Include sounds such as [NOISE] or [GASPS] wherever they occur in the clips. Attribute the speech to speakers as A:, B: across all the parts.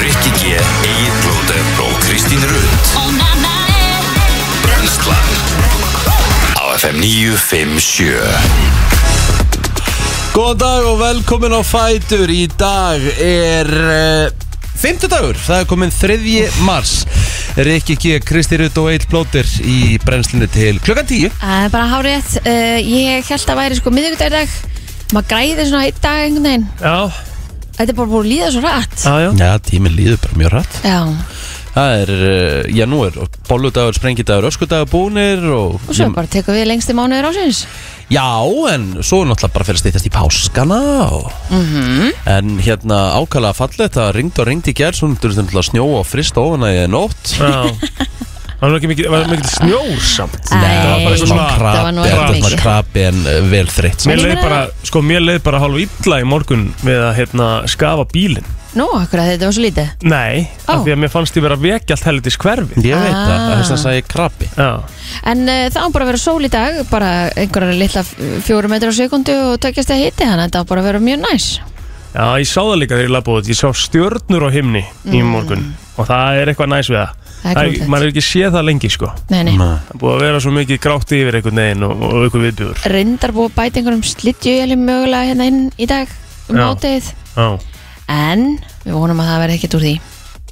A: Rikki G, Egil Blóter og Kristín Rund Brenslan Á FM 957
B: Góðan dag og velkomin á Fætur Í dag er uh, Fymtudagur, það er komin 3. mars Rikki G, Kristi Rutt og Eil Plóter Í brennslinu til klukkan 10
C: Það er bara hárétt uh, Ég held að væri sko miðvikudagur í dag Maður græðir svona einn dag einhvern veginn
D: Já,
C: Þetta er bara búin að líða svo rætt
D: já, já
B: Já, tíminn líður bara mjög rætt
C: Já,
B: Það er, uh, já nú er bolludagur, sprengidagur, öskudagur búnir Og,
C: og svo bara tekur við lengsti mánuður ásins
B: Já, en svo er náttúrulega bara fyrir að stýttast í páskana og...
C: Mhm.
B: -hmm. En hérna ákala fallið Það ringd og ringd í gerð Svo náttúrulega náttúrulega snjóa og frist ofan að ég nótt
D: Já Það var ekki mikið, var mikið snjór samt
C: Æ,
B: Það var bara smá
D: svona-
C: það var nú
B: krabi,
C: ekki
B: þetta var
C: mikið.
B: krabi en uh, vel þreytt
D: Mér
C: ég
D: leið
C: meina-
D: bara, sko, mér leið bara hálf illa í morgun við að, hérna, skafa bílinn
C: Nú, akkur að þetta var svo lítið
D: Nei,
C: Ó.
D: af því að mér fannst ég vera að vekja allt helvitis hverfi
B: Ég veit það,
C: Ah.
B: það er þess að segja krabi
D: Já,
C: En uh, það var bara að vera sól í dag Bara einhverjar litla f- fjóru metrar á sekundu Og tökjast að hiti hann Þetta var bara að vera mjög næs
D: já, ég sá það líka þegar ég labbaði út Ég sá stjörnur á himni í morgun Og það er eitthvað næs við það
C: Mm. Það er klútet
D: Maður er ekki séð það lengi, sko
C: Nei, nei
D: Það er búið að vera svo mikið grátt yfir einhvern veginn og, og einhver viðbjör
C: Reyndar búið að bæta einhverjum slitju Mögulega hérna inn í dag Um
D: Já.
C: mótið
D: Já,
C: En við vonum að það verði ekkert úr því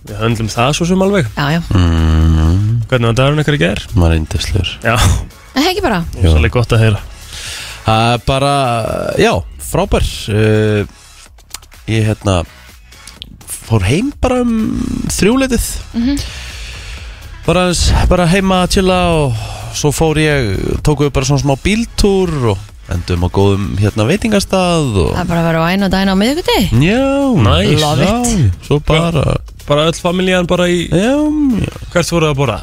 D: við höndlum það svo sem alveg
C: Já, já
B: Mm.
D: Hvernig var dagurinn ykkur í ger?
B: Maður er indislegur
D: Já,
C: En ekki bara
B: Já.
D: svolítið gott að heyra
B: Það er bara, já, frábær uh, Ég hérna fór heim bara um þrjúleitið
C: Mhm.
B: bara, aðeins- bara heima að chilla og svo fór ég, tókum við bara svona smá bíltúr og endum á góðum hérna veitingastað og
D: sko.
C: Það er bara að vera á æn og dæn á miðvikudegi
B: Já,
D: Nice.
B: já,
C: Love
B: Svo bara,
D: Bara öll familjan bara í
B: já, já
D: Hvert voruð það að borða?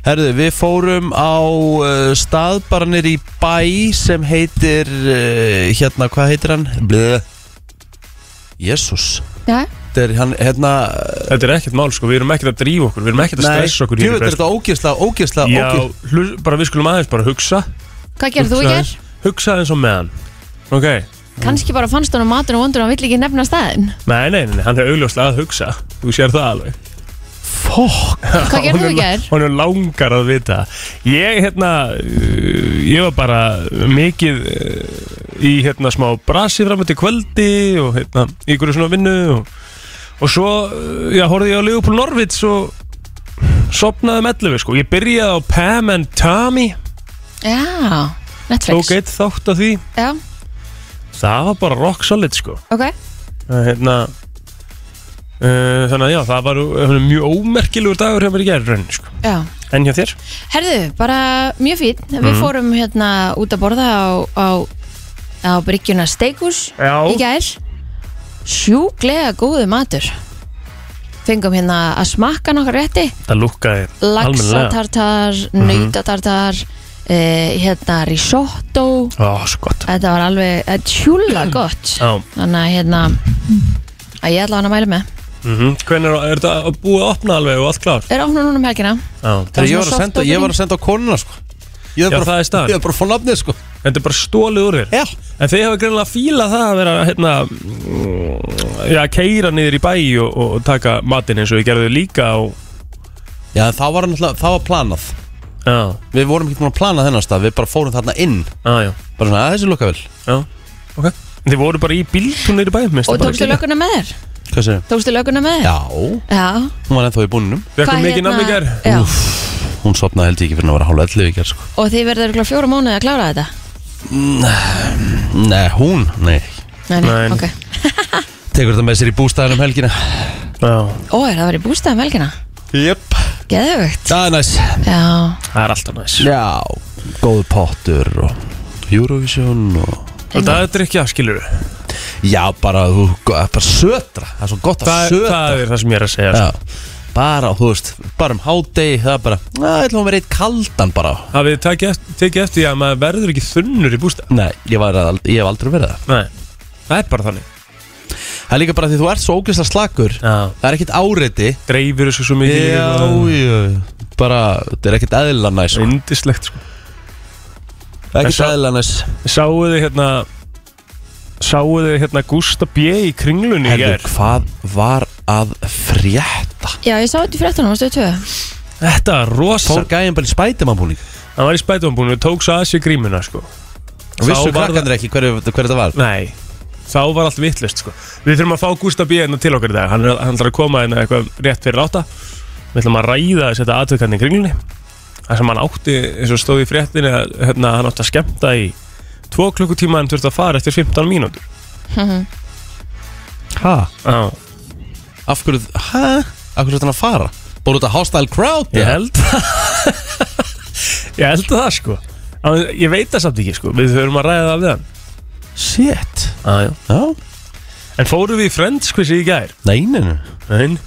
B: Herðu, við fórum á uh, stað bara nýr í bæ sem heitir, uh, hérna, hvað heitir hann? Blöð Jésús
C: Já,
B: Þetta er hann, hérna
D: Þetta er ekkert mál sko, við erum ekkert að drífa okkur, við erum ekkert að stressa okkur
B: djöfull er
D: Brest.
B: þetta ógeðslega, ógeðslega, ógeðslega
D: Já, hlu, bara við skulum aðeins bara hugsa
C: hvað gerðu þú í
D: Hugsa
C: ger?
D: aðeins. Hugsa aðeins á meðan Ok,
C: Kanski bara fannst honum matur og vondur og hann vill ekki nefna staðin
D: nei, nei, nei, nei, hann er augljóslega að hugsa Þú sér það alveg
B: Fokk
C: Hvað gerðu þú í
D: Honum-
C: ger?
D: Honum langar að vita Ég, hérna, uh, ég var bara mikið uh, í, hérna, smá brasi fram til kvöldi og, hérna, í ykkur svona vinnu og, og svo, uh, já, horfði ég á Leopold Norvits og sopnaði mellu við, sko Ég byrjaði á Pam and Tommy
C: Já, Netflix
D: tók eitt þátt af því
C: Já,
D: það var bara rock solid sko
C: ok
D: Það, hérna, uh, þannig að já, það var uh, mjög ómerkilegur dagur hjá mér í gerðin sko.
C: Já,
D: en hjá þér
C: herðu, bara mjög fín
D: Mhm.
C: Við fórum hérna út að borða á, á, á bryggjuna Steikus í
D: já,
C: gær Sjúklega góðu matur Fengum hérna að smakka nokkar rétti
D: það lúkkaði almennilega. Mhm.
C: Laxatartar, nautatartar eh, Hérna risotto
D: Ó, svo gott
C: Þetta var alveg eh,
B: [CLEARS THROAT]
C: tjúla gott
D: já,
C: Þannig að hérna að ég ætla hann að mæla með
D: mm hvernig er, er þetta búið að opna alveg og allt klár
C: Er ofnum núna um helgina
D: já.
B: Þegar ég var
C: svona
B: að senda,
C: soft
B: ég var
C: opening.
B: að senda á konuna, sko Ég
D: Já,
B: var bara,
D: það er staðan.
B: ég var bara að fá nafnið, sko
D: þetta er bara stólið úr þér
B: Já,
D: en þið hafa greinlega fílað það að vera hérna, mm, já, keira niður í bæ og, og taka matinn eins og við gerðum líka og,
B: já það var náttúrulega, það var planað
D: já,
B: Við vorum ekki búin að plana þennan stað, við bara fórum þarna inn
D: já, já
B: Bara svona, að þessi lukka vel
D: Já, ok Þið voru bara í bíltúnir í bæðum
C: Og tókstu lögguna með þér?
B: Hvað segir
C: Tókstu lögguna með þér?
B: Já,
C: Já. hérna-
B: hún var ennþá í búninum
D: Fekkum mikið nafn í gær
C: Já,
B: Hún sopnaði held ég ekki fyrir að vera hálf 11 í gerð sko.
C: og þið verður ykkur fjóra mánuði að klára þetta
B: Nei, hún, nei
C: Nei, nei,
D: Nei.
C: ok
B: Tekur þetta með sér í bústæðanum helgina
D: Já
C: Ó, er það verið bústað um helgina?
B: Jöp
C: Geðvögt
B: Það er næs
C: Já,
D: Það er alltaf næs
B: Já, góðu pottur og Eurovision og
D: Og það er drikja, skilur við
B: Já, bara, þú, bara sötra Það er svo gott að
D: það,
B: sötra
D: það er það sem ég er að segja sko.
B: Já, bara, þú veist, bara um hádegi Það er bara, að ætlum að vera eitt kaldan bara
D: Hafið þið tekið eftir, tekið eftir því að maður verður ekki þunnur í bústa
B: Nei, ég, var, að- ég hef aldrei verið það
D: Nei Það er bara þannig
B: Það er líka bara því þú ert svo ógeðslega slakur
D: Já
B: Það er ekkert áreiti
D: Dreifir þessu svo mikið
B: já Bara, þetta er ekkert eðla næs sko.
D: Indislegt sko
B: Það er ekkert
D: Þessa-
B: eðla næs
D: Sáuð þið hérna Sáuð þið hérna Gústa B í kringlunni í
B: Herðu,
D: gær
B: hvað var að frétta
C: Já, ég sá þetta í fréttunum á stöðu 2
D: Þetta er rosa
B: Fór gæðin bara í spætumannbúning
D: Hann var í spætumabúinu og tók svo að sér grímuna sko.
B: Og vissu
D: Þá var
B: krakkandur ekki hver, hver þetta var
D: Nei, þá var allt vittlust sko. Við þurfum að fá Gustaf B. hérna til okkar í dag Hann er hann ætlar að koma hérna eitthvað rétt fyrir átta Við ætlum að ræða þess þetta aðtökarni í kringlunni Það sem hann átti, eins og stóð í fréttinni að hérna, hann átti að skemmta í tvo klukkutíma en þurfti að fara eftir 15 mínútur
B: Hæ?
D: Já,
B: Af hverju, hæ? Af hverju þetta að fara? Búið þetta hostile crowd
D: ég
B: eða?
D: held [LAUGHS] Ég held það sko En Ég veit það samt ekki sko, við þurfum að ræða það við hann
B: Shit
D: ah,
B: Já,
D: En fórum við í Friends quizið í gær?
B: nei, nei, nei
D: Nein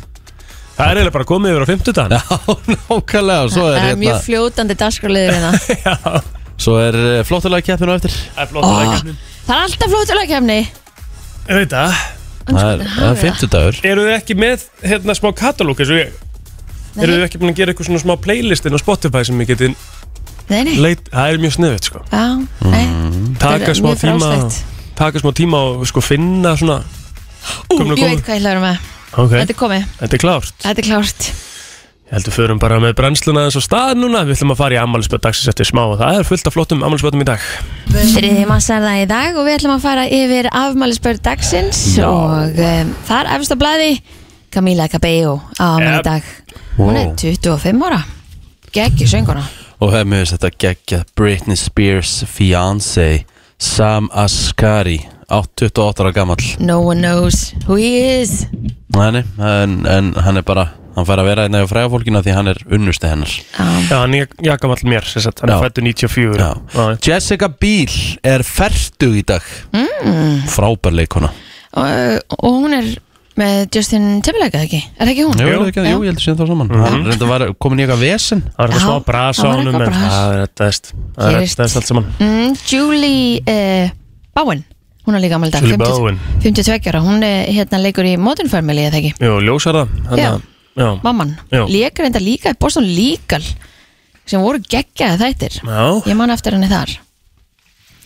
D: Það er eiginlega bara komið yfir á 50
B: Já, nákvæmlega, svo
C: Það
B: er,
C: er mjög
B: hérna,
C: fljótandi dagskraliður hérna
D: Já,
B: svo er eh, flottulega keppinu eftir
D: það er flott að
B: Ah.
D: hérna. leggja
C: Það er alltaf fljóttulega kemni
D: Ég veit það
B: Það er, það er 50 dagur
D: Eru þið ekki með hérna smá katalóg eins og ég? Eru þið ekki búin að gera eitthvað svona smá playlistin á Spotify sem ég geti
C: Nei,
B: Mm.
C: nei
D: leit Það er mjög sniðut sko
C: Já, nei Þetta
D: Taka
C: er
D: smá
C: mjög
D: tíma
C: frjálslegt.
D: Taka smá tíma og sko finna svona
C: Ú,
D: Komnu,
C: ég
D: komnu.
C: veit hvað ég hlaður með
D: Ok,
C: Þetta er komið,
D: þetta er klárt
C: þetta er klárt
D: Ég held við förum bara með brennsluna þess að stað núna Við ætlum að fara í ammælisböð dagsins eftir smá og það er fullt af flottum ammælisböðum í dag
C: Þriði massar það í dag og við ætlum að fara yfir afmælisbörð dagsins og um, þar efst á blæði Camila Cabello á afmæli
D: Yep.
C: í dag Hún er
B: Wow.
C: 25 ára Gekki sönguna
B: Og hef mér finnst þetta geggjað Britney Spears fiancé Sam Asghari 28 ára gamall
C: No one knows who he is
B: Nei, nei, en, en hann er bara Hann fær að vera einnig á fræga fólkina því hann er unnusti hennar
C: um,
D: Já, hann er jakamall mér, sem sagt, hann
B: Já.
D: er fættu 94
B: Já.
D: Já.
B: Jessica Biel er færtug í dag mm. Frábær leikona
C: og, og hún er með Justin Timberlake eða ekki? Er það ekki hún?
B: Jú, jú, ekki, jú ég heldur síðan þá saman
D: Mhm.
B: Hann reynda var komin í eitthvað vesen
D: Það var
C: Já,
D: eitthvað smá bras á
C: það var
D: honum
C: eitthvað
D: en
C: bras.
D: það er rettaðist Það
C: Ég
D: er
C: veist.
D: rettaðist allt saman
C: Mm, Julie uh, Bowen Hún er líka afmæli í dag
D: Julie
C: 50
D: Bowen.
C: 52 ára, hún er hérna leikur í Modern Family eða ekki?
D: Jú, ljósar það þannig að- Já,
C: mamman
D: Já.
C: leikar enda líka í Boston Legal sem voru geggjaði þættir
D: já,
C: ég man eftir henni þar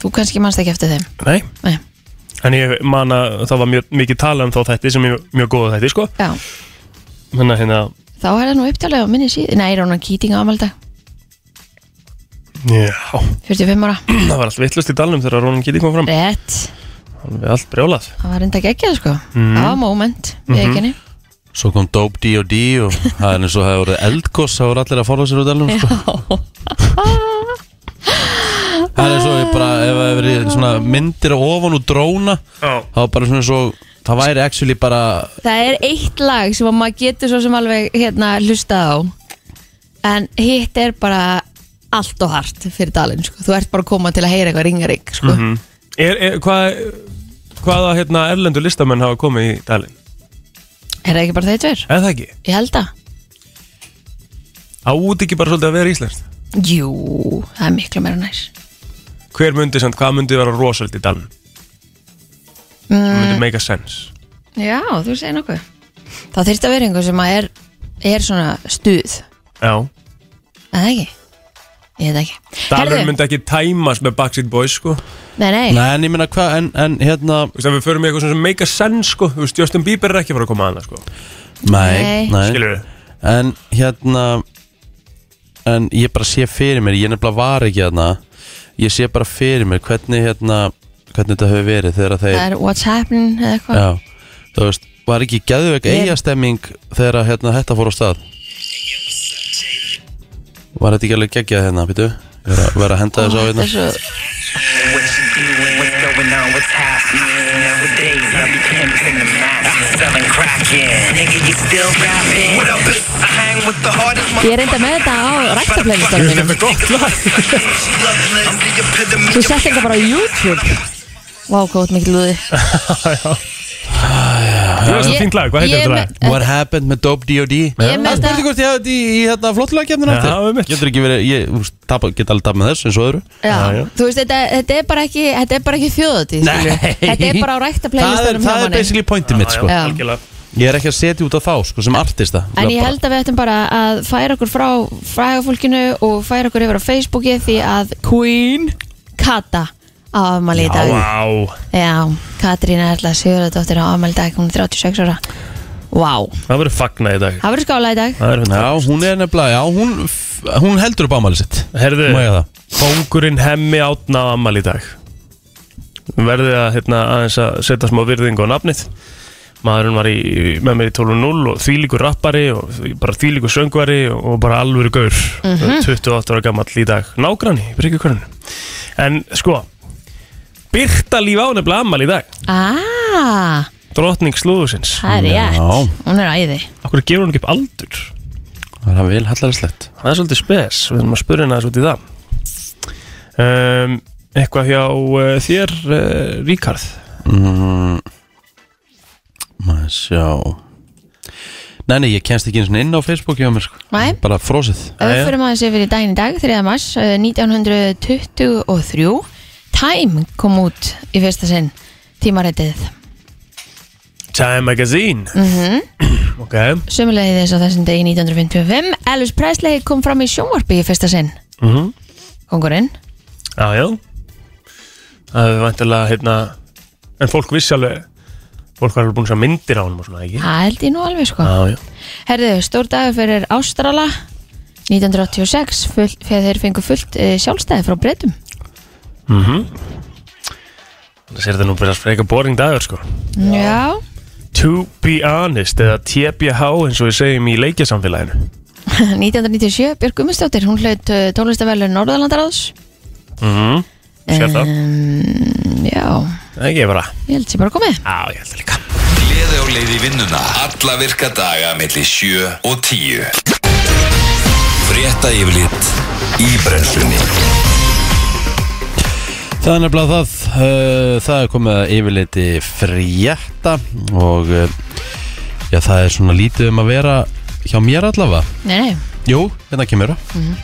C: þú kannski manst ekki eftir þeim
D: nei
C: Nei.
D: En ég man að það var mjög mikið talað um þá þætti sem er mjög góða þætti, sko
C: já,
D: Þannig að hérna,
C: þá er það nú upptalið á minni síð nei, er hún að kýtinga ámaldag
D: já [CLEARS THROAT]
C: 45 ára,
D: Það var allt vittlust í dalnum þegar Ronan Kitty kom fram
C: rétt
D: Alveg allt brjólað
C: það var enda geggjað sko það var moment, við ekki henni
B: Svo kom Dope D.O.D. og það er eins og það hefur verið eldgoss það voru allir að forða sér út elnum sko. Það er eins og ég bara ef það hefur verið svona myndir á ofan úr dróna
D: Já.
B: þá var bara svona eins og það væri actually bara
C: það er eitt lag sem að maður getur svo sem alveg hérna hlustað á en hitt er bara allt og hart fyrir dalinn sko. þú ert bara að koma til að heyra eitthvað ringaring sko.
D: er, er, hvað, Hvaða hérna erlendu listamenn hafa komið í dalinn?
C: er það ekki bara þeir tveir?
D: Eða það ekki?
C: Ég held að
D: Áti ekki bara svolítið að vera íslenskt?
C: Jú, það er miklu meira næs
D: Hver myndi samt, hvað myndi vera rosald í dalinn? Mm. Myndi make a sense
C: Já, þú segir nokkuð Það þyrfti að vera einhver sem að er, er svona stuð
D: Já
C: Er það ekki? Ég veit ekki
D: Dalur
C: Heyrðu,
D: myndi ekki tæmast með Backstreet Boys sko Þú
C: Nei, nei,
B: Nei en ég meina hvað en, en hérna
D: veist, ef við förum í eitthvað svona sem make a sense sko Þú veist, Justin Bieber er ekki að fara að koma að það sko
B: Nei,
C: Nei.
B: nei.
D: Skilur við?
B: En hérna en ég bara sé fyrir mér ég nefnilega var ekki hérna ég sé bara fyrir mér hvernig hérna hvernig þetta hefur verið þegar þeir
C: það er what's happening eða eitthvað
B: Já, þú veist, var ekki gæðveik
C: Ég-
B: eigastemming þegar að, hérna, þetta fór á stað? Var þetta ekki alveg geggjað hérna, býtu? Ég er að vera að henda þessu á
C: Þetta
B: hérna
C: er svo,
E: What you doing? What's going on? What's happening? Nowadays, I be pimping the mask, selling crack, yeah. Nigga, you still rapping? What up? bitch? I hang with the hardest
C: Ég er enda með þetta á ræktaplaylistanum mínum Þú
E: motherfuckers.
C: sett þetta bara á YouTube Vá, hvað gott mikið lúði
D: Það er svona fínt lag, hvað heitir þetta lag?
B: What happened með Dope D.O.D.
C: Ég er með
B: Það
C: þetta-
B: spurði hvort ég hafði þetta í, í hérna, flottulega kemdina
D: Já, einmitt.
B: Getur ekki verið, ég úst, tapa, get alveg tapa með þessu eins og öðru
D: Já, já.
C: Já, þú veist, þetta, þetta er bara ekki, þetta er bara ekki þjóðatíð skilur. Þetta er
B: Það
C: bara á
B: er,
C: ræktaplaylistanum
B: það er basically pointið mitt, sko
C: Já.
D: Algjörlega.
B: Ég er ekki að setja út á þá, sko, sem artista
C: En ég held að við ættum bara að færa okkur frá frægafólkinu og færa okkur yfir á Facebooki því að Queen Kata á afmæli í dag
D: Vá
C: Já, Katrín Erla Sigurðardóttir á afmæli í dag, hún er 36 ára Vá,
D: Það verður fagna í dag
C: það verður skála í dag
D: Það er hundar
B: Já, hún er nefnilega, já, hún, f- hún heldur upp ámæli sitt
D: Herðu,
B: Má ég það?
D: kongurinn hemmi átna á ammal í dag Verðið að hérna, aðeins að setja smá virðingu á nafnið Maðurinn var í, með mér í 12.0 og þvílíkur rappari og því- bara þvílíkur söngvari og bara alvöru gaur
B: Mhm.
D: 28 ára gamall í dag Nágranni, Bryggjukörnun En sko, Birta líf á nefnilega ammal í dag
C: Ah,
D: Drottning slúðusins
C: það er
B: Já.
C: rétt Hún er æði
D: Akkur gefur hún ekki upp aldur
B: Það er vel hallarslegt
D: Það er svolítið spes, við erum að spyrja henni aðeins út í það um, Eitthvað hjá uh, þér, uh, Ríkarð
B: mm, Maður sjá Nei, nei, ég kennst ekki einu sinni inn á Facebook hjá mér sko.
C: Nei.
B: Bara frosið
C: Ef
D: Jæja.
C: við fyrir maður sér fyrir daginn í dag, 3. mars eh, 1923 Time kom út í fyrsta sinn tímarættið
D: Time Magazine [CLEARS THROAT] Ok,
C: Sumulegið þess á þessum degi 1955 Elvis Presley kom fram í sjónvarpi í fyrsta sinn
D: Mhm.
C: Kongurinn
D: já, já Það er vantilega, hérna En fólk vissi alveg Fólk var alveg búin að sjá myndir á honum og svona, ekki?
C: Það held ég nú alveg sko
D: Já, já
C: Herðu, stór dagur fyrir Ástrala 1986 full, fyrir þeir fengu fullt eh, sjálfstæði frá breytum
D: Það sér þetta nú bara freka boring dagur, sko
C: Já,
D: To be honest, eða TBH eins og við segjum í leikjasamfélaginu
C: [LAUGHS] 1997 Björg Gummistóttir, hún hlaut eh, tónlistaverðlaun Norðalandaráðs
D: Mhm, Sér það,
C: um, Já,
D: ekki bara
C: ég held sér bara komið
D: Já, ég held það líka
A: Gleði á leið í vinnuna Alla virka daga melli 7 og 10 Frétta yfirlit í brennslunni
B: Það er nefnilega það uh, Það er komið að yfirleiti frétta Og uh, já, það er svona lítið um að vera Hjá mér allavega
C: Nei, nei,
B: Jú, hérna kemur það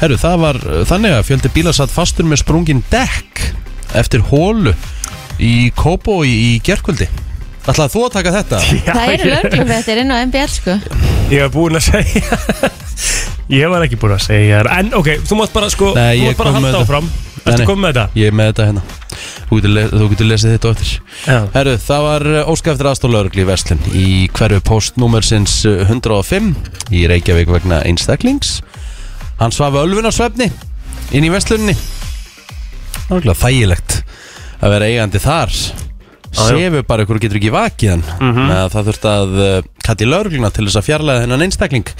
B: Herru, það var uh, þannig að fjöldi bíla satt fastur með sprungin dekk Eftir hólu Í Kópó í, í gerkvöldi Ætlaði þú að taka þetta?
D: Já,
C: það eru
D: ég- Ah.
C: löglum þetta inn á MBL sko
D: Ég var búinn að segja [LAUGHS] Ég var ekki búinn að segja þér En ok, þú mátt bara sko
B: Nei,
D: Þú
B: ég
D: mátt bara
B: kom með
D: halda
B: þetta.
D: áfram
B: Nei,
D: Ertu
B: nei.
D: komið með þetta?
B: Ég er með þetta hérna Þú getur, le þú getur lesið þetta á eftir
D: Já
B: Herru, það var eh, óska eftir aðstoflaurugli í Vestlun í hverju eh, postnúmersins 105 í Reykjavík vegna einstaklings. Hann svaf ölfunarsvefni inn í Vestlunni. Nákvæmlega þægilegt að vera eigandi þar.
D: já.
B: Sefu bara ykkur og getur ekki vakið hann. Mm Það þurft að uh, kalla í laurugluna til þess að fjarlæða hennan einstakling.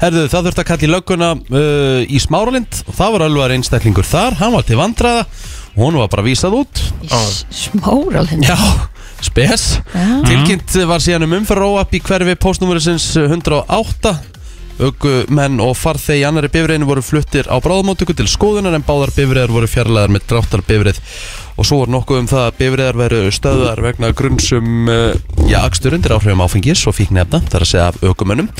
B: Herru, það þurft að kalla í lögguna uh, í Smáralind og það var alvar einstaklingur þar. Hann var til vandraða og hún var bara vísað út.
C: Smóralinn
B: Já, spes
C: Já.
B: Tilkynnt var síðan um umferðróapp í hverfi postnúmerisins 108 Öggu menn og farþegi í annari bifriðinu voru fluttir á bráðumóttöku til skoðunar en báðar bifriðar voru fjarlæðar með dráttar bifrið og svo var nokkuð um það að bifriðar veru stöðar vegna grunnsum eh, já, akstur undir áhrifum áfengis og fíknefna þar að segja af ökumönnum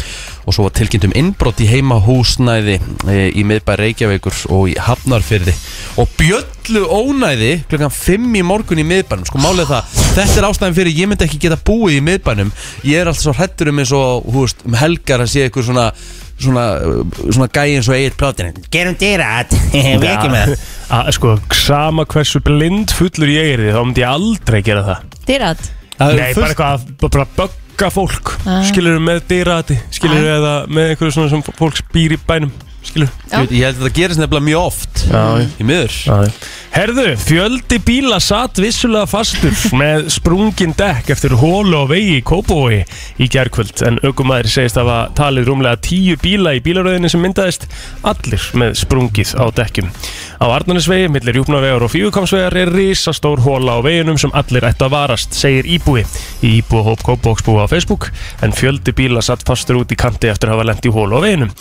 B: og svo var tilkynnt um innbrott í heimahúsnæði eh, í miðbæ Reykjavíkur og í Hafnarfyrði og bjöllu ónæði klokkan 5 í morgun í miðbænum sko málið er það, þetta er ástæðan fyrir ég myndi ekki geta búið í miðbænum ég er alltaf svo hrættur um eins og hú veist, um helgar að sé ykkur svona svona, uh, svona gæi eins og eigið plátin
F: Gerum dyrat Við ekki með það
D: að, Sko, sama hversu blind fullur ég er í því, Þá myndi ég aldrei gera það
C: Dyrrat
B: það
D: Nei,
B: er
D: bara
B: fullt
D: eitthvað að b- bara bögga fólk
C: Ah.
D: Skilur með dyrati Skilur
C: Ah.
D: eða með einhverju svona sem fólk spýr í bænum Skilur
C: Já.
B: ég ég held að það gerist nefnilega mjög oft
D: Já.
B: í miður
D: Herðu, fjöldi bíla satt vissulega [LAUGHS] fastur með sprungin dekk eftir hólu og vegi í Kópói í gærkvöld en aukumæður segist að talið rúmlega tíu bíla í bílaröðinni sem myndaðist allir með sprungið á dekkjum. Á Arnarnesvegi, millir Júpnavegar og Fíukamsvegar er risastór hóla á veginum sem allir ættu að varast, segir íbúi í íbúahóp Kópóksbúa á Facebook en fjöldi bíla satt fastur út í kanti eftir að hafa lent í hólu á veginum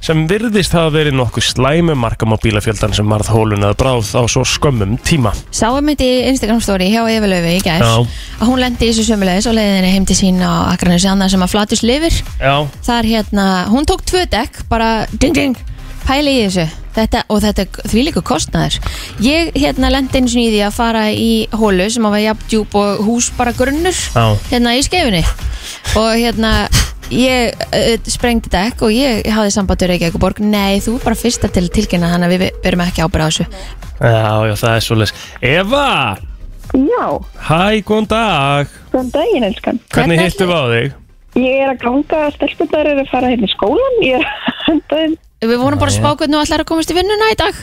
D: sem virðist hafa verið nokkuð slæmi markam á bílafjöldan sem marð hólun að bráð á svo skömmum tíma.
C: Sáum þetta í Instagram story hjá Efilöfi í gær
D: Já.
C: að hún lendi í þessu sömulegis og leiðinni heim til sín á Akranesi annað sem að flatus lifir
D: Já,
C: þar hérna, hún tók tvö dekk bara ding ding, pæli í þessu þetta, og þetta er því líka kostnaður ég hérna lendi eins og í því að fara í hólu sem að var jafn djúb og hús bara grunnur
D: Já.
C: hérna í skefinni og hérna ég uh, sprengdi dekk og ég hafði sambandur ekki eitthvað borg, nei þú er bara fyrsta til að tilkynna þannig að við verum ekki ábyrða á þessu
D: já, já, það er svo leis. Eva,
G: Já,
D: hæ, góðan dag.
G: góðan daginn, elskan.
D: Hvernig
C: Hvernig
D: hittum við á þig?
G: Ég er að ganga, stelpunar eru að fara hérna í skólan, ég er að henda þeim.
C: Við vorum bara að spá hvernig þú ætlar að komast í vinnuna í dag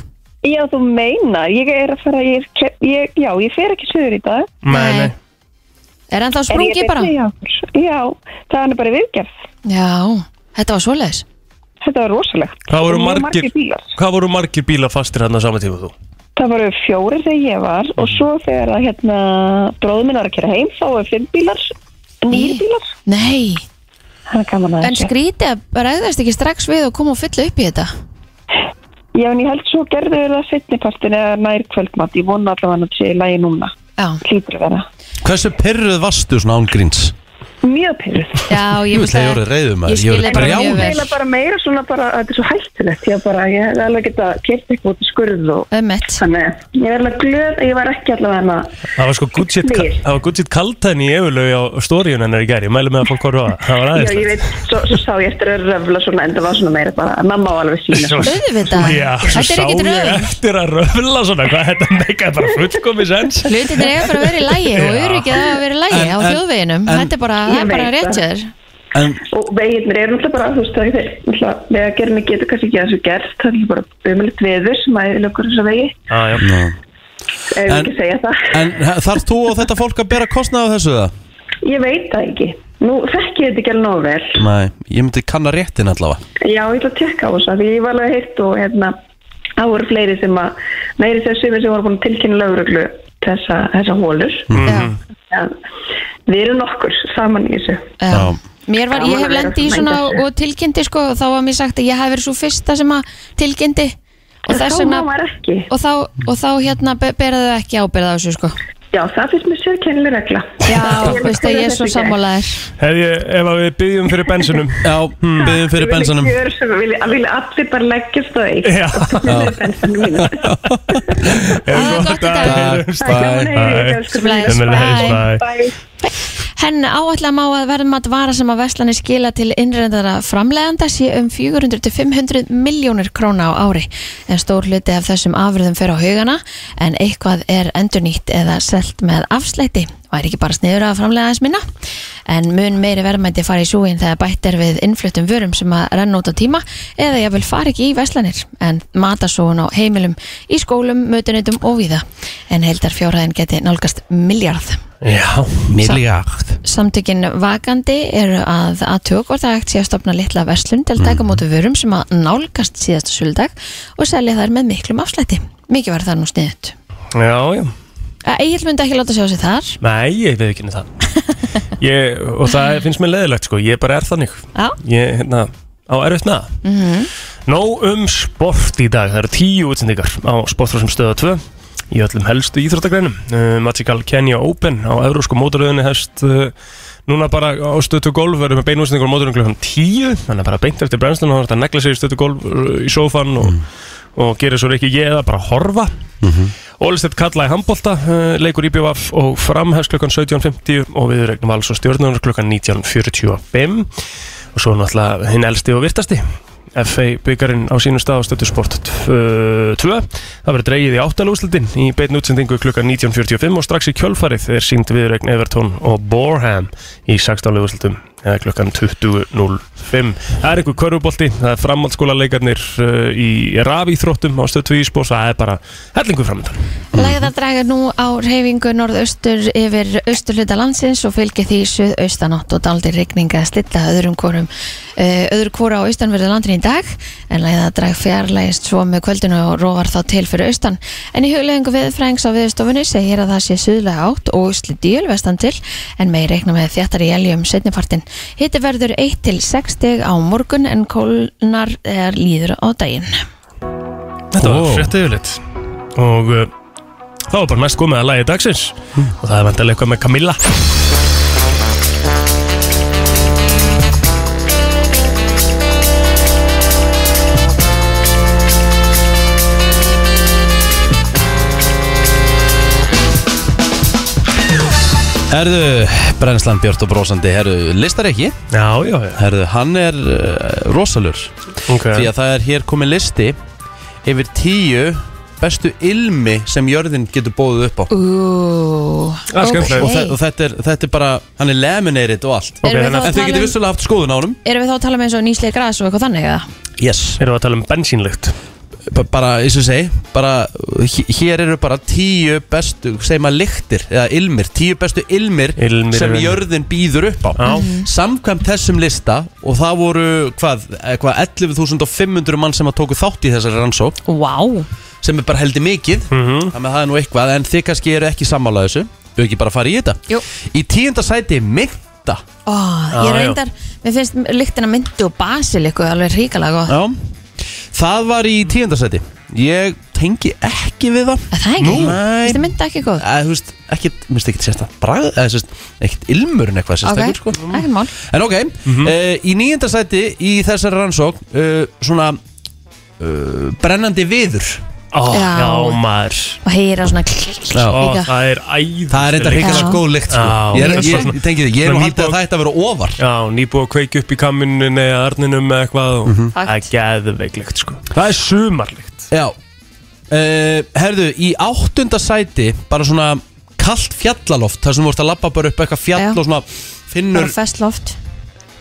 G: Já, þú meina, ég er að fara, ég er, ke- ég, já, ég fer ekki sögur í dag.
D: Nei, nei
C: Er hann þá
G: En ég
C: sprungi
G: er
C: bara?
G: einnig hjá- Já, það er nú bara viðgerð.
C: Já, þetta var svoleiðis
G: Þetta var rosalegt.
D: Hvað voru
G: Og mjög
D: margir,
G: bílar.
D: hvað voru margir bílar fastir hann á sama tíma þú?
G: Það voru fjórir þegar ég var og svo þegar að hérna bróðum minn var að kera heim þá var fimm bílar, nýr bílar.
C: Nei,
G: Það er gaman að
C: en
G: þessu.
C: skrítið að ræðast ekki strax við og koma og fylla upp í þetta
G: Já, en ég held svo gerðu þau það setnipartin eða nær kvöldmatt. Ég vona allavega að sé í lagi núna.
C: Já,
G: Hlýtur að vera.
B: Hversu perruð varstu svona án gríns?
G: Mjög pyrruð.
C: já,
B: Ég
C: ég
B: vil það ég orðið reyðum að ég
C: skil
B: orðið
C: þetta mjög
B: brjál
C: vel.
G: Eila bara meira svona bara, þetta er svo hættilegt. Ég bara, ég hef alveg geta kert eitthvað út í skurð og
C: Ömmett
G: þannig að ég er alveg glöð að ég var ekki allavega hérna. hana.
D: Það var sko good shit,
G: Nýr.
D: það var good shit kaltæni í efurlögi á stóriun hennar í gerð Ég mælu með að fólk horfa á það, það var
G: Já, ég
D: aðeins
G: veit, svo, svo sá ég eftir að röfla svona en það var svona meira bara, mamma á alveg sína.
C: Auðvitað,
D: Já, svo
C: þetta
D: sá
C: er ekkert
D: ég
C: röðum
D: eftir að röfla svona hvað þetta meikaði bara fullkomis ens
C: Hlutin er bara að vera í lægi og
B: [LAUGHS]
D: Já.
C: öryggið á að vera í lægi
B: En-
C: á
B: en-
C: þjóðveginum
B: en-
C: Þetta er bara, það
G: Ég
C: er bara
G: veit
C: rétt
G: það.
C: hjá þér
B: En
G: og veginir eru náttúrulega bara þú veist það er náttúrulega vegagerðinni getur kannski ekki að þessu gert það er náttúrulega bara umhverfitt veður sem að lögur þessa vegi
D: ah, já.
B: Ná.
G: ef ég
B: En-
G: ekki segja það
B: En þarf þú og þetta fólk að bera kostnað á þessu það?
G: ég veit það ekki nú þekki ég þetta ekki alveg nógu vel
B: Nei, ég myndi kanna réttin allavega
G: já ég ætla að tekka á þess að því ég var alveg heilt og hérna það voru fleiri sem að meiri þess sumir sem voru búin að tilkynna lögreglu þessa, þessa hólur
B: Mhm.
C: Já,
G: ja, við erum nokkur saman í þessu
C: já
B: Já.
C: Mér var, ég hef lendi í svona og tilkynnti sko og þá var mér sagt að ég hef verið svo fyrsta sem að tilkynnti og þess vegna
G: þá má maður ekki
C: og þá, og þá hérna be- bera þau ekki ábyrða á þessu sko
G: já það finnst mér sérkennileg regla
C: Já,
G: Ég
C: veist að ég er svo
G: þessu í gegn.
C: sammálaðir
D: Hef ég, ef að við byggjum fyrir bensunum
B: Já, hmm. byggðum fyrir bensanum
G: Ég vil ekki vera sem vilja allir bara leggjast á eitt.
D: Já,
C: Hafa gott í dag.
B: Takk, bæ
C: Sömuleiðis.
D: Bye.
C: Bye.
G: Bye.
C: Henn áallega má að verðmat vara sem að veslanir skila til innrendara framleganda sé um 400-500 miljónir króna á ári en stór hluti af þessum afurðum fer á haugana en eitthvað er endurnýtt eða selt með afslætti og er ekki bara sniður að framlega aðeins minna en mun meiri verðmæti fara í súin þegar bætt er við innfluttum vörum sem að renna út á tíma eða ég vil fara ekki í veslanir en matasóun á heimilum í skólum, mötunutum og víða en heildarfjórhæðin geti nálgast miljard
D: Já,
B: Milliard
C: Samtökin vakandi eru að aðtök hvort að hægt sé að stopna litla verslun til að taka mótu vörum sem að nálgast síðasta söldag og selja þær með miklum afslætti. Mikið var það nú sniðut.
D: já, já
C: Egil myndi ekki láta sjá sig þar.
D: Nei, ég veit ekki um það ég, Og það finnst mér leðilegt sko, ég bara er þannig
C: Já,
D: Ég, hérna, á erfitt með það Nóg um sport í dag, það eru tíu útsendingar á sportfrásum stöða 2 í öllum helstu íþróttagreinum uh, Magical Kenya Open á eurósku mótoröðinni hefst uh, núna bara á stötu golf verðum með beinu útsendingar á mótoröðinu klukkan 10 þannig að bara beint eftir brennslun og þetta negla sér í stötu golf uh, í sófan og, og gera svo ekki ég eða bara horfa Ólistett kallaði handbólta, uh, leikur IBVF og framhefst klukkan 17.50 og við regnum alls og stjórnunar klukkan 19.45 og svo náttúrulega hinn elsti og virtasti FA byggarinn á sínum stað á stötu sport 2 það verður dreigið í áttalúslutin í beinu útsendingu klukkan 19.45 og strax í kjölfarið er sínd viðregn Everton og Borham í 16. úrslutum eða klukkan 20.05 það er einhver körfubolti, það er framhaldsskóla leikarnir í rafíþróttum á stötu 2 í spós, það er bara hellingu framöndan
C: Lægðar draga nú á reyfingu norðaustur yfir austurluta landsins og fylgir því suðaustanátt og daldir rigninga að slilla öðrum korum eh, öðru kora á austanverðu landin í dag en lægðar drag fjarlægist svo með kvöldinu og rofar þá til fyrir austan en í huglegingu viðfrængs á viðstofunni segir að það sé suðlega átt og slidíul vestan til en megi reikna með um þjattar í eljum setnifartin. Hitti verður 1 til 6 stig á morgun en kólnar er líður á daginn.
D: Þetta var
B: Ó.
D: frétt yfirleitt Og uh, þá var bara næst komið að lagi dagsins Og það er vandalega eitthvað með Camilla
B: Herðu, brennslan Björn og brósandi Herðu, listar ekki
D: Já, já, já
B: Herðu, hann er uh, rosalur
D: okay.
B: Því að það er hér komið listi Yfir tíu bestu ilmi sem jörðin getur bóðið upp á
C: Ú,
D: Það er skemmtilegt.
B: og, þe
C: ok.
B: og þetta, er, þetta er bara, hann er laminated og allt
D: Ok,
C: Erum við
D: þannig að
B: En
C: þá að
B: þið
C: tala
B: getur
C: um-
B: vissulega haft skoðun á honum
C: erum við þá að tala um eins og nýslega græs og eitthvað þannig eða?
B: Yes
D: Erum við að tala um bensínlykt?
B: B Bara, eins og ég segi, bara uh, hé- Hér eru bara tíu bestu, segjum að lyktir Eða ilmir, tíu bestu ilmir
D: Ilmir
B: Sem
D: eru-
B: jörðin býður upp á
D: Já.
B: Samkvæmt þessum lista Og það voru, hvað, eh, hvað 11.500 mann sem að tóku þátt í þessari rannsók
C: Vá,
B: Sem er bara heldur mikið
D: Mhm.
B: Þannig að það er nú eitthvað En þið kannski eru ekki sammála þessu Þau ekki bara fara í þetta
C: Jú.
B: Í tíunda sæti mynda
C: Ó, ég
D: Já, já.
C: reyndar, mér finnst lyktina myndi og basiliku alveg ríkalega góð.
B: Já Það var í tíundasæti Ég tengi ekki við það
C: Er Það er ekki,
B: Nei
C: finnst þið myndi ekki góð?
B: Eh, Þú veist, ekkit, mér finnst ekkit sérsta bragð eða sérst, ekkit ilmurinn eitthvað
C: Ok,
B: sérstakir sko.
C: ekki mál.
B: En ok, mm
D: Mhm.
B: í nýjundasæti í þessari rannsók uh, svona uh, brennandi viður
D: Ó,
C: Já.
D: já, maður
C: Og heyra svona klikk
B: Já.
D: Ó,
C: líka.
D: það er æðislega
B: Það er eitthvað
C: Já.
B: hrikalega góð lykt sko.
D: Já.
B: Ég, er-
D: Ég-
B: ég, ég tengi því, ég er nú
D: Svona
B: haldið að
D: nýbúið-
B: það ætti að vera ofar
D: Já, nýbúið að kveiki upp í kamminunni eða arninum eða eitthvað og það er
C: Fakt.
D: geðveiklegt sko Það er sumarlegt
B: Já uh, Herðu, í áttunda sæti bara svona kalt fjallaloft þar sem þú vorst að labba bara upp eitthvað fjall
C: Já.
B: og svona
C: Bara
B: finnur
C: fest loft,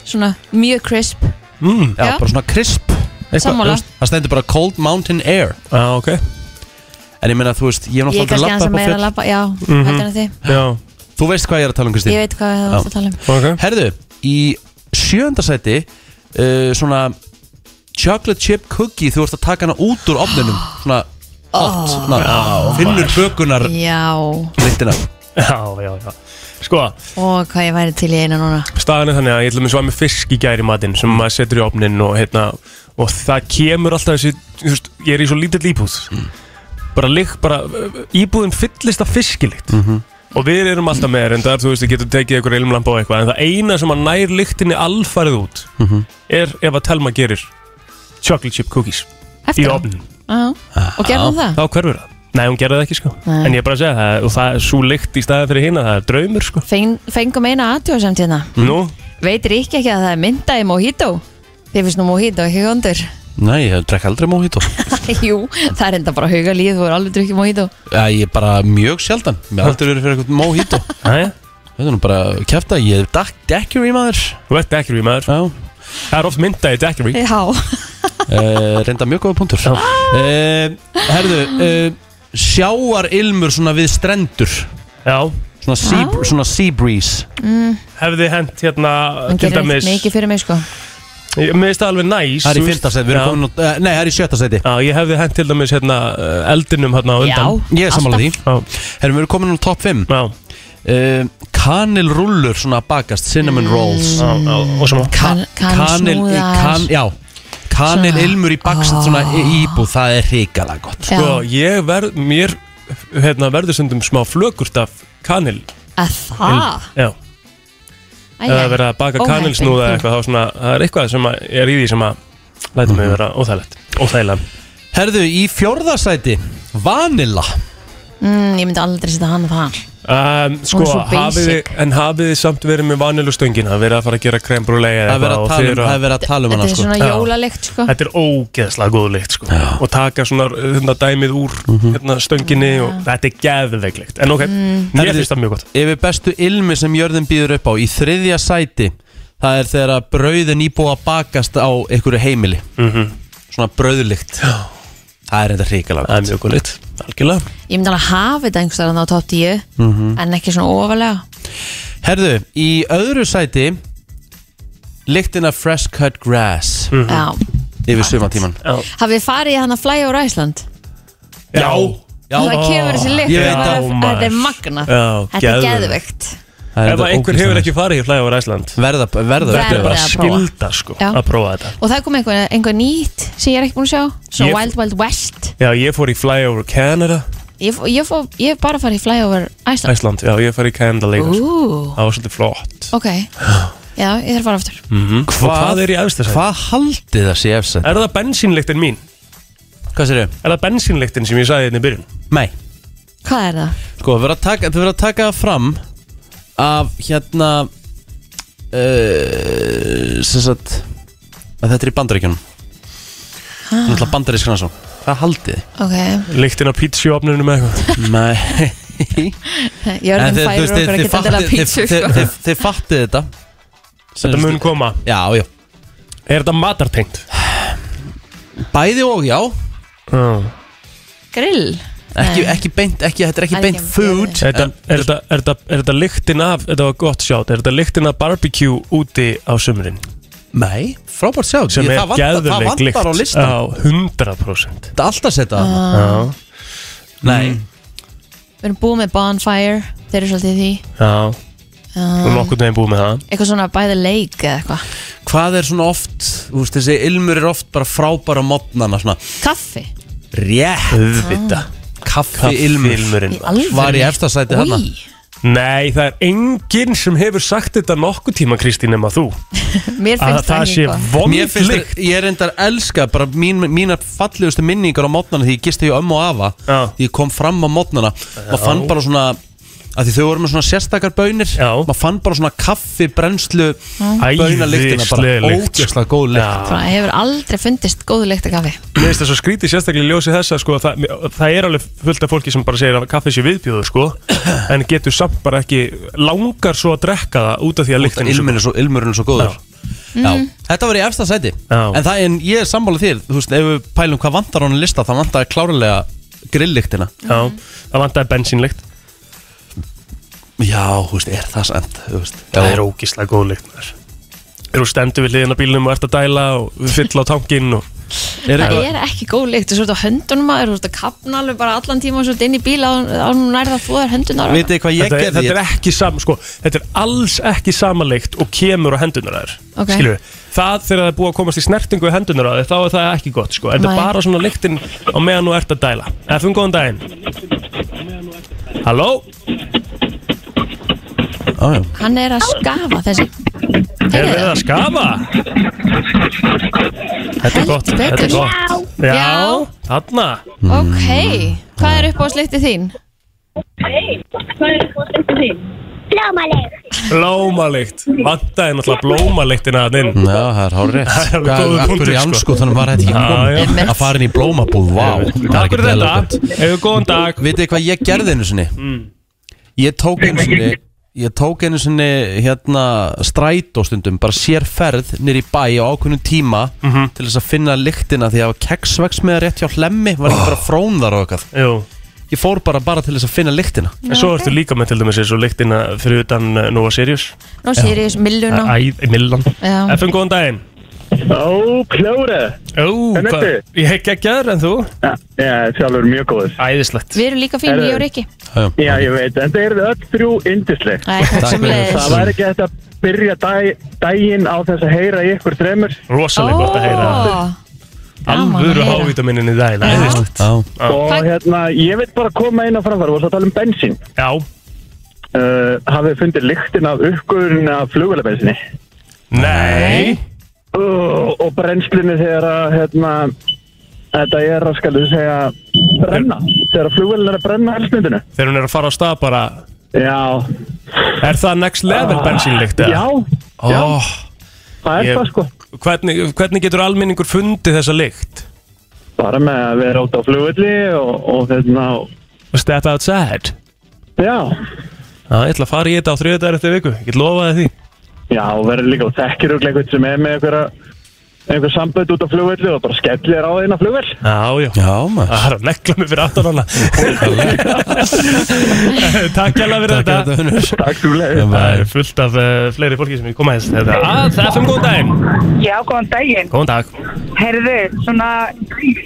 C: svona mjög crisp.
B: Já,
C: Já.
B: bara svona crisp Eitthvað,
C: Sammála.
B: þú veist, Það stendur bara cold mountain air
D: Já, ok
B: En ég meina, þú veist, ég er
C: Ég er
B: náttúrulega
C: kannski
B: aldrei labbað upp á
C: aðeins að meira
B: fjöll Mhm.
C: að labba, já, heldur en þið.
D: Já,
B: Þú veist hvað ég er að tala um,
C: Ég
B: Kristín
C: veit hvað það
B: Já.
C: er að tala um.
D: ok [LAUGHS]
B: Herðu, í sjönda sæti uh, Svona Chocolate chip cookie, þú vorst að taka hana út úr ofninum Svona átt
C: Oh.
B: svona, Finnur bökunar
C: Já,
B: lyktina
D: Já, já, já Sko,
C: og hvað ég væri til í eina núna.
D: staðan er þannig að ég ætla mér svo að með fisk í gæri matinn sem maður setur í opnin og hérna og það kemur alltaf þessi, þú veist, ég er í svo lítill íbúð bara lík, bara uh, íbúðin fyllist af fiskilikt og við erum alltaf með reyndar, þú veist, þið getur tekið einhver ilmlampa og eitthvað, en það eina sem að nær lyktinni alfarið út er ef að Telma gerir chocolate chip cookies í
C: Eftir á.
D: opnin
C: Já, og gerðum það.
D: þá hverfur það Nei, hún gerði það ekki sko
C: Nei.
D: En ég er bara að segja það Og það er svo lykt í staðið fyrir hina Það er draumur sko
C: Feng, fengum eina aðtjóðsamt hérna.
D: Nú,
C: Veitir ekki ekki að það er mynda í mojito? Þið finnst nú mojito ekki kondur?
B: Nei, ég drekk aldrei mojito
C: [LAUGHS] Jú, það er enda bara huga líð, þú er alveg drukkið mojito.
B: Já, Ég er bara mjög sjaldan Mér er aldrei verið fyrir eitthvað mojito
C: Ah.
D: Æ,
B: Þetta er nú bara að kæfta, ég er dak- daiquiri maður
D: þú ert daiquiri maður
B: Já,
D: Það er oft mynda í daiquiri
C: Já,
B: uh, reynda mjög góða punktur uh, Herðu, uh, sjáar ilmur svona við strendur
D: Já,
B: Svona sea, svona sea breeze
D: hefði hent hérna
C: hann
D: til
C: gerir
D: dæmis
C: eitt mikið fyrir mig sko.
D: Ég- Mér finnst það alveg næs
B: Það er
D: þú
B: í
D: veist.
B: fyrsta seti, við
D: Já.
B: erum komin uh, Nei, það er í sjötta seti
D: Já, ég hefði hent til dæmis hérna uh, eldinum hérna á
C: Já,
D: undan
B: Ég er sammála því
D: Já,
B: Herðu, við erum komin á top 5
D: já,
B: uh, Kanilrullur svona bakast, cinnamon rolls
D: já, já og svona
C: Mm. Kan, kan,
B: Kanil, eh,
C: snúðar.
B: kan, já Kanil ilmur í bakst svona í- íbúð Það er hrikalega gott
C: Já,
D: Sko, ég verð, mér hérna verður stundum smá flökurt af kanil
C: að það
D: Já, ef
C: Æ,
D: það
C: æ.
D: er verið að baka
C: Óhætt,
D: kanilsnúða eða
C: en-
D: eitthvað þá svona, það er eitthvað sem að- er í því sem að læta mig
B: Mhm.
D: vera óþægilegt Óþægilega
B: Herðu, í fjórða seti Vanilla
C: mm, Ég myndi aldrei setja hann það
D: Um, sko,
C: Hún er svo
D: hafið þið,
C: basic.
D: en hafið þið samt verið með vanilustöngina, verið að fara að gera krembrúlega
B: Það er verið að tala um- það er verið að tala um
C: Þetta
B: hana
C: er
B: sko.
C: svona
D: Já.
C: jólalikt sko.
D: Þetta er ógeðslega góð lykt sko. og taka svona hérna, dæmið úr hérna, stönginni og þetta er geðveiklegt en ok,
C: Mm.
D: mér
B: Herðu-
D: finnst það mjög gott
B: Yfir bestu ilmi sem jörðin býður upp á Í þriðja sæti Það er þegar að brauðin íbúa bakast á einhverju heimili
D: Mhm.
B: Svona brauðlikt Það er enda hrikalega
D: það er mjög góð lykt, algjörlega
C: Ég myndi alveg hafa þetta einhvers staðar þarna á top 10
D: Mhm.
C: En ekki svona ofalega
B: Herðu, í öðru sæti Lyktin af fresh cut grass
D: Mm. Mhm.
C: Já
B: Yfir sumantíman
C: Hafið þið farið í hann að flæja úr Æsland?
D: Já,
B: Já,
C: Það kemur þessi lykt
B: Ég veit
C: Það er-
D: það.
C: Þetta er magnað
D: Já,
C: Þetta
D: geðveikt.
C: er geðveikt
B: það er
D: ef
B: enda
D: að einhver hefur
B: ógeðslega.
D: ekki farið í hlæða á Æsland
B: Verða, verða,
C: Verða.
D: þetta er bara
C: að prófa.
D: skilda sko,
C: Já.
D: að prófa þetta
C: Og það kom einhver, einhver nýtt sem ég er ekki búin að sjá Svona
D: Ég-
C: Wild Wild West
D: Já, ég fór í Flyover Canada,
C: Ég, fó- ég, fó, ég hef bara farið í flyover Iceland
D: Æsland, já, ég fór í Canada líka sko. það
C: Ú,
D: var svolítið flott
B: [GASPS]
C: ok Já, ég þarf að fara aftur
D: Og hvað er í efsta sæti?
B: Hvað haldið það sé efst sæti?
D: Er það bensínlyktin mín?
B: Hvað sér þau?
D: Er það bensínlyktin sem ég sagði hérna í byrjun?
B: Nei
C: Hvað er það?
B: Sko, þau verða að taka, þau verða að taka það fram af hérna eh,
C: Ah.
B: uh, sem sagt að þetta er í bandaríkjunum Þannig að bandarískana svo Hvað haldið
C: [LAUGHS]
B: þið?
C: ok
D: Líktin á pítsuopnunum eða eitthvað
B: Nei En
C: Jörðin
B: þið- þú
C: færir
B: veist, þið-
C: okkur
B: þið
C: ekki
B: fattið-
C: endilega pítsu
B: þið- þið-
C: sko.
B: þið- Þið fattið þetta
D: Þetta mun koma
B: Já, já
D: Er þetta matartengt?
B: Bæði og já
D: Já.
C: Grill
B: Ekki,
C: Nei.
B: ekki beint, ekki, þetta er ekki
C: Það er
B: beint
C: ekki-
B: food
D: Er þetta- er þetta- er þetta er þetta líktin af Þetta var gott sjátt Er þetta líktin af barbecue úti á sumrin
B: Nei, frábært sjátt
D: Sem
B: Ég-
D: er
B: það vantar-
D: geðurleik
B: Það vantar á
D: líkt
B: listan
D: Já, 100%
B: Þetta er alltaf setja
C: Ah.
B: það
D: Já,
B: Nei,
C: Við erum búið með bonfire Þeir eru svolítið í því
D: já
C: Já.
D: Og nokkurn veginn búið með það
C: Eitthvað svona by the lake eða eitthvað
B: hvað er svona oft Þú veist, þessi ilmur er oft bara frábæra modnana Svona,
C: Kaffi
B: rétt
D: Öðvita
B: Kaffi ilmur Var í efsta sæti hana
C: Í,
D: Nei, það er enginn sem hefur sagt þetta nokkuð tíma Kristín nema þú
C: mér
D: Að það
C: finnst það
D: sé
C: ekki gott
B: Mér finnst
D: vondlikt
B: það, ég er endar elska bara mín, mínar fallegustu minningar á mótnana því ég gisti hjá ömmu og afa
D: Já.
B: því ég kom fram á mótnana og fann bara svona að því þau voru með svona sérstakar bönir
D: Já.
B: maður fann bara svona kaffi, brennslu bönaliktina bara,
D: Æðisleg lykt, sko.
B: ógjörslega góð lykt
D: Já.
C: Það hefur aldrei fundist góðu leikta kaffi
D: Mér finnst það svo skrítið sérstaklega í ljósi þess að sko, það, það er alveg fullt af fólki sem bara segir að kaffi sé viðbjóður sko, en getur samt bara ekki langar svo að drekka það út af því að
B: Út af
D: lyktinu
B: ilmurinn er svo, ilmurinn er svo góður
D: Já.
B: Já. Þetta var í efsta sæti
D: Já.
B: En það en ég er sammála þér Þú veist, ef við pælum hvað vantar á hann lista Það vantar klárulega grillíktina
D: Já, það vantaði bensínlykt
B: Já, þú veist, er það sent
D: Það er ógislega góð lykt maður. Þegar þú stendur við hliðina á bílnum og ert að dæla og fylla á tankin og
C: Það er ekki góð leikt Þú svo ert á höndunum að Þú ert að kapna alveg bara allan tíma og svo ert inn í bíl á, á nærða þvóðar höndunar
B: Vitið þið hvað ég
D: þetta, er-
B: gerði?
D: þetta er ekki sam, sko, þetta er alls ekki samanleikt og kemur á hendunar þær
C: Ok.
D: skilur við, það þegar það er búið að komast í snertingu í hendunar á þér, þá er það ekki gott sko. þetta
C: Nei.
D: er bara svona lyktin á meðan þú ert að dæla FM, góðan daginn Halló,
B: Á, já.
C: Hann er að skafa þessi
D: er við að skafa? Þetta er gott, þetta er gott Já,
C: Já.
D: þarna
C: Ok,
D: Mm.
C: hvað er upp á sliktið þín?
D: blómalikt, vantaði náttúrulega blómaliktina hann inn
B: Já, það er hárið rétt
D: [LAUGHS] Það er alveg góður punktur,
B: í
D: sko.
B: anskotanum var þetta ekki
D: Já, já.
B: komið
C: Einmitt.
B: Að fara inn í blómabúð, vá það er
D: Takk
B: ekki
D: fyrir
B: eðlilega gott.
D: þetta, hefur góðan dag
B: Vitið þið hvað ég gerði einu sinni? Ég tók einu sinni Ég tók einu sinni hérna strætó stundum Bara sér ferð nýr í bæ á ákveðnum tíma Til þess að finna lyktina Því að keksvegs með rétt hjá hlemmi Var ekki bara frón þar og eitthvað
D: Jú
B: Ég fór bara bara til þess að finna lyktina
D: En svo ertu líka með til dæmis eins og lyktina fyrir utan uh, Nova Sirius
C: Nú Sirius, Milluna
D: Æ, Millan
C: Já.
D: FM, góðan daginn
H: Ó, klóra
D: Ó,
H: En
D: hvað?
H: ertu?
D: Ég hef geggjaður en þú
H: Ah, Já, sjálfur mjög góður
D: Æðislegt
C: Við erum líka fín,
H: Herðu.
C: ég og Rikki
B: Já, já.
H: Já, ég veit, en það eru þið öll þrjú yndisleg
C: Æ, takk
B: Takk
C: sem
B: fyrir
C: leiðis
H: Það væri ekki þetta að byrja dag, daginn á þess að heyra í ykkur dremur
D: Rosalega gott að heyra það.
C: gaman að
D: Alvöru
C: heyra.
D: hávitaminin í daginn Æðislegt
B: Já.
H: og hérna, ég veit bara koma inn á framfæri og svo tala um bensín
D: Já,
H: uh, hafið fundið lyktin af uppgöðurinn af flugvelabensinni
D: nei
H: uh, og brennslunni þegar að hérna, þetta er að skal við segja brenna, þegar að flugvelin er að brenna eldsnindinu
D: Þegar hún er að fara á stað bara
H: Já,
D: Er það next
C: Ah.
D: level bensínlykt? eða?
H: já, já,
B: Ó,
H: það er
D: Ég-
H: það sko
D: Hvernig, hvernig getur almenningur fundið þessa lykt?
H: bara með að vera út á flugvelli og, og hérna,
D: Step outside
H: já
D: Já, ég ætla að fara í þetta á þriðdagar eftir viku Ég get lofaði því
H: Já, og verður líka og þekkir og eitthvað sem er með einhverja einhver sambönd út á flugvelli og bara skellir þér á þeirna flugvell
D: Já, já
B: já maður
D: Það er að negla mig fyrir aftan hana [LAUGHS] Takk hjá fyrir
B: Takk
D: þetta
B: fyrir þetta, Unnur.
H: Takk fyrir leið
D: Það er fullt af uh, fleiri fólki sem ég koma aðeins þetta að það er sem góðan daginn
I: Já, góðan daginn.
D: Góðan dag
I: Herðu, svona,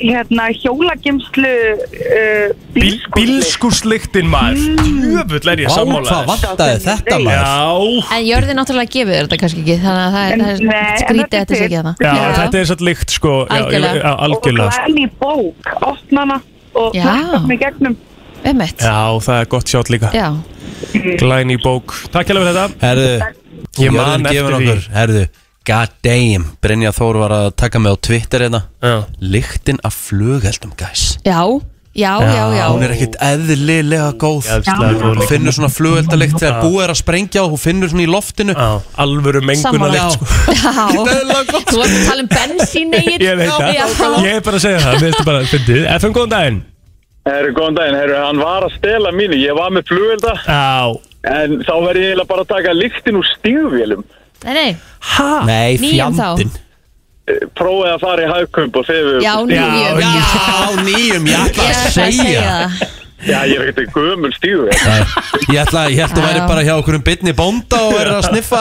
I: hérna, hjólagemslu uh,
D: Bíl, Bílskursliktin maður Jöfull er ég
B: Vá,
D: sammála
B: hvað vantaði þetta
I: Já.
B: maður
D: Já
C: En jörði náttúrulega gefur þér þetta kannski ekki Þannig að það er,
I: En-
C: það
I: nei,
C: er
I: en
C: skrítið
I: þetta er
C: þetta sé
I: til.
C: ekki hana
D: Já, þetta er satt lykt sko Já, ég-
C: Algjörlega.
D: Já,
I: Og
D: algjörlega
I: glæni bók, opnana og
C: Já.
I: hlakka mig gegnum.
C: Emmett
D: Já, það er gott sjátt líka
C: Já,
D: Glæni bók Takk hjá fyrir þetta
B: Herðu,
D: Ég man eftir því
B: okkur, Herðu, god damn Brynja Þór var að taka mig á Twitter hérna
D: Já.
B: Lyktin af flugeldum, guys
C: já, Já, já, já
B: Hún er ekkit eðlilega góð
D: Jævslega góð
B: Hún
D: lykt.
B: finnur svona flugeldalikt þegar búið er að sprengja og hún finnur svona í loftinu
D: Já, alvöru menguna
C: Sammála.
D: leikt sko.
C: Já, þú varst að tala um bensín Egill.
D: Ég veit það,
C: Já.
D: ég er bara að segja það Mér finnst það bara fyndið FM, góðan daginn
H: Herru, góðan daginn, herru, hann var að stela mínu, ég var með flugvelda
D: Já,
H: En þá verði ég eiginlega bara að taka lyktin úr stígvélum
C: Nei, nei,
F: Nei,
C: nýjum þá
F: fjandinn
H: Prófið að fara í hagkump og þegar við
C: Já, nýjum
D: Já,
C: Ég
B: Á nýjum, ég ætla að
C: er að segja
B: segja
C: það.
H: Já, ég er ekkert gömul stígvél
B: Nei, Ég ætla ég held að væri
C: Já.
B: bara hjá okkur um bytni bónda og verið að sniffa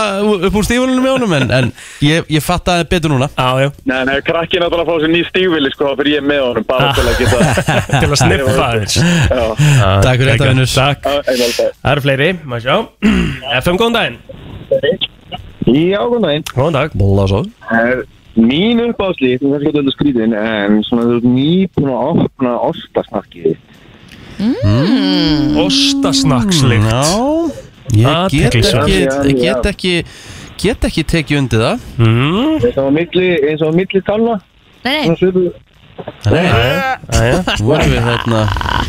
B: upp úr stífunum í honum en, en ég, ég fatt að það er betur núna
D: já, já
H: Nei, nei, krakkin átt að fá sér ný stígvéli, sko, þá fyrir ég með honum Bara til að geta [LAUGHS]
D: Til að sniffa aðeins
H: Já,
B: Takk fyrir þetta, vinur.
D: Takk
H: já, einhvern veginn
D: Það eru fleiri, maður sjá FM, góðan daginn
H: Já, góðan daginn.
D: Góðan dag
B: Bóla svo
H: Er mín uppáðslið, þú veist ekki alltaf skrýtin, en svona þú ert nýbúin að opna ostasnakkið.
D: Ostasnakkslykt
B: Já, ég get
D: Athyglisvert.
B: ekki, ég get ekki, get ekki tekið undir það
D: Mm,
H: Eins og á milli, eins og á milli tanna,
C: Nei, nei,
H: svona svipu.
B: Nei,
D: aðja
B: nú erum við hérna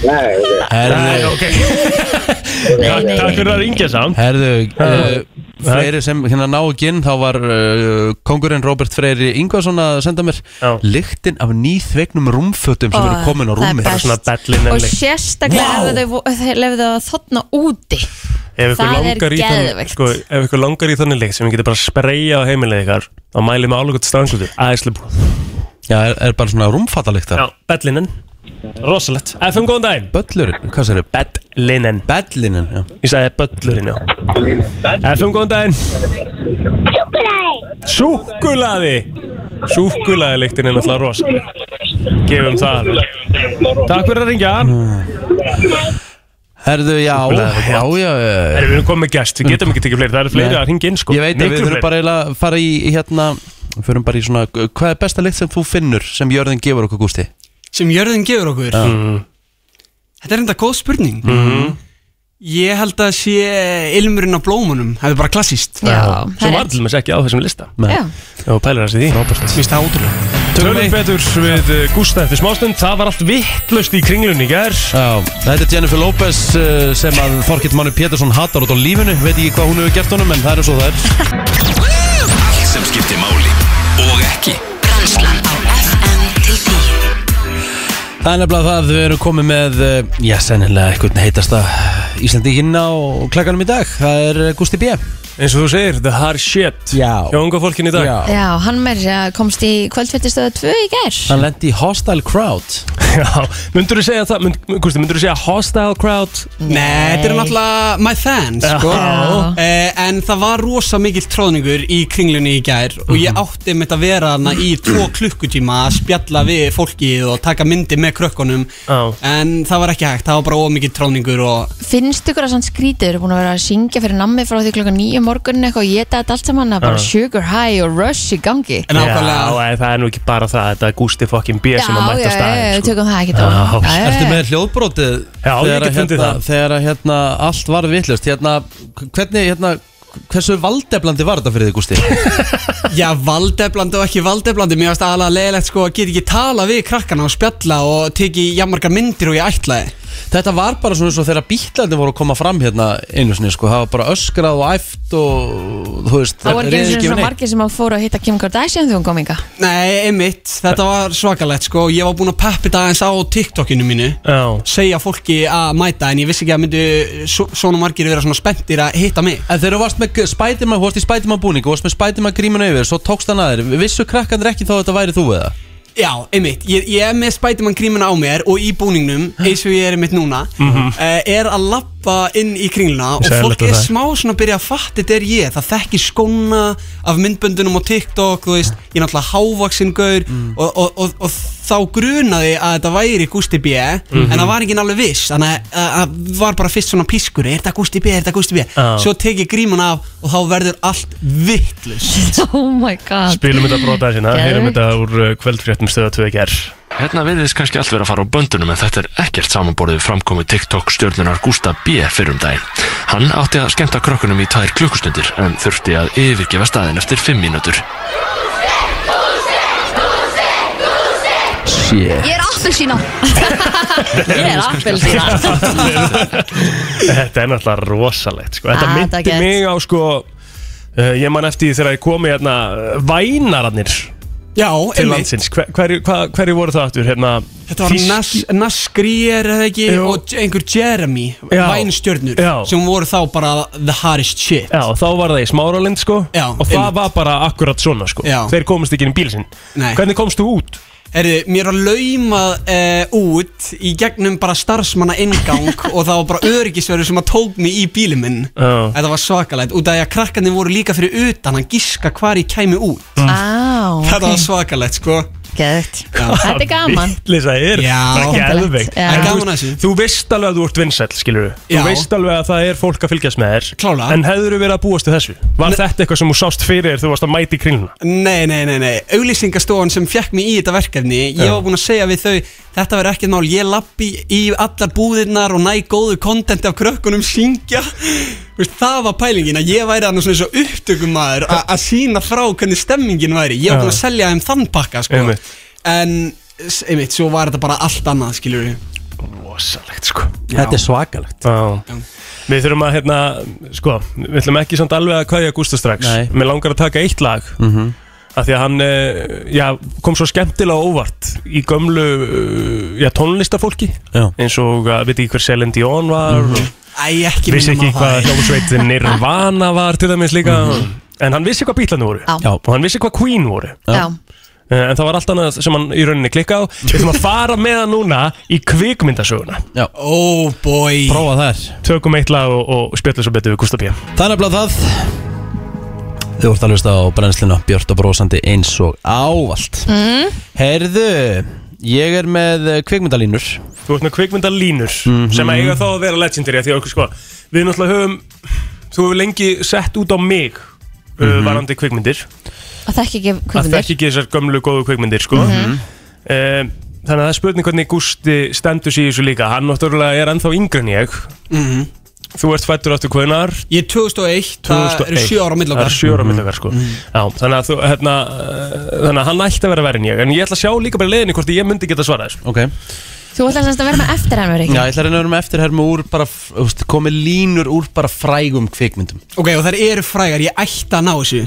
H: Nei, ok.
D: Nei,
B: Herðu,
D: ok Eh, Takk fyrir að ringja samt
B: herðu uh, Fleiri sem hérna ná ekki inn Þá var uh, kongurinn Robert Freyri Ingvarsson að senda mér
D: Já.
B: Lyktin af nýþvegnum rúmfötum
C: Ó,
B: sem eru komin á
C: það er
B: rúmið
C: best.
D: Svona bellin en
C: og
D: leik
C: sérstaklega ef þau vo- ef þau lefðu að þotna úti
D: Ef ykkur
C: það er
D: langar í þann-
C: geðveikt.
D: sko, Ef ykkur langar í þannig leik sem við getum bara að spreja á heimilið ykkar og mælið með álugut stranglutur Æsli búið
B: Já, er, er bara svona rúmfatalykta
D: Já, bellinen Rosalett FM, góðan daginn
B: Böllurinn, hvað sér þau?
D: Bellinen
B: Bellinin, já
D: Ég sagði böllurinn, já FM, góðan daginn Súkkulaði Súkkulaði Súkkulaði er náttúrulega rosalett Gefum það Mm. alveg. Takk fyrir að ringja
B: Herðu, já,
D: Súkkulaði,
B: já, já, já
D: Erum við erum komið með gest, við getum ekki tekið fleiri Það eru fleiri
B: Nei.
D: að ringja inn sko
B: Ég veit að við
D: Miklu
B: þurfum
D: fleiri.
B: bara eiginlega að fara í í hérna Við förum bara í svona, hvað er besta lykt sem þú finnur sem jörðin gefur okkur gústi?
J: sem jörðin gefur okkur Þetta er enda góð spurning Ég held að sé ilmurinn á blómunum, það er bara klassíst
C: Já,
D: Sem
C: það
D: var
C: er
D: til mér ekki á þessum lista
B: Nei.
C: Já.
D: og pælir þessi því
J: Mér finnst það ótrúlega
D: Tölum betur við uh, Gústa eftir smástund Það var allt vittlust í kringlunni í gær
B: Já, þetta er Jennifer Lopez uh, sem að Þorkitt Máni Pétursson hatar út á lífinu veit ekki hvað hún hefur gert honum en það er eins og það er
A: Allt sem skiptir máli og ekki
K: Brennslan á FM til 10
B: Það er nefnilega það við erum komið með uh, já, sennilega eitthvað heitasta Íslandinginn á klakkanum í dag það er uh, Gusti B
D: Eins og þú segir, the hard shit
B: Já.
D: Hjá unga fólkin í dag
B: Já.
C: Já, hann meir komst í kvöldfjöldstöða 2 í gær
B: Hann lendi í Hostile Crowd
D: [LAUGHS] Já. Myndur þú segja það, mynd, Gústi, myndur þú segja hostile crowd
J: Nei, þetta eru náttúrulega my fans sko.
C: Já.
J: eh, En það var rosa mikill tróðningur í kringlunni í gær Og ég átti mitt að vera hana í tvo klukkutíma að spjalla við fólkið og taka myndi með krökkunum
D: Já.
J: En það var ekki hægt, það var bara ómikið tróðningur og
C: Finnst ykkur að sann skrítið eru búin að vera að syngja fyrir nammi frá því klokka 9 morgunin eitthvað og ég dætt allt saman að bara sugar high og rush í gangi
J: en ákvæmlega
D: Já, en það er nú ekki bara það Þetta er Gústi fokkin B sem að
C: já,
D: mæta sko.
C: já, já,
D: staðin
C: við tökum það ekki
D: Já.
B: Ertu með hljóðbrótið
D: Já, ég
B: þegar,
D: get
B: að
D: fundið
B: hérna,
D: það.
B: þegar að hérna allt var vitlust hérna, hvernig, hérna, hversu valdeflandi var þetta fyrir þig Gusti?
J: Já, valdeflandi og ekki valdeflandi Mér varst aðalega leðilegt sko að geta ekki tala við krakkana og spjalla og teki jammarga myndir og ég ætlaði
B: Þetta var bara svona eins og þegar bílandi voru að koma fram hérna einu sinni sko, það var bara öskrað og æft og þú veist,
C: Það voru
B: réð
C: ekki
B: yfir
C: svona
B: neitt.
C: margir sem að fóru að hitta Kim Kardashian þegar hún kom inga
J: Nei, einmitt, þetta var svakalegt sko Ég var búinn að peppi það eins á TikTokinu mínu
D: Já
J: segja fólki að mæta en ég vissi ekki að myndu svo- svona margir vera svona spenntir að hitta mig
B: En þegar þú varst með Spiderman, þú varst í Spiderman búning og varst með Spiderman gríminu yfir, svo tókst hann að þér Vissu krakkandur ekki þá að þetta væri þú eða?
J: Já, einmitt, ég, ég er með Spiderman grímuna á mér og í búningnum eins og ég er einmitt núna eh, er að lappa inn í kringluna og
D: Sæðilegt
J: fólk
D: að
J: er
D: það.
J: smá svona að byrja að fatta þetta er ég, það þekki skóna af myndböndunum og TikTok þú veist, ég er náttúrulega hávaksin gaur og, og, og, og þá grunaði að þetta væri Gusti B en það var ekki alveg viss þannig að- að að var bara fyrst svona pískur er þetta Gusti B, er þetta Gusti B
D: Já.
J: svo tekið gríman af og þá verður allt vittlust
C: [LAUGHS] Oh my god
D: Spilum þetta brotaði sína,
C: Geðveikt.
D: heyrum þetta úr uh, kvöldfréttum stöða 2 ger
L: Hérna verðist kannski allt vera að fara á böndunum en þetta er ekkert samanborðið við framkomi TikTok stjórnunar Gústa B. fyrrum daginn. Hann átti að skemmta krökkunum í tvær klukkustundir en þurfti að yfirgefa staðin eftir fimm mínútur.
B: Shit
M: Ég er
C: [LAUGHS]
M: appelsína Ég er appelsína
D: Þetta er náttúrulega rosalegt sko. Þetta
M: Ah, þetta er
D: myndi
M: gett.
D: mig á sko uh, Ég man eftir því þegar ég komi hérna uh, Vænararnir
J: Já,
D: Til
J: einmitt.
D: landsins Hver- Hverju hva- hverju voru það aftur? Hérna,
J: Þetta var
D: Þýsk-
J: Nas- Nasgrier eða ekki
D: Jú.
J: og einhver Jeremy
D: Já.
J: Vænstjörnur
D: Já.
J: sem voru þá bara the hardest shit
D: Já, þá var það í Smáralind sko
J: Já,
D: Og það
J: einmitt.
D: var bara akkurat svona sko
J: Já.
D: Þeir komist ekki inn í bíl sinn
J: Nei.
D: Hvernig komst þú út?
J: Herri, mér var laumað e, út í gegnum bara starfsmanna ingang
D: [LAUGHS]
J: og það var bara öryggisverður sem að tók mig í bílinn minn
D: Já.
J: Þetta var svakalægt út af því að krakkandi voru líka fyrir utan að giska hvar ég kæmi út
C: Á,
J: [LAUGHS] Þetta var
C: ok.
J: svakalegt sko
C: Geðvegt Þetta er gaman
D: Lisa er
J: Já.
D: Það er
J: Skemmtilegt.
D: geðveikt.
C: Já.
D: En
J: Gaman
D: þú
J: að
D: veist- Þú veist alveg að þú ert vinsæll skilur Þú
J: Já.
D: veist alveg að það er fólk að fylgjast með þér
J: Klálega.
D: En hefur verið að búast við þessu? Var þetta eitthvað sem þú sást fyrir þér þú varst að mæti í kringluna?
J: Nei, nei, nei, nei, auglýsingastofan sem fjekk mig í þetta verkefni Ég
D: Já.
J: var búinn að segja við þau Þetta verður ekkert mál, ég lappi í allar búðirnar og næ góðu kontenti af krökkunum syngja Þú veist, Það var pælingin að ég væri annars eins og upptökumæður að sína frá hvernig stemmingin væri Ég var búinn að
D: Já.
J: selja þeim þann pakka, sko
D: Einmitt.
J: En, s- einmitt, svo var þetta bara allt annað, skilur við
D: Rosalegt, sko
B: Þetta er svakalegt
D: Já. Við þurfum að, hérna, sko, við ætlum ekki samt alveg að kvæðja Gústa strax
B: Nei.
D: Mér langar að taka eitt lag mm
B: Mhm.
D: Af því að hann, eh, já, kom svo skemmtilega óvart í gömlu, eh, já, tónlistafólki
B: Já. Mhm.
D: Eins og, að, veit ekki hver Celine Dion var mm
J: Æ, ekki
D: Vissi
J: minnum
D: ekki
J: á
D: hvað
J: það.
D: hljómsveitin Nirvana var til dæmis líka
B: Mhm.
D: En hann vissi hvað bílarnir voru
M: Já.
D: Og hann vissi hvað Queen voru
M: Já.
D: Eh, En það var allt annað sem hann í rauninni klikkaði á Við ætlum að fara með hann núna í kvikmyndasöguna
B: Já.
J: Oh boy
B: Prófa þær
D: Tökum eitt lag og, og spjöllum svo betur við Gustaf P
B: Það er nefnilega það Þú ert að hlusta á brennsluna Björn og brósandi eins og ávallt
C: Mm.
B: Herðu, ég er með eh, kvikmyndalínur
D: Þú ert með kvikmyndalínur Sem að eiga þá að vera legendary af Því að okkur sko Við náttúrulega höfum Þú hefur lengi sett út á mig mm
B: Mhm.
D: Varandi kvikmyndir
C: Að þekki ekki
D: Að
C: kvikmyndir
D: þekki ekki þessar gömlu góðu kvikmyndir sko
C: Mhm.
D: Eh, Þannig að það er spurning hvernig Gústi stendur sig í þessu líka Hann náttúrulega er ennþá yngri en ég
J: Mhm.
D: Þú ert fættur áttu hvenar
J: Ég er 2001, það eru
D: 2001.
J: sjö ára á milli
D: Það
J: okkar Mhm.
D: eru sjö ára milli okkar sko Já, þannig að þú, hérna eh, Þannig að hann ætti að vera verið en ég En ég ætla að sjá líka bara leðinni hvort ég myndi geta svarað þessu
B: Ok
C: Þú ætlar semst að vera með eftirhæmur ekki
B: Já, ég ætla að reyna að vera með eftirhermu úr bara úst, komið línur úr bara frægum kvikmyndum
J: Ok, og þær eru frægar, ég ætti að ná þessu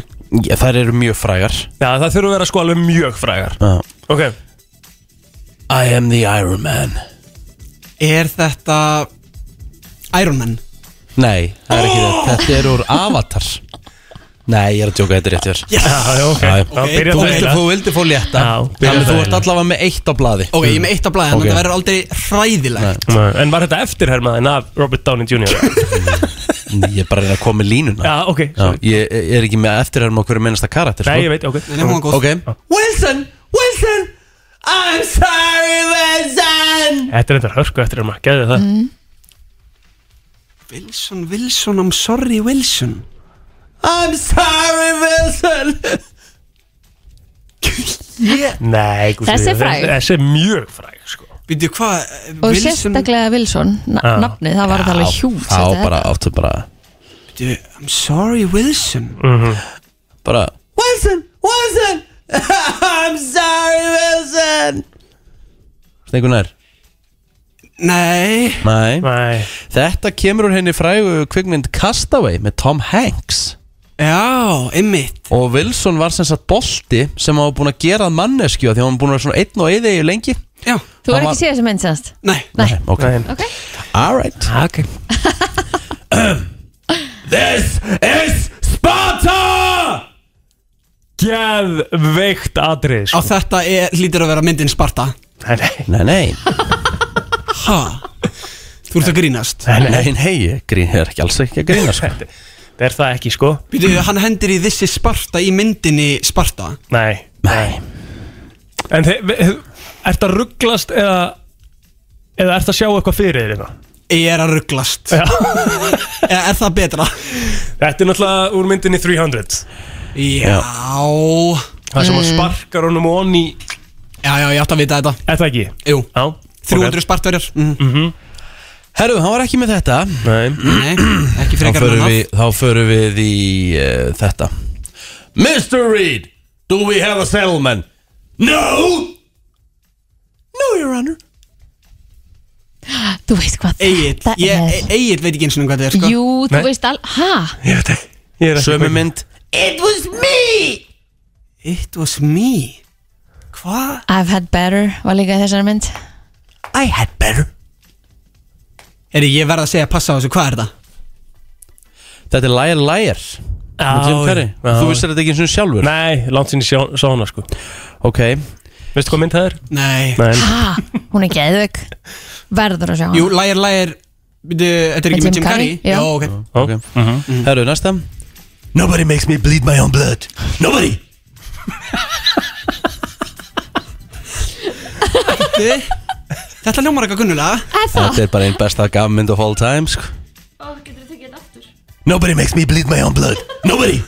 B: Já, Þær eru mjög frægar
D: Já, það þurfa að vera sko alveg mjög frægar
B: Já.
D: Ok
B: I am the Iron Man
J: Er þetta Iron Man?
B: Nei, það er ekki rétt Þetta er úr Avatar Nei, ég er að djóka, þetta er rétt hjá
J: Yes!
D: Ah, Já, já, ok. Já,
B: þér
D: byrja
B: Þú
D: það
B: vildi-
D: eiginlega.
B: Þú vildi fór létta
D: Já, byrja
B: Þannig
D: það
B: þú ert allavega með eitt á blaði
J: Ok, ég er með eitt af blæðan,
B: Ok.
J: okay. þetta verður aldrei hræðilegt
D: Nei. En var þetta eftirhermaðin af Robert Downey Jr.?
B: Mm, Ég er bara að reyna að koma með línuna
D: Já, ok,
B: Já, ég, ég er ekki með eftirhermu á hverju mennasta karakter
D: Nei,
B: sko.
D: ég veit, ok
J: Nei, hún var góð.
B: Ok,
J: Wilson, Wilson I'm sorry Wilson
D: Þetta er þetta hörku eftirherma, geði það
C: Mm.
J: Wilson, Wilson, I'm sorry Wilson I'm sorry Wilson yeah.
D: Nei, Gústi,
C: Þessi er
D: þess-
C: fræg.
D: Þessi er mjög fræg sko.
J: Býttu hvað, eh,
C: Og
J: Wilson
C: sérstaklega Wilson, na
D: Já.
C: nafnið, það var þetta alveg hjút
B: Á, bara, áttu bara
J: Býttu, I'm sorry Wilson
D: Mhm.
B: Bara
J: Wilson, Wilson [LAUGHS] I'm sorry Wilson
B: Stengur nær
J: Nei
B: Nei.
D: Nei
B: Þetta kemur úr henni frægu kvikmynd Castaway með Tom Hanks
J: Já, ymmit
B: Og Wilson var sem sagt bolti sem hafa búin að gera að mannesku því að hann var búin að vera svona einn og eða í lengi
J: Já
C: Þú er
B: Hann
C: ekki séð þessu mynd semst
J: Nei
C: Nei,
B: Ok,
C: ok
B: alright
D: Ah,
B: [CLEARS THROAT]
D: Ok This is Sparta Geðveikt atrið
J: Á
D: sko.
J: þetta er, lítur að vera myndin Sparta
D: Nei, nei,
B: Nei, nei,
J: Ha? Þú ert að grínast
D: nei, nei.
B: nei, nei, ég grín, ég er ekki alls ekki að grína sko.
D: Það er það ekki sko
J: Býtu, hann hendir í þessi Sparta í myndinni Sparta
D: Nei,
B: Nei,
D: En þið, við- þið- ertu að rugglast eða eða ertu að sjá eitthvað fyrir þér hérna?
J: Ég er að rugglast
D: Já.
J: Eða er það betra?
D: Þetta er náttúrulega úr myndinni 300
J: Já
D: Það sem að
C: Mm.
D: sparkar honum onni í
J: Já, já, ég átt að vita þetta
D: Er það ekki?
J: Jú,
D: Já
J: 300 okay. Spartverjar mm.
B: herru, hann var ekki með þetta
D: Nei
J: Nei, ekki
B: Þá
J: frekar en
B: förum
J: annað.
B: við, þá förum við í uh, þetta Mr. Reed, do we have a settlement? No! your honor
C: Þú veist hvað
J: Egil,
C: þetta er
J: ég, Egil veit ekki eins og hvað þetta er sko
C: Jú, þú veist all, ha?
J: veist
B: Sömi mynd
C: It was me
J: It was me Hva?
C: I've had better, var líka í þessari mynd
J: I had better Heri, ég verð að segja passa á þessu, hvað er þetta?
B: Þetta er Liar Liar
J: Ah,
B: með Jim Carrey. Þú vissir þetta ekki eins og sjálfur?
D: Nei, langt sinni sjá, sá hana sko
B: Ok
D: Veistu hvað mynd það er?
J: Nei,
C: Ha, hún er geðvik Verður að sjá hana.
J: Jú, lægir, lægir Þetta er ekki
C: Með
J: með
C: Jim
J: Jim Carrey?
C: Carrey, já.
J: Jó, ok
B: okay.
J: mhm.
B: Herru, næsta
N: Nobody makes me bleed my own blood Nobody
J: Þi- Þetta ljómar eitthvað kunnulega
B: Þetta er bara einn besta gammynd of all time sko.
N: Nobody makes me bleed my own blood Nobody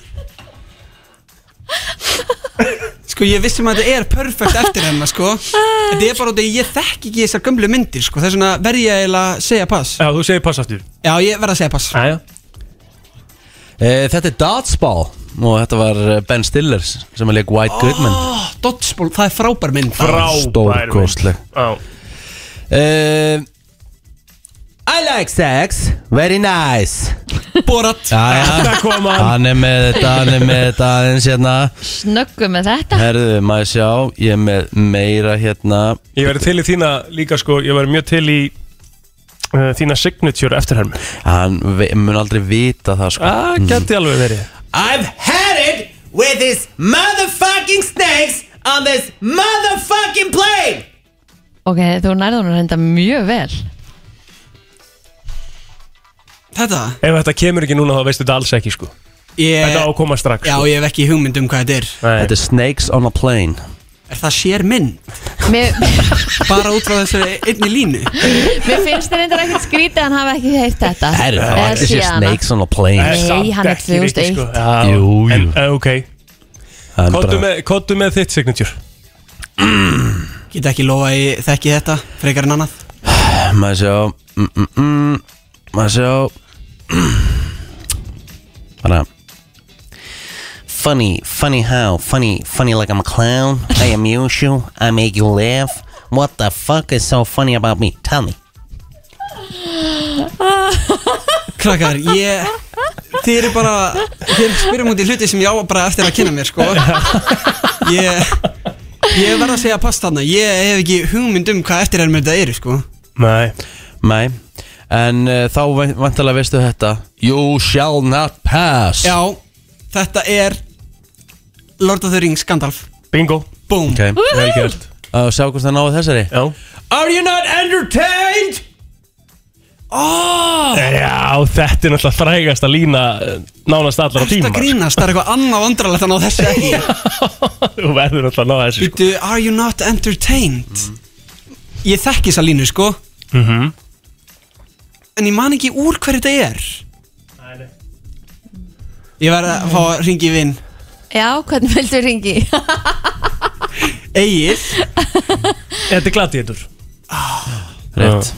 J: Sko ég vissi maður að þetta er perfekt eftir hennar sko Þetta er bara út af ég þekki ekki þessar gömlu myndir sko Þess vegna verð ég eiginlega að segja pass
D: Já, þú segir pass aftur
J: Já, ég verð að segja pass
D: Æja
B: e, Þetta er Dodgeball og þetta var eh, Ben Stiller sem að leik White Goodman
J: oh, Dodgeball, það er frábær mynd
B: Stórkostleg uh, I like sex Very nice
J: Borat
B: Jæja,
C: Þetta kom hann.
B: hann er með þetta, hann er með þetta aðeins hérna
C: Snöggu með þetta
B: Herðu, maður sjá, ég er með meira hérna
D: Ég verði til í þína líka sko Ég verði mjög til í uh, þína signature eftirhermi
B: Hann ve- mun aldrei vita það sko
D: Ah, gæti alveg verið
N: I've had it with these motherfucking snakes on this motherfucking plane
C: Ok, þú nærður hún að reynda mjög vel
J: Þetta?
D: Ef þetta kemur ekki núna þá veistu þetta alls ekki sko
J: ég...
D: Þetta á að koma strax
J: Eh, Já,
D: sko.
J: ég hef ekki hugmynd um hvað þetta er
B: Þetta er Snakes on a Plane
J: Er það sér mynd?
C: Mér,
J: Bara út frá þessari einni línu
C: mér finnst þér reyndar ekkert skrítið að hann hafi ekki heyrt þetta
B: Herðu, það
C: Eða
B: var allir
C: séð
B: sér
C: hana.
B: Snakes on a Plane
D: Nei, samt
C: hann er
D: ekki, Rikki,
C: 2001.
D: sko. Já,
B: Jú, jú.
D: En, eh, ok
B: Það er
D: Kottu
B: bara-
D: með, kottu með þitt signature
J: Get ekki lofa að ég þekki þetta frekar en annað
B: Maður sjá mm, mm, mm, Maður sjá Bara Funny, funny how Funny, funny like I'm a clown I amuse you, I make you laugh What the fuck is so funny about me? Tell me
J: Krakkar, ég Þið eru bara Þið spyrjum út í hluti sem ég á bara eftir að kynna mér sko Ég Ég verð að segja pass þarna Ég hef ekki hugmynd um hvað eftir er með þetta eru sko
D: Nei
B: Nei En uh, þá vantarlega veistu þetta You shall not pass
J: Já, þetta er Lord of the Rings Gandalf
D: Bingo
J: Boom
B: Ok, vel gert Og sjá hvort það náðu þessari
D: Já
J: Are you not entertained? Oh,
D: Já, þetta er náttúrulega frægast að lína eh, nánast allra
J: þetta
D: tíma
J: grínast, það er eitthvað annað vandralegt að ná þessu ekki
D: Þú verður náttúrulega að ná þessu sko.
J: Býtu, are you not entertained? Ég þekki þessa línu sko
D: mm -hmm.
J: En ég man ekki úr hverju þetta er Ég verð að fá að ringi í vinn
C: Já, hvernig vildu ringi?
J: Egil
D: Þetta er gladiður
B: Rétt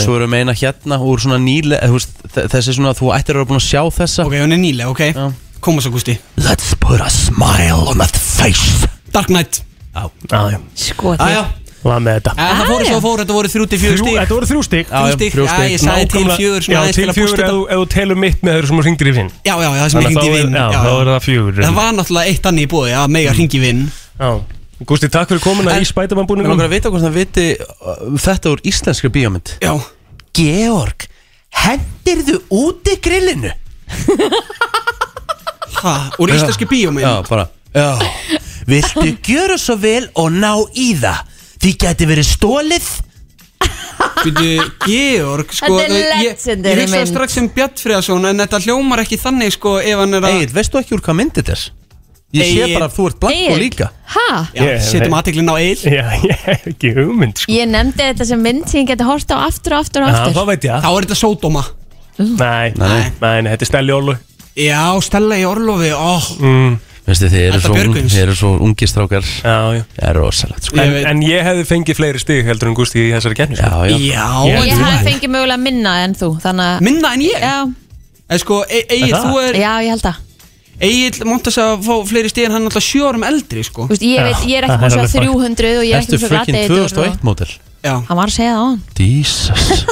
B: Svo erum við eina hérna úr svona nýlega þú veist, þ- Þessi svona þú ættir að vera búin að sjá þessa
J: Ok, hún er nýlega, ok Já. Koma svo Gústi
N: Let's put a smile on that face
J: Dark Knight
B: Já,
D: Ah, já
C: Sko
J: Æja,
D: Hvað með þetta?
J: það fór svo fór, þetta voru þrjú til fjögur
D: Þrjú-
J: stík
D: Þetta voru þrjú stík
J: Þrjú stig, já, ég sagði til fjögur svona
D: Já,
J: aðeins
D: til
J: til að
D: fjögur
J: bústa
D: ef
J: þetta.
D: þú- ef þú telur mitt með þeir sem þú ringdir í vinn
J: Já, já, það sem ég
D: Þannig að
J: ringdi í
D: þá er-
J: vinn
D: já, þá er það fjögur.
J: Það var náttúrulega eitt annir í búi, já, mega ringi í vinn
D: Já Gústi, takk fyrir komuna í Spiderman
B: Mér
D: búningum
B: langar að vita hvort það viti uh, þetta úr íslenskri bíómynd
J: Já
N: Georg, hendirðu úti grillinu?
J: Ha, úr íslenski bíómynd?
B: Já, bara
N: Já Viltu gjöra svo vel og ná í það? Því gæti verið stólið
J: Býtu, Georg, sko
N: Þetta er
J: þú- Ég,
N: legendary
J: ég hugsaði
N: mynd.
J: strax um Bjart Friðarsson En þetta hljómar ekki þannig, sko, ef hann er að
B: Egil, veistu ekki úr hvað myndi þetta er? Ég sé
J: Egill.
B: bara að þú ert blanko
J: Egill.
B: líka
C: Ha?
J: Já, setjum aðteklinn á Egil
D: Já, [LAUGHS] ég hef ekki hugmynd, sko
C: Ég nefndi þetta sem mynd sem ég geti hort á aftur og aftur og aftur
D: það veit ég
J: Þá er þetta sódóma
D: Nei, nei, nei, þetta er snelli orlu
J: Já, Stella í Orlofi, ó
D: mm.
B: Veistu, þið eru
J: Edda
B: svo,
J: Björgvins.
B: þið eru svo ungi strákar
D: Já, já
B: Það er rosalegt, sko
D: En, en ég hefði fengið fleiri stig heldur en Gústi í þessari kenni sko.
B: Já,
D: Ég
C: Ég
D: hefði-
C: hafði fengið mögulega minna en þú þannig að
J: Minna en ég?
C: Já
J: En sko, Egil,
D: Er það?
J: þú er
C: Já, ég held að
J: Egil monta sig að fá fleiri stíð en hann er alltaf sjö árum eldri sko.
C: Þú veist, ég veit, ég er ekki búin að segja 300 og ég er ekki
B: Ertu
C: búin að
B: frikinn
C: segja
B: 2001 mótil?
J: Já
C: Hann var að segja það á hann
B: Jesus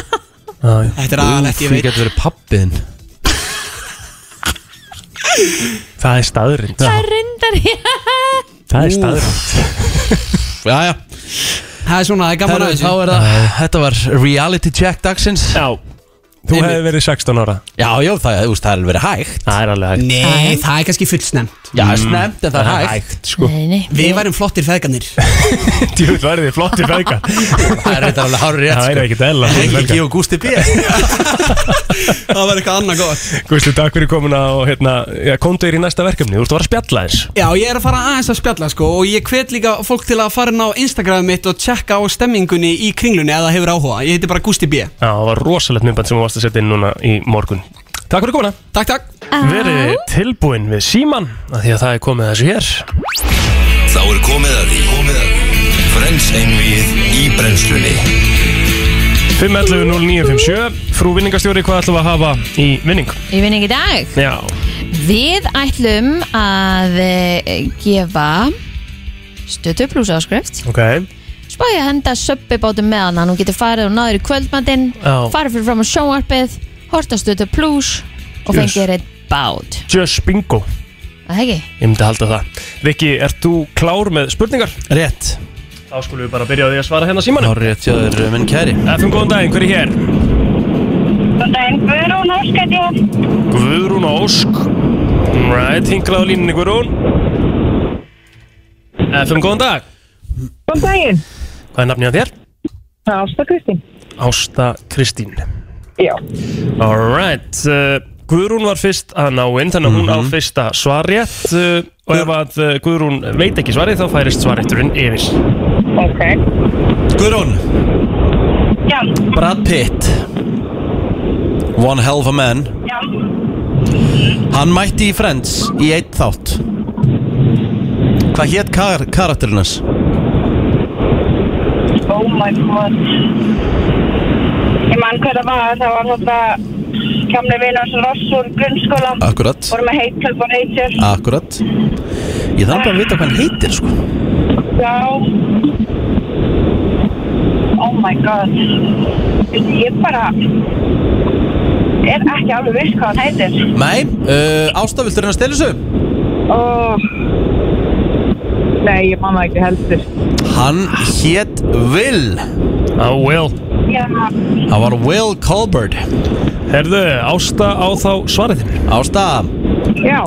B: Þetta
J: er aðalegt, ég
B: Þú
J: veit.
B: getur verið pappiðin
D: Það er staðurinn
C: Það er reyndar
D: Það er staðurinn
B: Jæja
J: Það er svona, það er gaman
B: Herru,
J: að þessu
B: Þá er það, þetta var reality check dagsins
D: Já Þú hefði verið 16 ára
B: Já, já, það, þú veist, það er alveg verið hægt
D: Það er alveg hægt
J: Nei, það er kannski fullsnemt
B: Já, snemt en Mm. það er hægt, [LAUGHS]
J: sko.
C: nei, nei,
J: Við værum flottir feðganir
D: Djúð verði flottir
B: [LAUGHS]
D: feðgar
B: Það er þetta alveg sko. hárið rétt
D: Það er ekkert eðla
B: Helgi og Gústi B
J: Það var eitthvað annað gott
D: Guðstu, takk fyrir komuna og hérna, já, komdu þér í næsta verkefni Þú ert að vara að spjalla þess
J: Já, ég er að fara aðeins að spjalla sko og ég hvet líka fólk til að fara inn á Instagram mitt og tjekka á stemmingunni í kringlunni eða hefur áhuga. Ég heiti bara Gusti B.
D: Já, það var rosalegt myndband sem þú varst að setja inn núna í morgun Takk fyrir komuna
J: Takk, takk
D: Verið tilbúin við síman Því að það er komið að þessu hér
A: Þá er komið að því Komið að því Frens einvið í brennslunni
D: 511-0957 Frú vinningastjóri, hvað ætlum við að hafa í vinning?
C: Ég vinn ekki í dag
D: Já,
C: Við ætlum að eh, gefa stötu pluss áskrift
D: ok
C: Spá ég að henda söppibátum með hann Hún getur farið og náður í kvöldmandinn
D: Já.
C: Farið fyrir fram á sjónvarpið Horta stötu pluss Og
D: Yes.
C: fengið reitt bát
D: Just bingo
C: Það ekki?
D: Ég myndi halda það Rikki, ert þú klár með spurningar?
B: Rétt
D: Þá skulum við bara byrja á því að svara hérna símanum
B: Rétt, já, það er minn kæri
D: FM, góðan daginn, hver er hér?
I: Þetta er Guðrún Óskætti
D: Guðrún Ósk Right, hingrað á línunni Guðrún FM, góðan dag
I: Góðan daginn
D: Hvað er nafnið á þér?
I: Það er Ásta Kristín
D: Ásta Kristín
I: Já
D: Alright, uh, Guðrún var fyrst að ná inn þannig að hún á fyrsta svarjætt uh, og ef að uh, Guðrún veit ekki svarið þá færist svarjætturinn yfir
I: Ok
B: Guðrún
I: Já,
B: Brad Pitt One hell of a man
I: já
B: Hann mætti í Friends í eitt þátt Hvað hétt kar karakterinn hans?
I: Oh my god Ég man hvað það var Það var þetta Kamli vinn hans Ross úr grunnskóla
B: Akkurat.
I: Vorum með Hate Carbonator
B: Akkurat Ég þarf bara að vita hvað hann heitir sko
I: Já Oh my god Ég bara Er ekki alveg viss hvað hann heitir
B: Nei, uh, Ásta, viltu reyna að stela þessu?
I: oh. Nei, ég man það ekki heldur
B: Hann hétt Will
D: Á Will
I: Já
B: Hann var Will Colbert
D: Herðu, Ásta á þá svariðinu
B: Ásta,
I: Já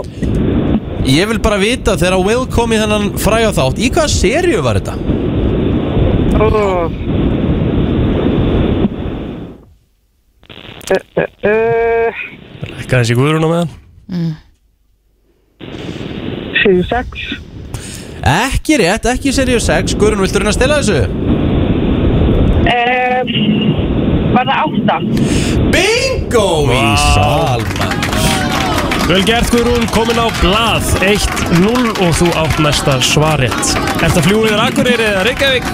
B: ég vil bara vita þegar Will kom í þennan fræga þátt Í hvaða seríu var þetta?
I: oh. Uh, uh, uh.
D: Ekki aðeins í Guðrún á meðan
I: eh, 76
B: Ekki rétt, ekki í seríu 6 Guðrun, viltu reyna að stela þessu?
I: Eh, Var það átta?
B: Bingo í salma
D: Vel gert Guðrún, komin á blað 1-0 og þú átt næsta svarjætt Er það fljúiður Akureyri eða Reykjavík?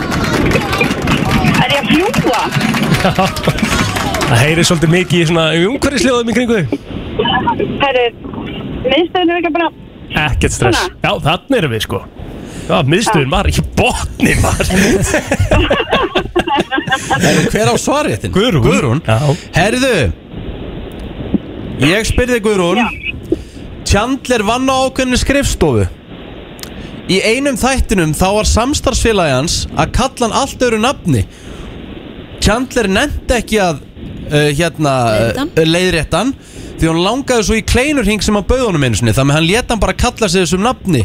I: Er ég að fljúa?
D: Það heyri svolítið mikið í svona umhverfisljóðum í kringu þig
I: Herri, miðstöðinu er ekki bara
D: Ekkert stress Já, þannig erum við sko Já, miðstöðin var í botni var
B: Herru, hver á svaréttin? Guðrún, Guðrún. Herðu Ég spyrði Guðrún Chandler vann á ákveðinu skrifstofu Í einum þættinum þá var samstarfsfélagi hans að kalla hann allt öru nafni Chandler nefndi ekki að uh, hérna uh, leiðréttan því hann langaði svo í kleinurhing sem hann bauð honum einu sinni þannig að hann leta hann bara kalla sig þessum nafni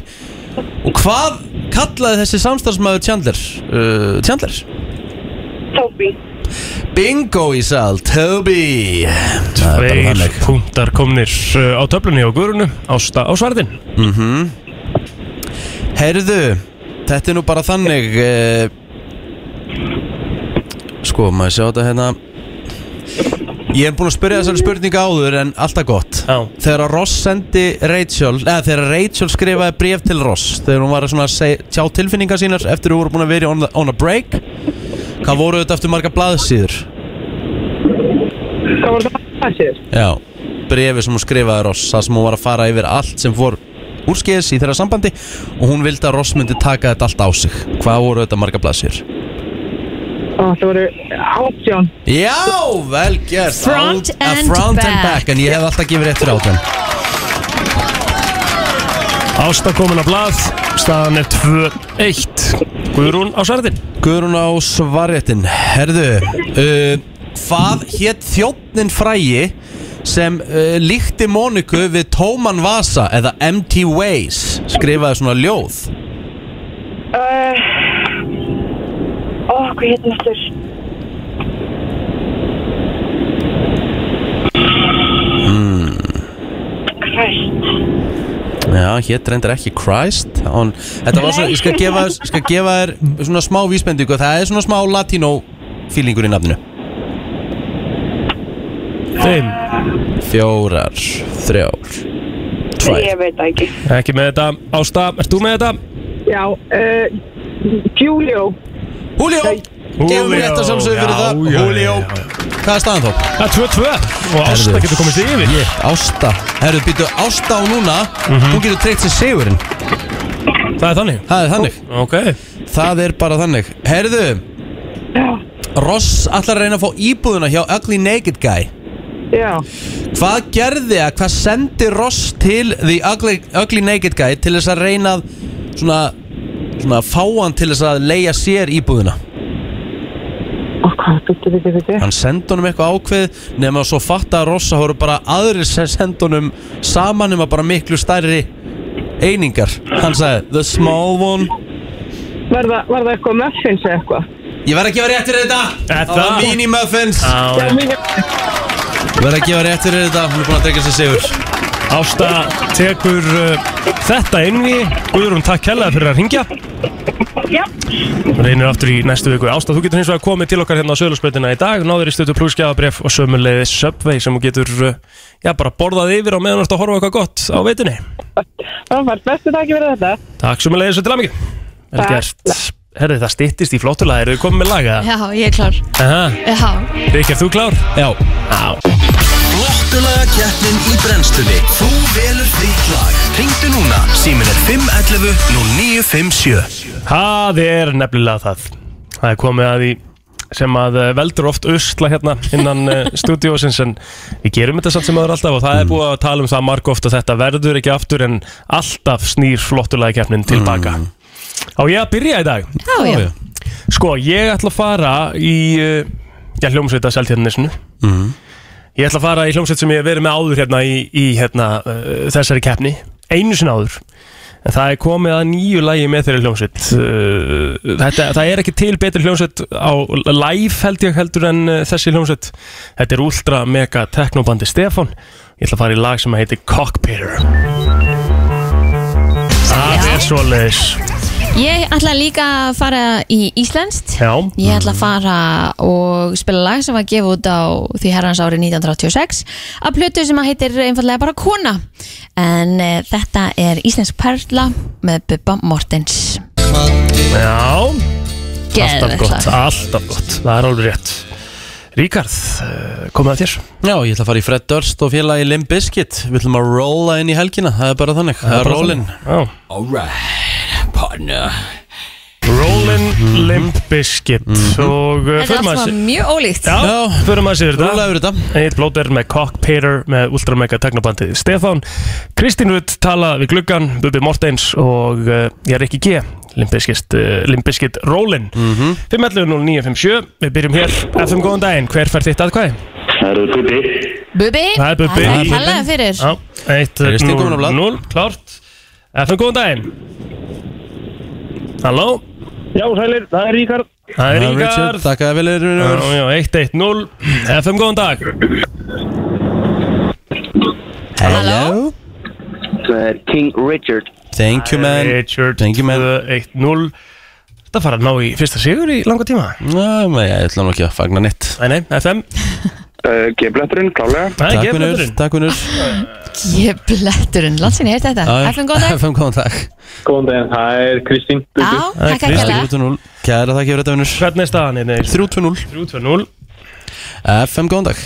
B: og hvað kallaði þessi samstarfsmaður Chandler? Uh, Chandler?
I: Tóbi
B: Bingo í sal, Toby Það er bara
D: Tveir
B: þannig
D: punktar komnir uh, á töflunni á Guðrúnu Ásta á svarðin
B: mm Heyrðu, þetta er nú bara þannig eh, Sko, maður sjá þetta hérna Ég hef búin að spyrja þessari spurningu áður en alltaf gott
D: Já.
B: Þegar að Ross sendi Rachel eða þegar Rachel skrifaði bréf til Ross þegar hún var að svona að seg- tjá tilfinningar sínar eftir hún voru búin að vera í on, the, on a break Hvað voru þetta eftir marga blaðsýður?
I: Hvað voru það að það sér?
B: Já, brefi sem hún skrifaði Ross það sem hún var að fara yfir allt sem fór úrskeiðis í þeirra sambandi og hún vildi að Ross myndi taka þetta allt á sig Hvað voru þetta marga blaðsir?
I: Oh,
H: Ó, Það voru átján
B: Já, vel gert
H: Front
B: Á-
H: and
B: Front and
H: back.
B: back En ég hef alltaf gefið rétt fyrir átján
D: Ásta komin að blað, staðan er 2-1 Guðrún á svarðin
B: Guðrún á svarðin Herðu uh, Hvað hétt þjóttnin frægi sem uh, líkti Móniku við Tóman Vasa eða MT Ways skrifaði svona ljóð
I: Uh, ó, hvað hérna aftur?
B: mm.
I: Christ.
B: Já, hétt reyndir ekki Christ on, Þetta var svona, ég skal gefa, skal gefa þér svona smá vísbendingu Það er svona smá latínó fílingur í nafninu
D: Þeim
B: Fjórar, þrjár Tvær
I: Ég veit það ekki.
D: Ekki með þetta Ásta, ert þú með þetta?
I: Já, uh, Julio.
B: Julio! Gefum
D: Julio,
B: við rétt að sjálfsögðu fyrir
D: já,
B: það
D: já,
B: Julio Hvað er staðan þó?
D: Það er 2-2 Og Ásta
B: Herðu.
D: getur komist yfir Mhm.
B: Ég, Ásta Herðu, býttu Ásta og núna Þú getur treykt sér sigurinn
D: Það er þannig
B: Það er þannig
D: okay.
B: Það er bara þannig Herðu Ross ætlar að reyna að fá íbúðuna hjá Ugly Naked Guy
I: Já.
B: Hvað gerði að hvað sendi Ross til The Ugly, Ugly Naked Guy til þess að reyna að svona, svona fá hann til þess að leia sér íbúðuna
I: Ó, hvað, byttu, byttu, byttu.
B: [LAUGHS] Hann sendi honum eitthvað ákveð nema svo fatta að Ross að voru bara aðrir sem sendi honum saman um að bara miklu stærri einingar Hann sagði The small one
I: Var það, var það eitthvað muffins eða eitthvað?
B: Ég verð að gefa rétt fyrir þetta Ah. Það var mini muffins
I: Já, mini
B: Verð að gefa rétt fyrir þetta Hún er búin að drega sér sigur
D: Ásta tekur uh, þetta einvi Guðrún, takk hella fyrir að ringja
I: Já.
D: Reynir aftur í næstu viku Ásta, þú getur hins vegar komið til okkar hérna á Söðlusbreytina í dag Náður í stötu pluskjafabref og sömulegði Subway sem þú getur uh, já, bara borðað yfir á meðan þú ert að horfa á eitthvað gott á veitunni
I: Það var bestu takk fyrir þetta.
D: Takk sömulegði svo til amíkju Vel
I: Takk.
D: gert Herði, það styttist í flottulega Eru þið komið með laga?
C: Já, ég er klár
D: Aha.
C: Já,
D: Ríkir, þú klár?
B: Já
A: Flottulega keppnin í brennstunni Þú velur þitt lag Ringdu núna, símin er 511 0957
D: Það er nefnilega það Það er komið að því sem að eh, veldur oft usla hérna innan eh, stúdíósins en við gerum þetta samt sem aður alltaf og það er búið að tala um það marg oft að þetta verður ekki aftur en alltaf snýr flottulega keppnin tilbaka Á ég að byrja í dag?
C: Já, já. Já,
D: Sko, ég ætla að fara í eh, já, hljómsveita seltjarnisinu
B: mm.
D: Ég ætla að fara í hljómsveit sem ég hef verið með áður hérna í, í hérna, uh, þessari keppni Einu sinna áður En það er komið að nýju lægi með þeirri hljómsveit uh, þetta, Það er ekki til betri hljómsveit á live held ég heldur en uh, þessi hljómsveit Þetta er ultra mega teknobandi Stefan Ég ætla að fara í lag sem heitir Cockpitter Það er svoleiðis
C: Ég ætla líka að fara í Íslenskt
D: Já
C: Ég ætla að fara og spila lag sem var gefið út á því herrans ári 1986 af plötu sem að heitir einfallega bara Kona en e, þetta er Íslensk Perla með Bubba Mortens
D: Já
C: Geðveikt
D: Alltaf gott,
C: lag.
D: alltaf gott Það er alveg rétt Ríkard, komið að þér
B: Já, ég ætla að fara í Fred Durst og félagi Limp Bizkit Við ætlum að rolla inn í helgina Það er bara þannig Það er
D: bara
B: rollin
D: þannig.
B: Alright, partner
D: Rollin Limp Bizkit og uh,
C: Þetta er allt svona mjög ólíkt
D: Já, förum að sér þetta Rúlaður þetta Eitt blóter með Cock Peter með Ultramega Teknobandið Stefán Kristín Rutt tala við gluggan Bubi Mortens og uh, ég er ekki G Limbiskit, uh, Limbiskit Rollin mm -hmm. 511-0957 Við byrjum hér FM góðan daginn Hver fær þitt aðkvæði?
O: Það eru Bubi
C: Bubbi,
D: Það er Bubbi
C: Það er talaði fyrir
D: Já, eitt,
B: Kristín komin á blað.
D: 0, klárt FM góðan daginn Halló
H: Já, sælir, það er Ríkard
B: Ah.
D: Það er Ríkard
B: Richard, Takk að vel erum
D: Já, já, 1-1-0 FM, góðan dag
B: Hello
O: Það er King Richard
B: Thank you man
D: Richard
B: Thank you man
D: 1-0 Þetta fara að ná í fyrsta sigur í langa tíma
B: Næ, men ég ætla nú ekki að fagna neitt
D: Nei, nei, FM
O: uh, G-bletturinn, klálega
B: Takk vinnur, takk
C: [LAUGHS]
B: vinnur
C: Ég bletturinn, landsinni heirt þetta FM góðan dag
B: [LAUGHS] FM góðan dag
H: Góðan daginn, það er Kristín
C: Já, takk að kjalla
B: 3-2-0 Kæra það gefur þetta vinnur
D: Hvernig er staðan hérna?
B: 3-2-0
D: 3-2-0
B: FM góðan dag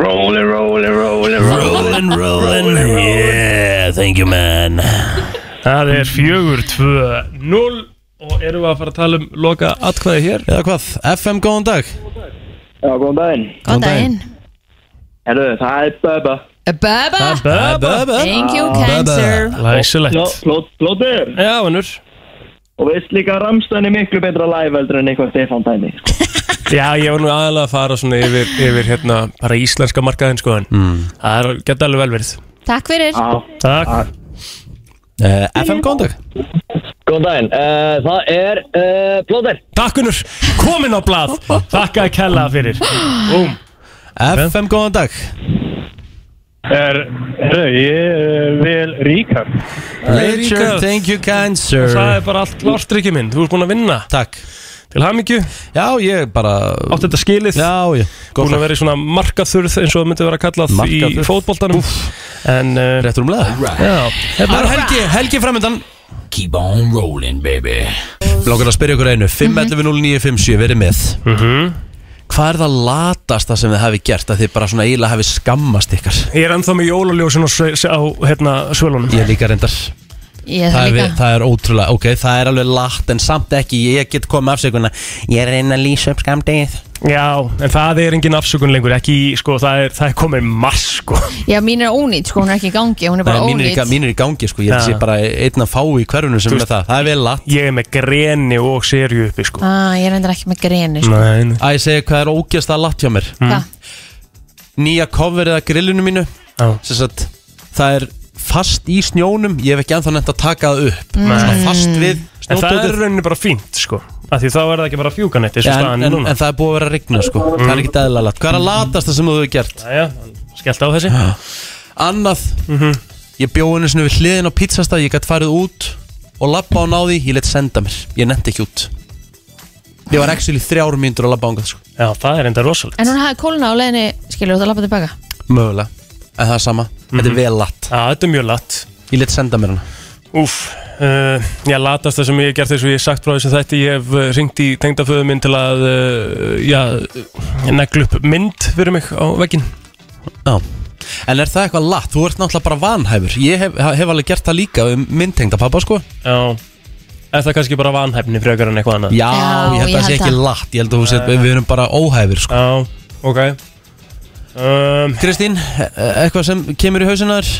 O: Rolling, rolling, rolling,
B: rolling Rolling, yeah, thank you man
D: Það er fjögur, tvö, null Og erum við að fara að tala um loka atkvæði hér
B: Eða hvað, FM góðan dag
O: Já, góðan daginn
C: Góðan daginn
O: Herru, það er Bubba
C: Bubba
O: Það er Bubba.
C: Thank you
O: Bubba.
C: cancer
D: Læsilegt.
O: Plóður
D: Já, vannur
O: Og veist líka að Ramstein er miklu betra live heldur en eitthvað Stefán dæmi sko.
D: Já, ég var nú aðalega að fara svona yfir, yfir hérna, bara íslenska markaðin sko en það er, geta alveg vel verið
C: Takk fyrir
D: Takk
B: uh, FM góðan dag
P: Góðan daginn,
H: Eh,
P: uh, það er uh, Plóter
D: Takk Unnur, komin á blað Takk að kella fyrir Búm.
B: FM góðan dag
H: Er, herru, ég vil Ríkar
B: Richard, thank you cancer
D: Það er bara allt klart, Rikki minn, þú ert búin að vinna
B: Takk
D: Til hamingju
B: Já, ég bara
D: Átt þetta skilið
B: Já, já
D: Búin að vera í svona markaþurð eins og það myndi vera kallað
B: Markaþurrð.
D: í fótboltanum En uh,
B: Réttur um leða
D: Já
B: Það Hérna er Helgi, Helgi framöndan Keep on rolling baby Lókar að spyrja ykkur einu 5.11.09.57 verið með Hvað er það latasta sem þið hafi gert að þið bara svona eiginlega hafi skammast ykkar?
D: Ég er ennþá með jólaljósin á, sve- á hérna, svölunum
B: Ég líka reyndar
C: Ég
B: það,
C: það
B: er,
C: líka
B: við- það er ótrúlega, ok, það er alveg látt en samt ekki, ég get komið afsökunna Ég er að reyna að lýsa upp skamdegið
D: Já, en það er engin afsökun lengur Ekki, í, sko, það er, það er komið mass, sko
C: Já, mín er ónýtt, sko, hún er ekki í gangi Hún er bara
B: Mínir í,
C: ónýtt
B: ga- mínir í gangi, sko, ég held að
D: Já.
B: sé bara einn að fá í hverjunum sem
D: Þú
B: er
D: veist-
B: það Það er vel látt
D: Ég er með greni og serju uppi, sko
C: ah, Ég reyndar ekki með greni, sko
D: Nei
B: Æ, ég segi hvað er ógjast að látt hjá mér
C: Hvað?
B: Nýja coverið að grillinu mínu sem sagt, það er fast í snjónum ég hef ekki ennþá nefnt að taka það upp
D: Mm.
B: svona fast við
D: En það er
B: snjódótið.
D: rauninni bara fínt, sko af Því þá er það ekki bara fjúkanetti eins
B: Já,
D: og
B: en,
D: staðan
B: en,
D: núna Mm.
B: en það er búið að vera að rigna sko það er ekki eðlilega látt hvað er að latast það sem þú hefur gert
D: Jæja, skellt á þessi
B: annað
D: Mhm.
B: ég bjóð henni svona við hliðin á pizzastað ég gætt farið út og labba á náði ég lett senda mér ég nefndi ekki út ég var ekki í þrjár mínútur að labba ángað sko
D: Já, það er enda rosalegt
C: En hún hafði kólna á leiðinni, skilur þú það að lappa tilbaka
B: mögulega en það er sama
D: Mhm.
B: þetta er vel latt
D: Já, þetta er mjög latt
B: ég lett senda mér hana
D: Úf, uh, já, latast það sem ég hef gert eins og ég hef sagt frá þessu þætti Ég hef uh, ringt í tengdaföðu minn til að, uh, já, neglu upp mynd fyrir mig á vegginn
B: Já En er það eitthvað latt? Þú ert náttúrulega bara vanhæfur Ég hef, hef alveg gert það líka um myndtengda pappa sko
D: Já, er það kannski bara vanhæfni frekar en eitthvað annað?
B: Já, ég held að það sé ekki latt Ég held að þú sé, við erum bara óhæfur sko
D: Já, ok um,
B: Kristín, e- eitthvað sem kemur í hausinn þar?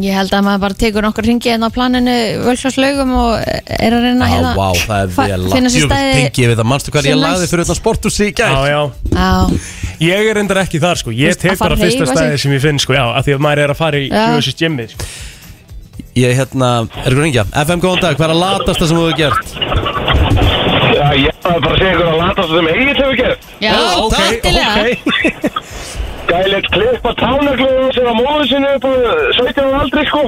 C: Ég held að maður bara tekur nokkur ringi en á planinu völklarslaugum og er að reyna
B: Já,
C: hérna-
B: vá, það er
C: fa-
B: vel
C: finna
B: latt
C: sér
B: Jú,
C: stæði-
B: tengi ég við það, manstu hvað
C: sem
B: ég lagði
C: næst.
B: fyrir utan sporthúsi í gær?
D: Já, já,
C: Já,
D: ég er reyndar ekki þar sko
C: Þú
D: Ég
C: veist,
D: tek
C: að fara
D: bara
C: að
D: fyrsta
C: hreyfa
D: stæði
C: sig.
D: sem ég finn sko Já, af því að maður er að fara í
C: Já.
D: Jússis Jimmy sko.
B: Ég hérna, er ykkur reyngja FM góðan dag, hvað er að latast það sem þú hefur gert?
H: Já, ég var bara að segja ykkur að lata svo sem eigið hefur gert
C: Já,
H: ok,
C: taktilega
H: Gælet klippa tánagluðu sem á móðu sinni upp á 17 ára aldri sko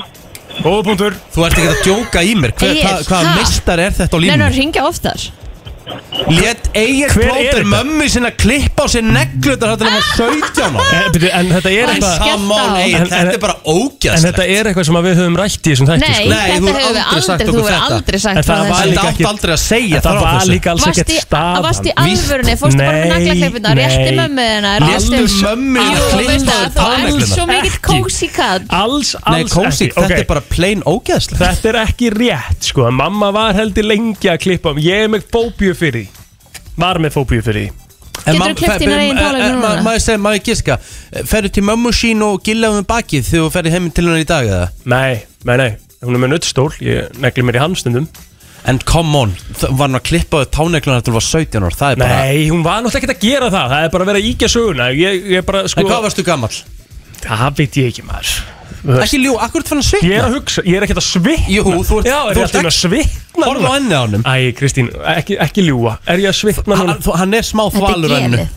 D: Góðbúndur
B: Þú ert ekki að djóka í mér Hver,
C: Egill,
B: hva, Hvaða
C: ha?
B: meistar er þetta á
C: Nei,
B: línu?
C: nú ringja oftar
B: Lét Egil
D: Hver er
B: Plóter
D: þetta?
B: mömmu sinna klippa á sér neglutar Þetta er hann 17 ára
C: Eh,
D: en, byrju, en þetta er
B: En
D: eitthvað
B: come on,
C: á.
B: Egill,
D: En- en-
B: Þetta er bara ógjast
D: En þetta er eitthvað sem að við höfum rætt í þessum þætti
C: Nei,
D: sko.
B: Nei,
C: þetta
B: þú hefur
C: hefur við
B: aldrei sagt okkur
C: aldrei, þú hefur
B: þetta.
C: aldrei
D: En
C: sagt frá
D: það var
C: þessu
B: Þetta
D: líka
B: átti
D: ekki
B: aldrei að segja
D: Þetta
B: frá
D: var
B: þessu.
D: líka alls
C: Varst
D: ekkert
C: í,
D: staðan
C: varst í
B: Víst.
C: alvörunni, fórstu bara með
D: Nei,
C: naglaklipina, rétti
D: nei.
C: mömmu hennar
B: Léstu
C: rétti-
B: mömmu hennar
C: Jú,
B: klippa
C: veist það,
B: þér
C: þú er
B: táneglunar.
C: svo mikill
B: Ekki.
C: kósi katt
D: Alls,
B: Nei,
D: alls
B: kósi,
D: ekki
B: þetta
D: Ok.
B: er bara plain ógeðslega
D: Þetta er ekki rétt sko Mamma var heldur lengi að klippa mig. Ég er með fóbíu fyrir því Var með fóbíu fyrir því
C: Geturðu klippt þínar
B: eh,
C: eigin tánlegnur núna?
B: Má ég segja, má ég giska Ferðu til mömmu sín og gillaðu um bakið Þegar þú ferði heim til hennar í dag eða
D: Nei, nei, nei Hún er með nuttstól Ég negli mér í hann stundum
B: En come on, það var hann að klippa þau táneglunar Þegar þú var 17 ára, það er bara
D: Nei, hún var náttúrulega ekkert að gera það Það er bara að vera að íkja söguna Ég, ég bara sko
B: En hvað varstu gamall?
D: Það veit ég ekki maður
B: Ekki ljó, akkur ert fann að
D: Ég er
B: svitna
D: að hugsa, ég er ekkert að svitna
B: Jú, þú ert-
D: Já, er
B: þú
D: ég
B: ert
D: alltaf að
B: ekki-
D: svitna
B: Horfðu á
D: núna?
B: ennið á honum
D: Æ, Kristín, ekki, ekki ljúa Er ég að svitna núna?
B: Hann- þú- Hann er smá
C: er
B: þvalur á enninu
C: genið.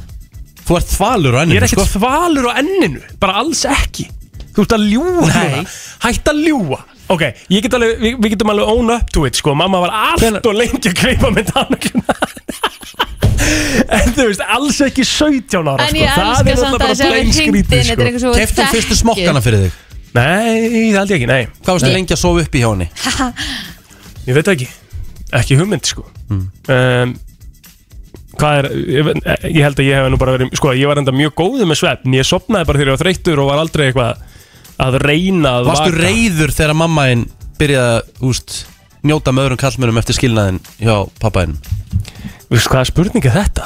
B: Þú ert þvalur
D: Ég
B: á
D: er
B: enninu,
D: ekkert
B: sko
D: þvalur á enninu Bara alls ekki Þú ert að ljúa núna Hætt að ljúa Ok, ég get alveg, við, við getum alveg own up to it sko Mamma var allt og lengi að kreipa með tannakluna [LAUGHS] En þú veist, alls ekki 17 ára
C: En
D: sko.
C: ég
D: Það
C: elska
D: er
C: samt
D: náttúrulega
C: að
D: bara
C: þessi hafi
D: plain
C: hringt
D: skrítið,
C: inn, þetta er eitthvað svo
B: Keftu
C: þekkið.
B: fyrstu smokkana fyrir þig
D: Nei, það held ég ekki, nei
B: Hvað varstu
C: Ég-
B: lengi að sofa upp í hjá henni? Mm.
D: Ég veit það ekki Ekki hugmynd sko um, Hvað er, ég, ég held að ég hef nú bara verið, sko, ég var enda mjög góður með svefn Ég sopnaði bara þegar ég var þreyttur og var aldrei eitthvað að reyna að
B: Varstu reyður þegar mamma þín byrjaði að úst, njóta með öðrum kallmönum eftir skilnaðin hjá pappaðin?
D: Veistu hvaða spurning er þetta?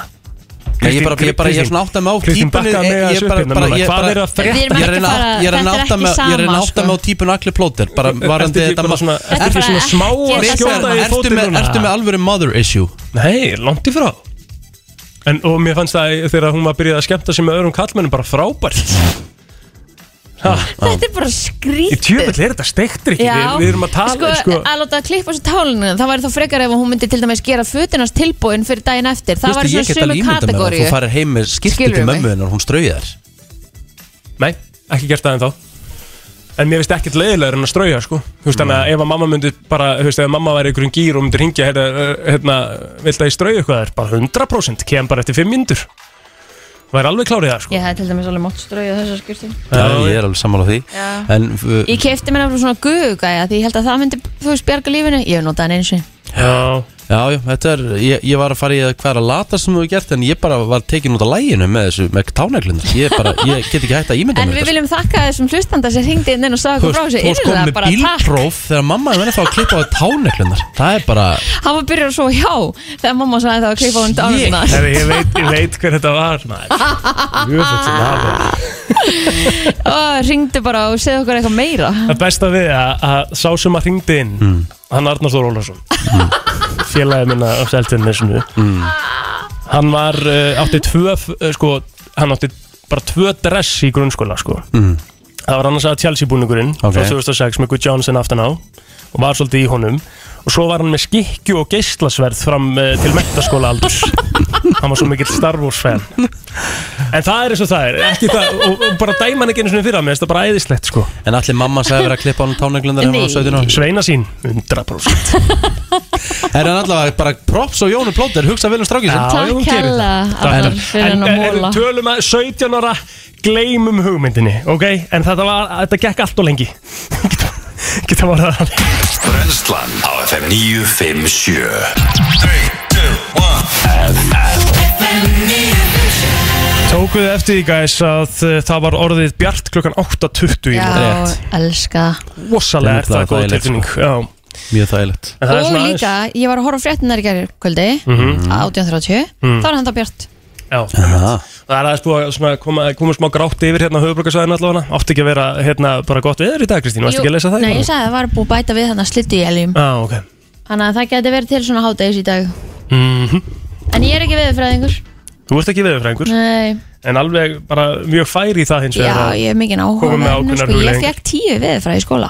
B: Ég er bara, ég er bara, ég er svona átt að með á
D: Kristín
B: típunni
D: bakkaði
B: ég-
D: mig
B: ég
D: aðeins
B: er
D: upp
B: bara-
D: hérna
B: bara-
D: núna.
B: ég er
D: Hvað
B: bara-
D: er að frétta?
C: Við
B: Ég er
C: erum ekki
B: að
C: fara-
B: ég er að
C: þetta er
B: átta
C: ekki
B: með Ég er að
C: sama, sko.
B: átta með á típunni allir plóter Bara
D: Ertu
B: varandi
D: ekki
B: þetta
D: bara svona- ertu Þetta er ekki svona bara smá að ekki skjóta sama. í
B: Ertu
D: fótinn
B: með-
D: núna?
B: Ertu með alvöru mother issue?
D: Nei, langt í frá En, og mér fannst það þegar hún var byrjað að skemmta sig með öðrum kallmennum bara frábært
C: Þetta er bara
D: Í
C: skrítið
D: tjöfull er þetta steiktir ekki við, við erum að tala
C: sko,
D: sko,
C: að láta að klippa þessu tálinu það væri þá frekar ef hún myndi til dæmis gera fötunars tilbúin fyrir daginn eftir það væri svona sömu kategóri
B: Þú farir heim með skipti
C: Skilurðu
B: til
C: mig?
B: mömmu hennar hún strauði þær
D: Nei, ekki gert það en þá En mér finnst ekkert leiðilegur en að strauja sko Þú veist þannig að ef að mamma myndi bara Þú veist ef mamma væri í einhverjum gýr og myndi ringja Hérna, eh, hérna vilt að ég strauja eitthvað þar Bara 100% kem bara eftir 5 myndur Það er alveg klárið það sko
C: ég hef til dæmis alveg mátt strauja þessar skjörtum
B: Já, ég er alveg sammála því
C: Já.
B: En uh,
C: ég kefti mér alveg svona gugugæja því ég held að það myndi þú veist bjarga lífinu ég hef notað hann eins og
D: Já
B: Já, já, þetta er, ég, ég var að fara í að hvað er að lata sem þú hefur gert en ég bara var tekin út af læginu með þessu, með táneglundur ég, bara, ég get ekki hægt að ímynda
C: en
B: mér
C: við
B: þetta,
C: viljum þakka þessum hlustanda sem hringdi inn og sagði
B: sko.
C: okkur frá þessu
B: Þú veist, þú varst
C: innlega
B: komið
C: bara
B: með
C: takk
B: bílpróf þegar mamma er verið þá að klippa á þér táneglundur Það er bara,
C: hann var byrjar að svo hjá þegar mamma sagði það að klippa hún dálina
D: Herri, ég, veit, ég veit hver þetta var maður. Jöfull sem það var.
C: og ringdi bara og segði okkur eitthvað meira
D: Það besta við að, að sá sem að ringdi inn
B: Mm.
D: Hann Arnar Þór Ólafsson Félagi minna á seltinni mm. Hann var uh, átti tvö uh, sko, Hann átti bara tvö dress í grunnskóla sko.
B: mm.
D: Það var annars að Chelsea búningurinn
B: Ok.
D: frá 2006 með Guð Johnson aftan á og var svolítið í honum og svo var hann með skikju og geislasverð fram uh, til mektaskóla aldurs hann var svo mikill Star Wars fan en það er eins og það er ekki það, og, og bara dæma hann ekki einu sinni fyrir að mér finnst það bara æðislegt sko
B: en allir mamma sagði verið að klippa á hann táneglundur
D: Nei. Sveina sín, 100%
B: Er hann allavega bara props og Jónu Plóter, hugsa vel um strákið sinn
C: Takk hella Arnar, fyrir
D: En
C: hennar
D: en
C: móla.
D: tölum að 17 ára gleymum hugmyndinni, ok? En þetta var, þetta gekk allt og lengi [LAUGHS] Geta var það
A: Brennslan á FM 957
D: Tókuðu eftir því gæs að uh, það var orðið bjart klukkan 8.20 í
C: já,
D: morgun.
C: elska
D: Rosalega er það
B: Þetta
D: góð
B: er
D: tilfinning
B: þægilegt, sko.
D: Já,
B: Mjög þægilegt
D: en það er
C: og
D: svona aðeins-
C: líka, ég var að horfa á fréttinar í gerður kvöldi
D: Mhm.
C: 18.30,
D: Mm.
C: þá var hann það bjart
D: Já, það er aðeins búið að svona koma, koma smá grátt yfir hérna höfubrukarsvæðin allavega Átti ekki að vera hérna bara gott veður í dag Kristín, varstu ekki að lesa það? í Ah.
C: Nei,
D: morgun?
C: ég sagði að það var búið að bæta við þannig að slittu í eljum
D: Já, ok
C: Þannig að það geti verið til svona hádegis í dag
D: Mhm.
C: En ég er ekki veðurfræðingur
D: Þú ert ekki veðurfræðingur
C: Nei,
D: En alveg bara mjög fær í það hins
C: já,
D: vegar að
C: ég er mikið
D: koma með
C: áhuga
D: ákveðnar
C: sko. Ég
D: hugleiðingar.
C: fekk tíu veðurfræði í skóla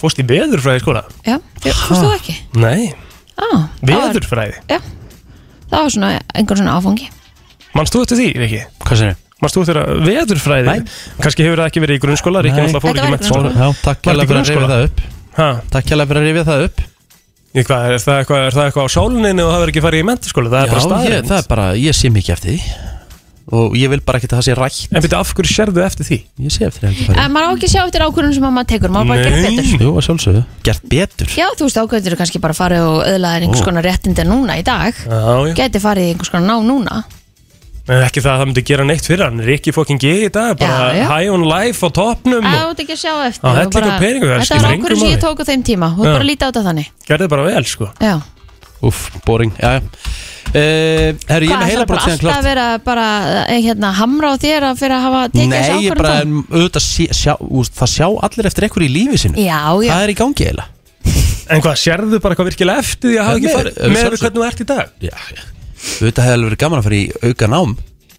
D: Fórst í veðurfræði í skóla?
C: Já, fórst þú ekki?
D: Nei,
C: Á,
D: veðurfræði
C: það var svona einhver svona áfangi
D: Manst þú eftir því, Riki?
B: Hvað sér
D: Manst þú eftir að veðurfræði? Kanski hefur það ekki verið í grunnskóla Riki
B: Nei.
D: náttúrulega fór
B: Þetta
D: ekki
B: var í
D: með skóla
B: grunnskóla. Já, takk hérlega fyrir að rifja það upp
D: ha?
B: Takk hérlega fyrir að rifja það upp
D: Ég, hvað, er, það eitthvað, er það eitthvað á sáluninu og það verður ekki farið í mentaskóla? Það er bara
B: Já, ég,
D: staðrind
B: það er bara, ég sé mikið eftir því Og ég vil bara ekki að það sé rætt
D: En byrja, af hverju sérðu eftir því?
B: Ég sé eftir því að ekki
C: En maður á ekki að sjá eftir ákvörðun sem að maður tekur Maður bara gerir betur
B: Jú, að sjálfsögðu Gert betur
C: Já, þú veist, ákvörður kannski bara farið og öðlaðir einhvers
B: Ó.
C: konar réttindi núna í dag
D: Já, já,
C: Geti farið í einhvers konar nám núna
D: en ekki það að það myndi gera neitt fyrir hann Riki fokkin G í dag, bara
C: Já, já.
D: high on life á topnum
C: Æ,
D: og
C: þú ert ekki að sjá eftir
D: Já,
C: þú
D: helling
C: bara-
D: á peningum, það
C: Þetta
D: skiptir
C: var
D: engu
C: okkur sem ég
D: máli.
C: tók á þeim tíma Þú ert
B: Já.
C: bara að líta á þetta þannig
D: gerði bara vel, sko
C: Já.
B: Úff, boring, já, já uh, Herru, ég er með
C: Hvað, ætlar bara
B: heilabrót síðan
C: alltaf að
B: klart
C: vera bara eh, hérna, hamra á þér að fyrir að hafa tekið þessu
B: Nei, ég
C: ákvörðun
B: bara,
C: þá?
B: en auðvitað sé, sjá, úst, það sjá allir eftir ekkur í lífi sinu
C: Já, já
B: Það er í gangi eiginlega
D: En hvað, sérðu bara eitthvað virkilega eftir því að hafa
B: Já,
D: ekki
B: með-
D: farið
B: ef
D: með
B: sjálfsögðu.
D: við hvernig þú ert í dag?
B: Já, já Auðvitað hefði alveg verið gaman að fara í auka nám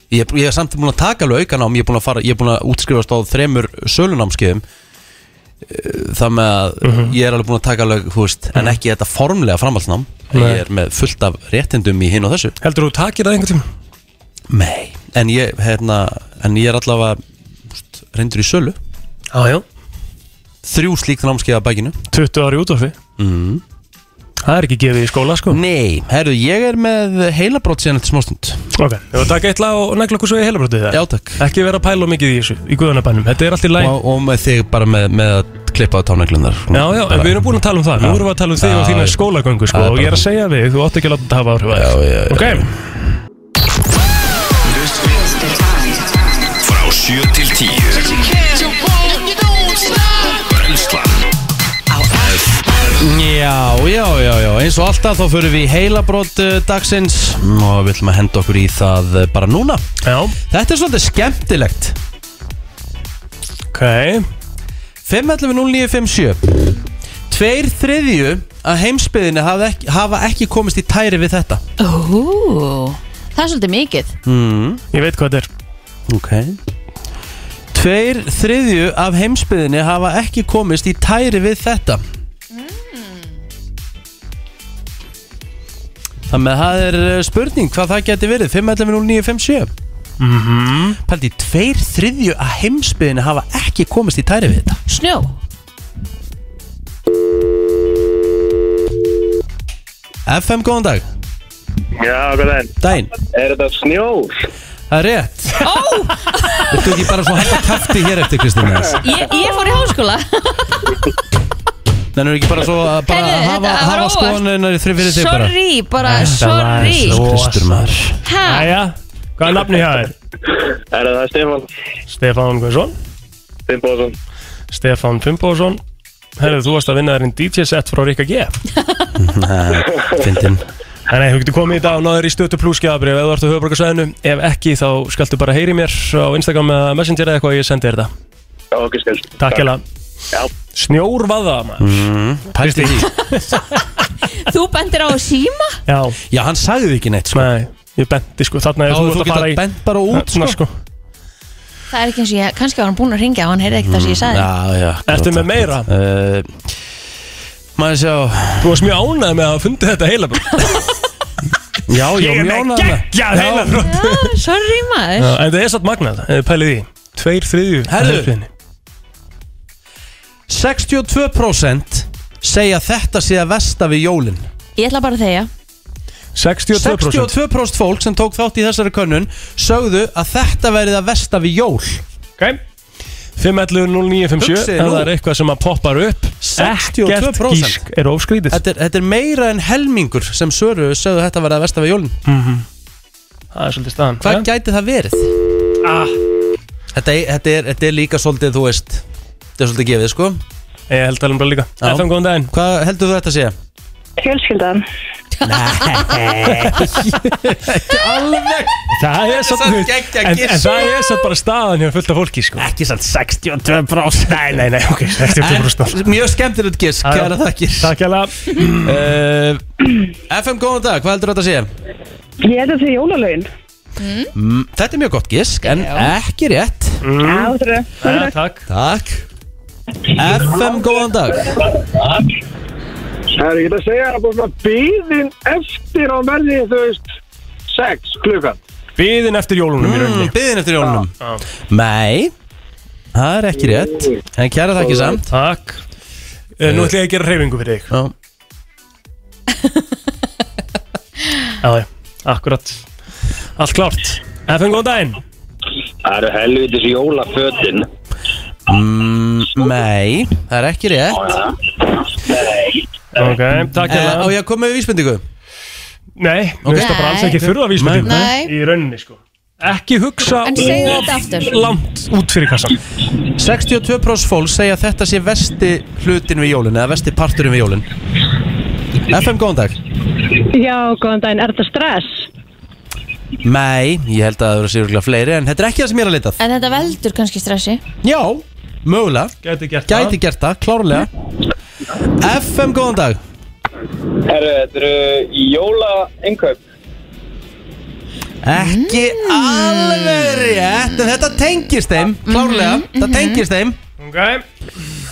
B: Ég, ég er samt búin að taka alveg auka nám Ég er búin að, fara, ég er búin að útskrifast á þremur sölunámskeiðum Eh, Það með að ég er alveg búin að taka alveg þú veist, En ekki þetta formlega framhaldsnám
D: Nei.
B: Ég er með fullt af réttindum í hinn og þessu
D: Heldur þú takir það einhvern tíma?
B: Nei, en ég, hérna, en ég er allavega úst, reyndur í sölu
D: Já, já
B: Þrjú slík námskeið að bækinu
D: 20 ári út af því
B: mm.
D: Það er ekki gefið í skóla sko
B: Nei, herru, ég er með heilabrót síðan eftir smástund
D: Ok, ef þú taka eitt lag og negla okkur svo í heilabrótið það
B: Já, takk
D: Ekki vera að pæla of mikið í þessu, í guðanabænum Þetta er allt í læg
B: og, og með þig bara með, með að klippa á táneglundar
D: Já, já, en við erum búin að tala um það Nú
B: Já.
D: erum við að tala um þig og
B: Já,
D: þína
B: já.
D: skólagöngu sko
B: Það er
D: Og ég er
B: bara
D: að segja við, þú átt ekki að láta þetta hafa áhrif að þér.
B: já, já,
D: Ok
B: eins og alltaf þá förum við í heilabrót eh, dagsins og við ætlum að henda okkur í það eh, bara núna
D: Já.
B: Þetta er svolítið skemmtilegt Ok 5.11.0957 Tveir þriðju að heimsbyðinni hafa ekki, hafa ekki komist í tæri við þetta
C: Ó, það er svolítið mikið
B: mm.
D: Ég veit hvað þetta er
B: Ok Tveir þriðju af heimsbyðinni hafa ekki komist í tæri við þetta Þannig að það er eh, spurning hvað það geti verið 5.11.0957
D: mm -hmm.
B: Paldi, tveir þriðju að heimsbyðinni hafa ekki komist í tæri við þetta
C: Snjó
B: FM, góðan dag
Q: Já, hvað er
B: Dæn
Q: Er þetta snjór?
B: Það er rétt
C: Ó,
B: Viltu ekki bara svo hægt að kæfti hér eftir, Kristín Næs?
C: ég, ég fór í
B: [LAUGHS]
C: háskóla
B: Þannig er ekki bara svo að bara
C: Heyrðu,
B: hafa,
C: þetta var
B: hafa
C: óvart.
B: skoðanunar í þrið fyrir þig bara
C: Sorry, bara sorry
B: Kristur maður
C: Ha?
D: Æja, hvað er nafni hjá þér?
Q: Er það Stefán?
D: Stefán Guðsson
Q: Finnbóðsson
D: Stefán Finnbóðsson Herðu, þú varst að vinna þér einn DJ set frá Rikka G
B: Fyndin
D: Þannig, þú getur komið í dag og náður í stötu plúskjafabrif ef þú ert á höfuborgarsæðinu, ef ekki þá skaltu bara heyri mér á Instagram eða Messenger eða eitthvað og ég sendi þér þetta.
Q: Já, ok, skil
D: Takk hella. Snjór vaða maður.
B: Mm, Pældi því
C: Þú bendir á að síma?
D: Já.
B: Já, hann sagði því ekki neitt sko
D: Nei, ég benti sko, þarna
B: Þá
D: er
B: hefur þú getað bent bara út,
D: Þarna,
B: sko.
C: Það er ekki eins og ég, kannski var hann búinn að ringja og hann heyrði ekkert það sem ég sagði
B: Mm, Já, já
D: Ertu með meira?
B: Uh, maður sjá
D: Þú varst mjög ánægð með að hafa fundið þetta heila
B: Já, já,
D: Ég er
B: mjög
D: með
B: ánægð með-
D: geggjað
B: Já.
D: heilabrót.
C: Já, Ah, sorry maður
D: Já, En það er satt magnað, ef þið pælið í því. Tveir þriðju
B: Herðu.
D: af heilbrigðinni.
B: 62% segja þetta sé að vesta við jólin
C: Ég ætla bara að þegja
D: 62%
B: 62% fólk sem tók þátt í þessari könnun sögðu að þetta verið að vesta við jól
D: Ok 511-0957
B: Hugsið
D: Ef það
B: nú.
D: er eitthvað sem að poppar upp
B: 62%
D: Ekkert gísk er ofskrítið
B: þetta, er- þetta er meira en helmingur sem söru sögðu þetta verið að vesta við jólin
D: Það er svolítið staðan
B: Hvað gæti það verið?
D: Ah.
B: Þetta, er- þetta, er, þetta er líka svolítið, þú veist Þetta er svolítið gefið, sko
D: Ég held alveg bara líka FM, góðan daginn
B: Hvað heldur þú þetta sé?
I: Fjölskyldan
B: Alveg
D: Það er satt
B: samt
D: hlut
B: geggjað
D: en,
B: giss.
D: en það er satt bara staðan hjá fullt af fólki sko Ekki satt 62% Nei, nei, nei, ok, 62%
B: Mjög skemmtilegt gisk,
D: Ah, Já, já.
B: kæra þakkir
D: Takk hella
B: uh, FM, góðan dag, hvað heldur þetta sé?
I: Ég held að það er jólalögin
B: Mm, þetta er mjög gott gisk, en ekki rétt
I: Já, þú þurfum
D: Takk
B: Takk FM, góðan dag
R: Það er ekki að segja það bara býðin eftir á verði þú veist 6 klukkan
D: Biðin eftir jólunum í rauninni
B: Hmm, Biðin eftir jólunum
D: Já.
B: Nei, það er ekki rétt En kæra þakkir samt
D: Takk Eh, Nú ætlum ég að gera reyfingu fyrir þig
B: Já
D: Já, já, akkurat Allt klárt FM, góðan daginn
P: Það eru helvitis jólafötin
B: Mm, nei, það er ekki rétt
D: Ok, takk
B: Eh,
D: hella
B: Á ég að koma með vísbendingu?
D: Nei, mér finnst það bara alls ekki þurfa vísbendingu
C: Nei.
D: Í rauninni sko Ekki hugsa
C: En segðu þetta aftur.
D: Langt út fyrir kassan
B: 62% fólk segja að þetta sé vesti hlutin við jólun eða vesti parturinn við jólun FM, góðan dag
I: Já, góðan daginn, er þetta stress?
B: Nei, ég held að það eru séruglega fleiri en þetta er ekki það sem ég er að leitað
C: En þetta veldur kannski stressi
B: Já, mögulega
D: Gæti gert
B: Gæti gert það, klárlega FM, góðan dag
Q: Herru, þetta eru jóla innkaup
B: Ekki alveg rétt en þetta tengist þeim, klárlega Það tengist þeim
D: Ok,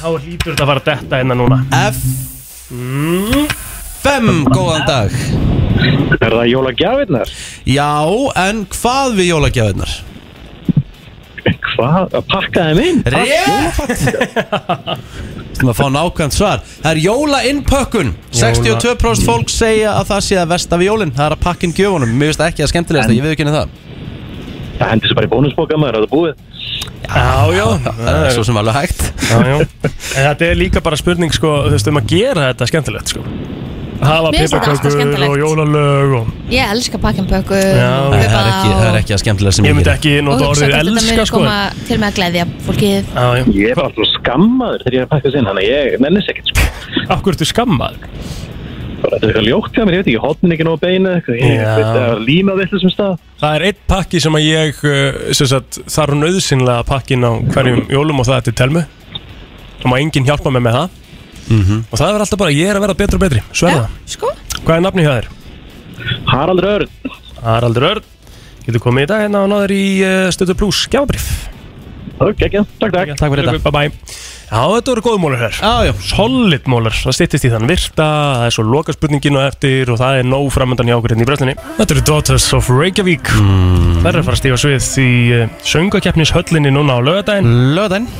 D: þá hlýtur þetta að fara að detta hérna núna
B: FM, góðan dag
R: Er það jólagjafinnar?
B: Já, en hvað við jólagjafinnar?
R: Hvað? Að pakka þeim inn?
B: Rétt Sem að fá nákvæmt svar Það er jólainnpökkun 62% fólk segja að það sé að versta við jólinn Það er að pakkin gjöfunum Mér finnst það ekki að skemmtilegast Ég við ekki henni það
R: Það hendur sér bara í bónusbóka maður, er það búið?
D: Já, já
B: Það er svo sem alveg hægt
D: Já, já En þetta er líka bara spurning sko, þú veist, um að gera þetta skemmtilegt sko Hafa
C: Mér finnst þetta alltaf
D: piparkökur
C: skemmtilegt.
D: og jólalög og
C: Ég elska pakkinpöku
D: Já.
B: Nei, Það er ekki, það er ekki að skemmtilegast sem
D: Ég
B: ég
D: myndi
B: geri
D: ekki nota orðið elska
C: sko
D: sko
C: koma til með að gleðja fólkið
D: Já, já
R: Ég er bara alltaf skammaður þegar ég er að pakka þess inn, þannig að ég nennis ekkert sko.
D: Akkur ertu skammaður?
Q: Þetta er eitthvað ljótt hjá mér, ég veit ekki, hotnin ekki nógu beinu eitthvað, ég
D: Já.
Q: veit að það er lína villu sem stað.
D: Það er eitt pakki sem að ég uh, sem sagt, þarf nöðsynlega pakkin á hverjum jólum og það er til telmu og má enginn hjálpa mig með það
B: Mhm.
D: og það er alltaf bara, ég er að verða betri og betri Sverða,
C: sko
D: hvað er nafni hjá þér? Haraldur Örn Haraldur Örn, getur komið í dag hérna og náður í uh, stötu pluss gjábrif Ok, ekki, takk, takk Takk fyrir þetta Bye bye Já, þetta voru góð mólur hér Já, já Solid mólur, það styttist í þann virta Það er svo loka spurningin og eftir Og það er nóg framöndan hjá okkur hérna í bröslinni Þetta eru Daughters of Reykjavík mm. Það er að fara að stífa svið í uh, söngakeppnis höllinni núna á lögadaginn Lögadaginn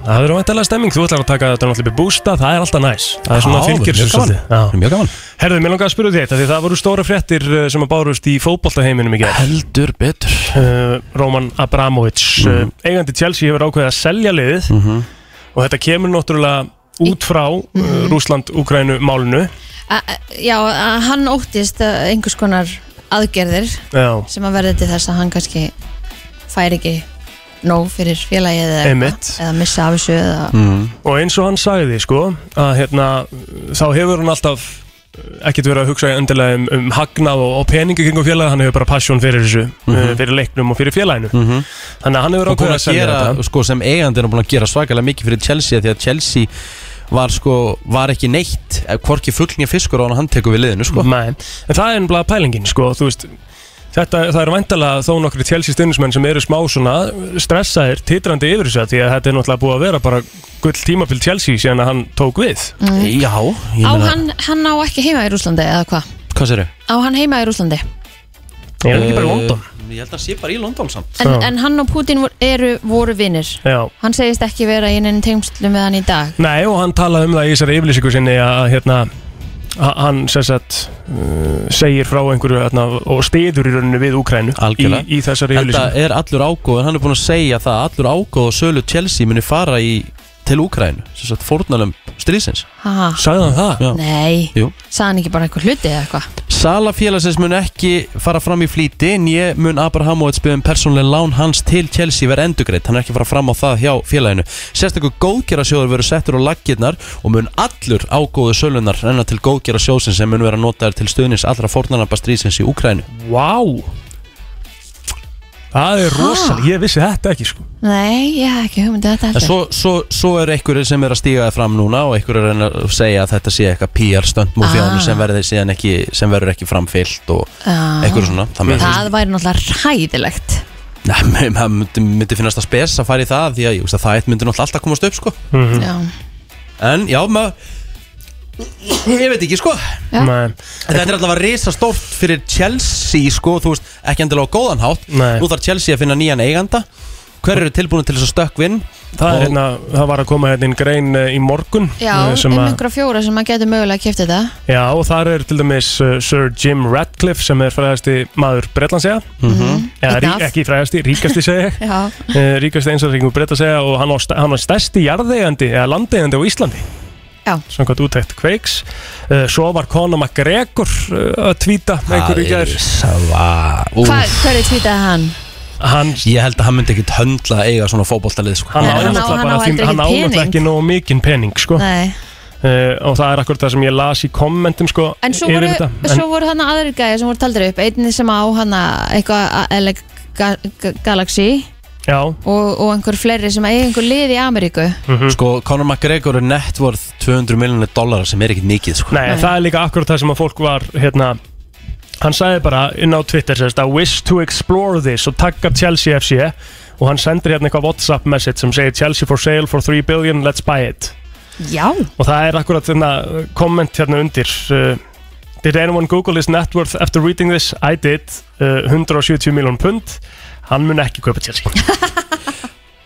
D: Mm. Það verður væntalega stemming, þú ætlar að taka þetta náttúrulega upp í bústa, það er alltaf næs Það er svona
B: Já,
D: fylgir
B: mjög
D: þessu
B: gaman.
D: svolítið. Já. Mjög gaman Herðu, mér langar að spyrja þér þetta því það voru stóra fréttir eh, sem að bárust í fótboltaheiminum í gerð Heldur betur Eh, Roman Abramovic, mm. eigandi Chelsea hefur ákveðið að selja liðið og þetta kemur náttúrulega út frá mm Rúsland-Ukrænu málinu
C: A- a- Já, að hann óttist að einhvers konar aðgerðir
D: Já.
C: sem að verði til þess að hann kannski fær ekki nóg fyrir félagið eða,
D: Einmitt.
C: eða missa af þessu eða
D: og eins og hann sagði sko að hérna, þá hefur hann alltaf eh, ekkert verið að hugsa endilega um, um hagnað og, og peningi kringum félagi hann hefur bara passion fyrir þessu, mm
B: Mhm.
D: fyrir leiknum og fyrir félaginu
B: Mhm.
D: þannig að hann hefur
B: og búin
D: ákveðið að
B: að
D: selja þetta
B: gera, sko, sem eigandi er hann búin að gera svakalega mikið fyrir Chelsea því að Chelsea var sko, var ekki neitt eh, hvorki fugglinja fiskur á hann hann tekur við liðinu sko
D: Nei, en það er ennblega pælingin sko, þú veist Þetta, það er væntalega þó nokkri Chelsea stundismenn sem eru smá svona stressaðir, titrandi yfir þessu því að þetta er náttúrulega búið að vera bara gull tímabild Chelsea síðan að hann tók við
C: Mm.
B: Eh,
D: Já,
C: Á hann, hann á ekki heima í Rúslandi eða hvað?
B: Hvað sér þau?
C: Á hann heima í Rúslandi
D: Ég er ekki bara í London
B: Ég held að hann sé bara í London samt
C: En, en hann og Putin voru, eru, voru vinnir
D: Já
C: Hann segist ekki vera í neinn tengslum með hann í dag
D: Nei, og hann talaði um það í þessari yfirlýsingu sinni að hérna, h- hann sem sagt, uh, segir frá einhverju hérna, og stiður í rauninu við Úkrænu í,
B: Algjörlega.
D: í þessari
B: Þetta
D: yfirlýsingu
B: er allur ágóð, en hann er búin að segja það að allur ágóð og sölu Chelsea muni fara í, til Úkrænu, sem sagt fórnalömb stríðsins
C: Ha?
D: Sagði hann það?
B: Já.
C: Nei,
B: Jú.
C: sagði hann ekki bara eitthvað hluti eða eitthvað
B: Sala félagsins mun ekki fara fram í flýti en ég mun Abrahamovits byggðum um persónuleg lán hans til Chelsea verið endugreitt hann er ekki að fara fram á það hjá félaginu Sérstakur góðgerasjóður verður settur á laggirnar og mun allur ágóðu sölunar renna til góðgerasjóðsins sem mun vera notaður til stuðnins allra fórnarnabba stríðsins í Ukrænu
D: Vá Það er rosalega, ég vissi þetta ekki sko
C: Nei, ég hef ekki hugmyndið þetta
B: En
C: heldur
B: svo, svo, svo er einhverjir sem er að stíga það fram núna og einhverjir er að reyna að segja að þetta sé eitthvað PR stöndmú fjánu
C: Ah.
B: sem, verði síðan ekki, sem verður ekki framfyllt og
C: Ah.
B: einhverjum svona Þannig að-
C: Það væri náttúrulega hræðilegt
B: Nei, [LAUGHS] mér- maður myndi, myndi finnast það spes að fara í það því að ég veist að það eitt myndi náttúrulega alltaf komast upp sko
D: Mhm.
C: Já.
B: En já, maður Ég veit ekki sko
D: Já. Nei.
B: Þetta er alltaf að risa stórt fyrir Chelsea sko, þú veist, ekki endilega á góðan hátt
D: Nei.
B: Nú þarf Chelsea að finna nýjan eiganda Hver eru tilbúin til þess að stökkvinn
D: Það, er, hérna, það var að koma hérna inn grein eh, í morgun
C: Já,
D: eh, sem
C: um
D: að-
C: einhverja fjóra sem maður getur mögulega að kipta þetta
D: Já, og þar er til dæmis uh, Sir Jim Ratcliffe sem er fræðasti maður Bretlandsega mm -hmm. Já,
C: Í
D: rí,
C: dag.
D: ekki fræðasti, ríkasti segja
C: [LAUGHS]
D: ég.
C: Já,
D: Eh, ríkasti einstaklingur breyta að segja og hann var, hann var stærsti jarðegandi eða landeigandi á Íslandi
C: Já.
D: Samkvæmt útækt kveiks Eh, Svo var Conor McGregor eh, að tvíta með einhverju í gær
B: Sva
C: Hvað, hverju tvítið hann?
D: hann,
B: Ég held að hann myndi ekkit höndla að eiga svona fótboltalið sko.
D: Hann á
C: Nei, hann á-
D: náttúrulega
C: hann á
D: bara því-
C: heldur
D: hann á
C: ekki
D: náttúrulega
C: pening.
D: ekki nógu mikinn pening sko.
C: Nei
D: Eh, og það er akkur það sem ég las í kommentum sko,
C: En svo
D: yfir
C: voru,
D: þetta.
C: svo voru hann aðrir gæði sem voru taldir upp Einni sem á hann eitthvað Elec Ga- Ga- Galaxy
D: Já
C: og, og einhver fleiri sem eiga einhver lið í Ameríku
B: Sko, Conor McGregor er net worth 200 miljonir dollara sem er ekkit mikið sko.
D: Nei, það er líka akkurat það sem að fólk var hérna, hann sagði bara inn á Twitter sérst, I wish to explore this og tagga Chelsea FC og hann sendir hérna eitthvað WhatsApp message sem segir Chelsea for sale for 3 billion, let's buy it
C: Já
D: og það er akkurat þarna komment hérna undir uh, Did anyone google his net worth after reading this? I did uh, 170 miljón pund hann mun ekki kaupa Chelsea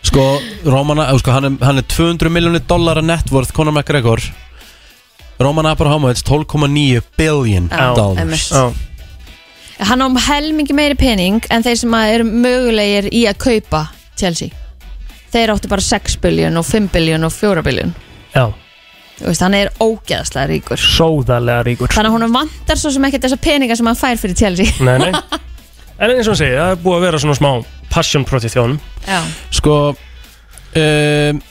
B: Sko, Rómana, eh, sko hann, er, hann er 200 miljonir dollara net worth Conor McGregor Róman Abrahamovits 12,9 billion
C: Já,
B: dollars
C: einmitt. Hann á helmingi meiri pening en þeir sem að eru mögulegir í að kaupa Chelsea Þeir áttu bara 6 biljón og 5 biljón og 4 biljón
D: Já.
C: Þú veist, hann er ógeðslega ríkur
D: Sóðarlega ríkur
C: Þannig að hún vantar svo sem ekkert þessa peninga sem hann fær fyrir Chelsea
D: Nei, nei En eins og hann segi, það er búið að vera svona smá passion proti þjónum
C: Já
B: Sko um,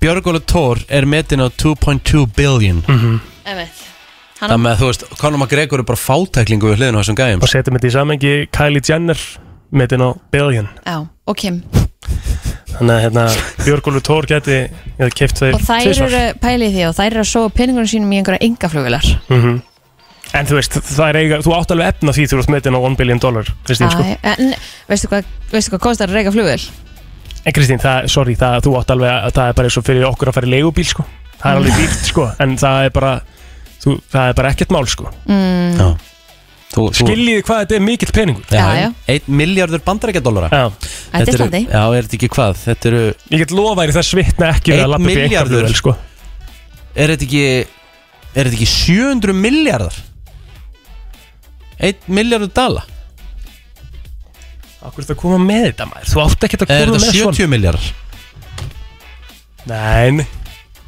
B: Björgóla Thor er metin á 2.2 billion
D: mm -hmm.
C: Einmitt. Hann-
B: Þannig að þú veist, Conor McGregor er bara fátæklingu við hliðinu á þessum gæjum
D: Og setjum þetta í samengi Kylie Jenner metin á Billion
C: Já, og Kim
D: Þannig að hérna, Björgólu Tór geti keift þeir
C: Og þær
D: tvisvar.
C: eru pælið í því og þær eru að sofa peningunum sínum í einhverja engaflugular
D: Mhm. En þú veist, það er eiga, þú átt alveg efna því þú ert metin á 1 billion dollar Kristín, sko.
C: En veistu hvað, veistu hvað kostar að reyka flugvel?
D: En Kristín, það, sorry, það, þú átt alveg að það er bara eins og fyrir okkur að fara í leigubíl sko. Það er
C: Mm.
D: alveg dýrt, sko, en það er bara þú, það er bara ekkert mál, sko
C: Mm.
B: Já. Þú, þú,
D: Skiljiði hvað þetta er mikill peningur
B: Já, já. Einn miljardur bandarækjadólara
D: Já
C: Þetta er slatti.
B: Já, er þetta ekki hvað? Þetta eru
D: Ég get lofa þér það svitna ekki við að
B: Einn
D: labba upp í
B: milljarður
D: einkaflugvél, sko.
B: Er þetta ekki Er þetta ekki 700 miljardar? Einn miljardur dala?
D: Akkur er þetta að koma með þetta maður Þú átt ekki að
B: Er
D: koma með
B: þetta 70 miljardar?
D: Nei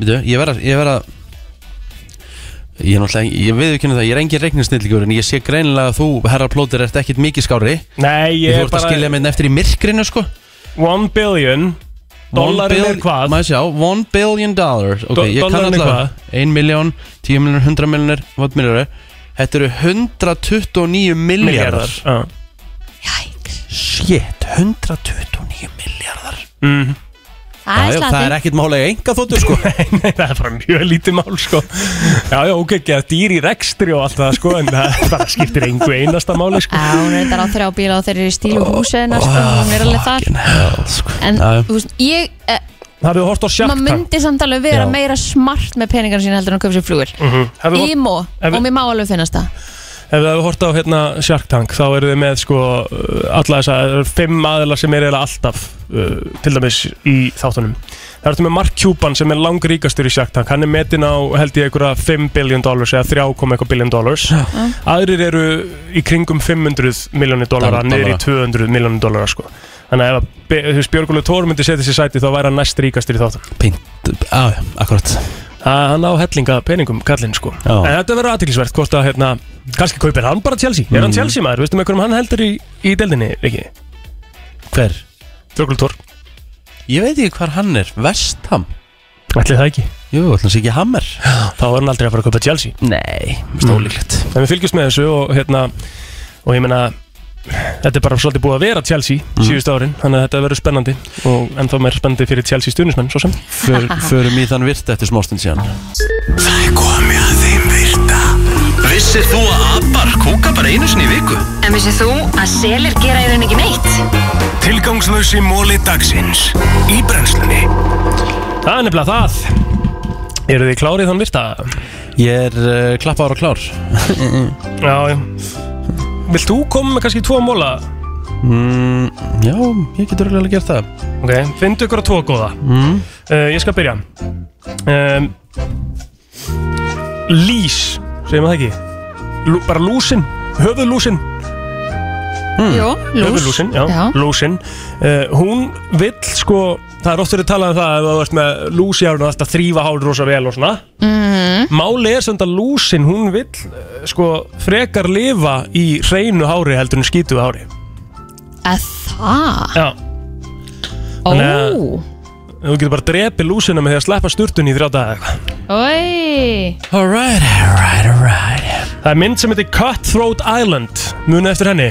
B: Veitu, ég verð að Ég verð að Ég er náttúrulega, ég veið ekki það, ég er engin reikningsnilligur en ég sé greinilega að þú, herra plótir, ert ekkit mikið skári
D: Nei, ég
B: Þú
D: er
B: ert að
D: bara-
B: skilja minn eftir í myrkrinu, sko
D: One billion Dollarinn er hvað?
B: Maður sjá, one billion dollars Ok,
D: Do-
B: ég kann
D: dollarinn er
B: allavega Ein miljón, tíu miljonir, hundra miljonir, hvað miljonir Þetta eru 129 miljardar
D: Já
B: Shit, 129 miljardar
D: mm.
B: Já, já, það er ekkit málega enga þóttur sko
D: [LAUGHS] Nei, nei, það er bara mjög lítið mál sko Já, já, ok, ekki að dýr í rekstri og allt það sko En það, það skiptir engu einasta máli sko
C: Já, hún er þetta á þrjá bíla og þeir eru í stílu húsina sko, hún er alveg þar
B: hell, sko.
C: En
D: Já, já.
C: þú veist, ég eh,
D: Hafið þú hort á Shark
C: maður
D: Tank?
C: myndi samt alveg vera
D: Já.
C: meira smart með peningarna sína heldur en að köpa sér flugvel
D: Mhm. Hafið þú-
C: Ímó,
D: Ef-
C: og mér má alveg finnast það
D: Ef þið hefur hort á hérna Shark Tank þá eru þið með sko uh, alla þess að fimm aðila sem er eiginlega alltaf uh, til dæmis í þáttunum Það ertu með Mark Cuban sem er langríkastur í Shark Tank hann er metin á held ég einhverja 5 billion dollars eða 3, koma eitthvað billion dollars aðrir eru í kringum 500 miljónir dollara
B: Dollara.
D: niður í 200 miljónir dollara sko Þannig að ef að Be- þú veist, Björgólu Tór myndi setja sér sæti þá væri hann næst ríkastur í þáttunum
B: Pint, á, akkurat
D: að hann á hellinga peningum kallinn sko
B: Já.
D: en þetta verður aðtiklisvert hvort að hérna kannski kaupir hann bara Chelsea er hann
B: Mhm.
D: Chelsea maður, veistu með hverjum hann heldur í, í deldinni ekki?
B: Hver?
D: Þrökultór
B: Ég veit ekki hvar hann er, Vestham
D: Ætli það ekki?
B: Jú, ætli það ekki
D: [LAUGHS]
B: Hammer
D: þá er hann aldrei að fara að kaupa Chelsea
B: Nei, stólíklegt
D: en við fylgjumst með þessu og hérna og ég meina þetta er bara svolítið búið að vera Chelsea síðustu árin þannig að þetta verður spennandi og ennþá meir spennandi fyrir Chelsea stuðnismenn svo sem
B: För, Förum í þann virt eftir smástund síðan
A: Það er komið að þeim virta Vissir þú að abar kúka bara einu sinni í viku?
K: En vissið þú að selir gera í rauninni ekki neitt?
A: Tilgangslösi móli dagsins Í brennslunni
D: það er nefnilega það eru þið klárið þann virta?
B: Ég er uh, klappaður og klár
D: já, já Vilt þú koma með kannski tvo móla?
B: mm, Já, ég getur alveg að gera það
D: Ok, fyndu ykkur að tvo góða
B: mm.
D: uh, Ég skal byrja um, Lís Segir maður það ekki Lú, Bara lúsin, höfuðlúsin
C: Jó, lús
D: Höfuðlúsin, já, Mm. lúsin uh, Hún vill sko Það er oft verið talað um það að þú ert með lús í hárinu og alltaf þrýfa hárið rosa vel og svona
C: Mhm.
D: Máli er samt að lúsin hún vill uh, sko frekar lifa í hreinu hári heldur en skítuðu hári
C: Að það
D: Já
C: Ó.
D: Þannig að Þú getur bara að drepi lúsina með því að sleppa sturtun í þrjá daga eitthvað
C: Oi.
B: Alright, alright, alright
D: Það er mynd sem heitir Cutthroat Island Muna eftir henni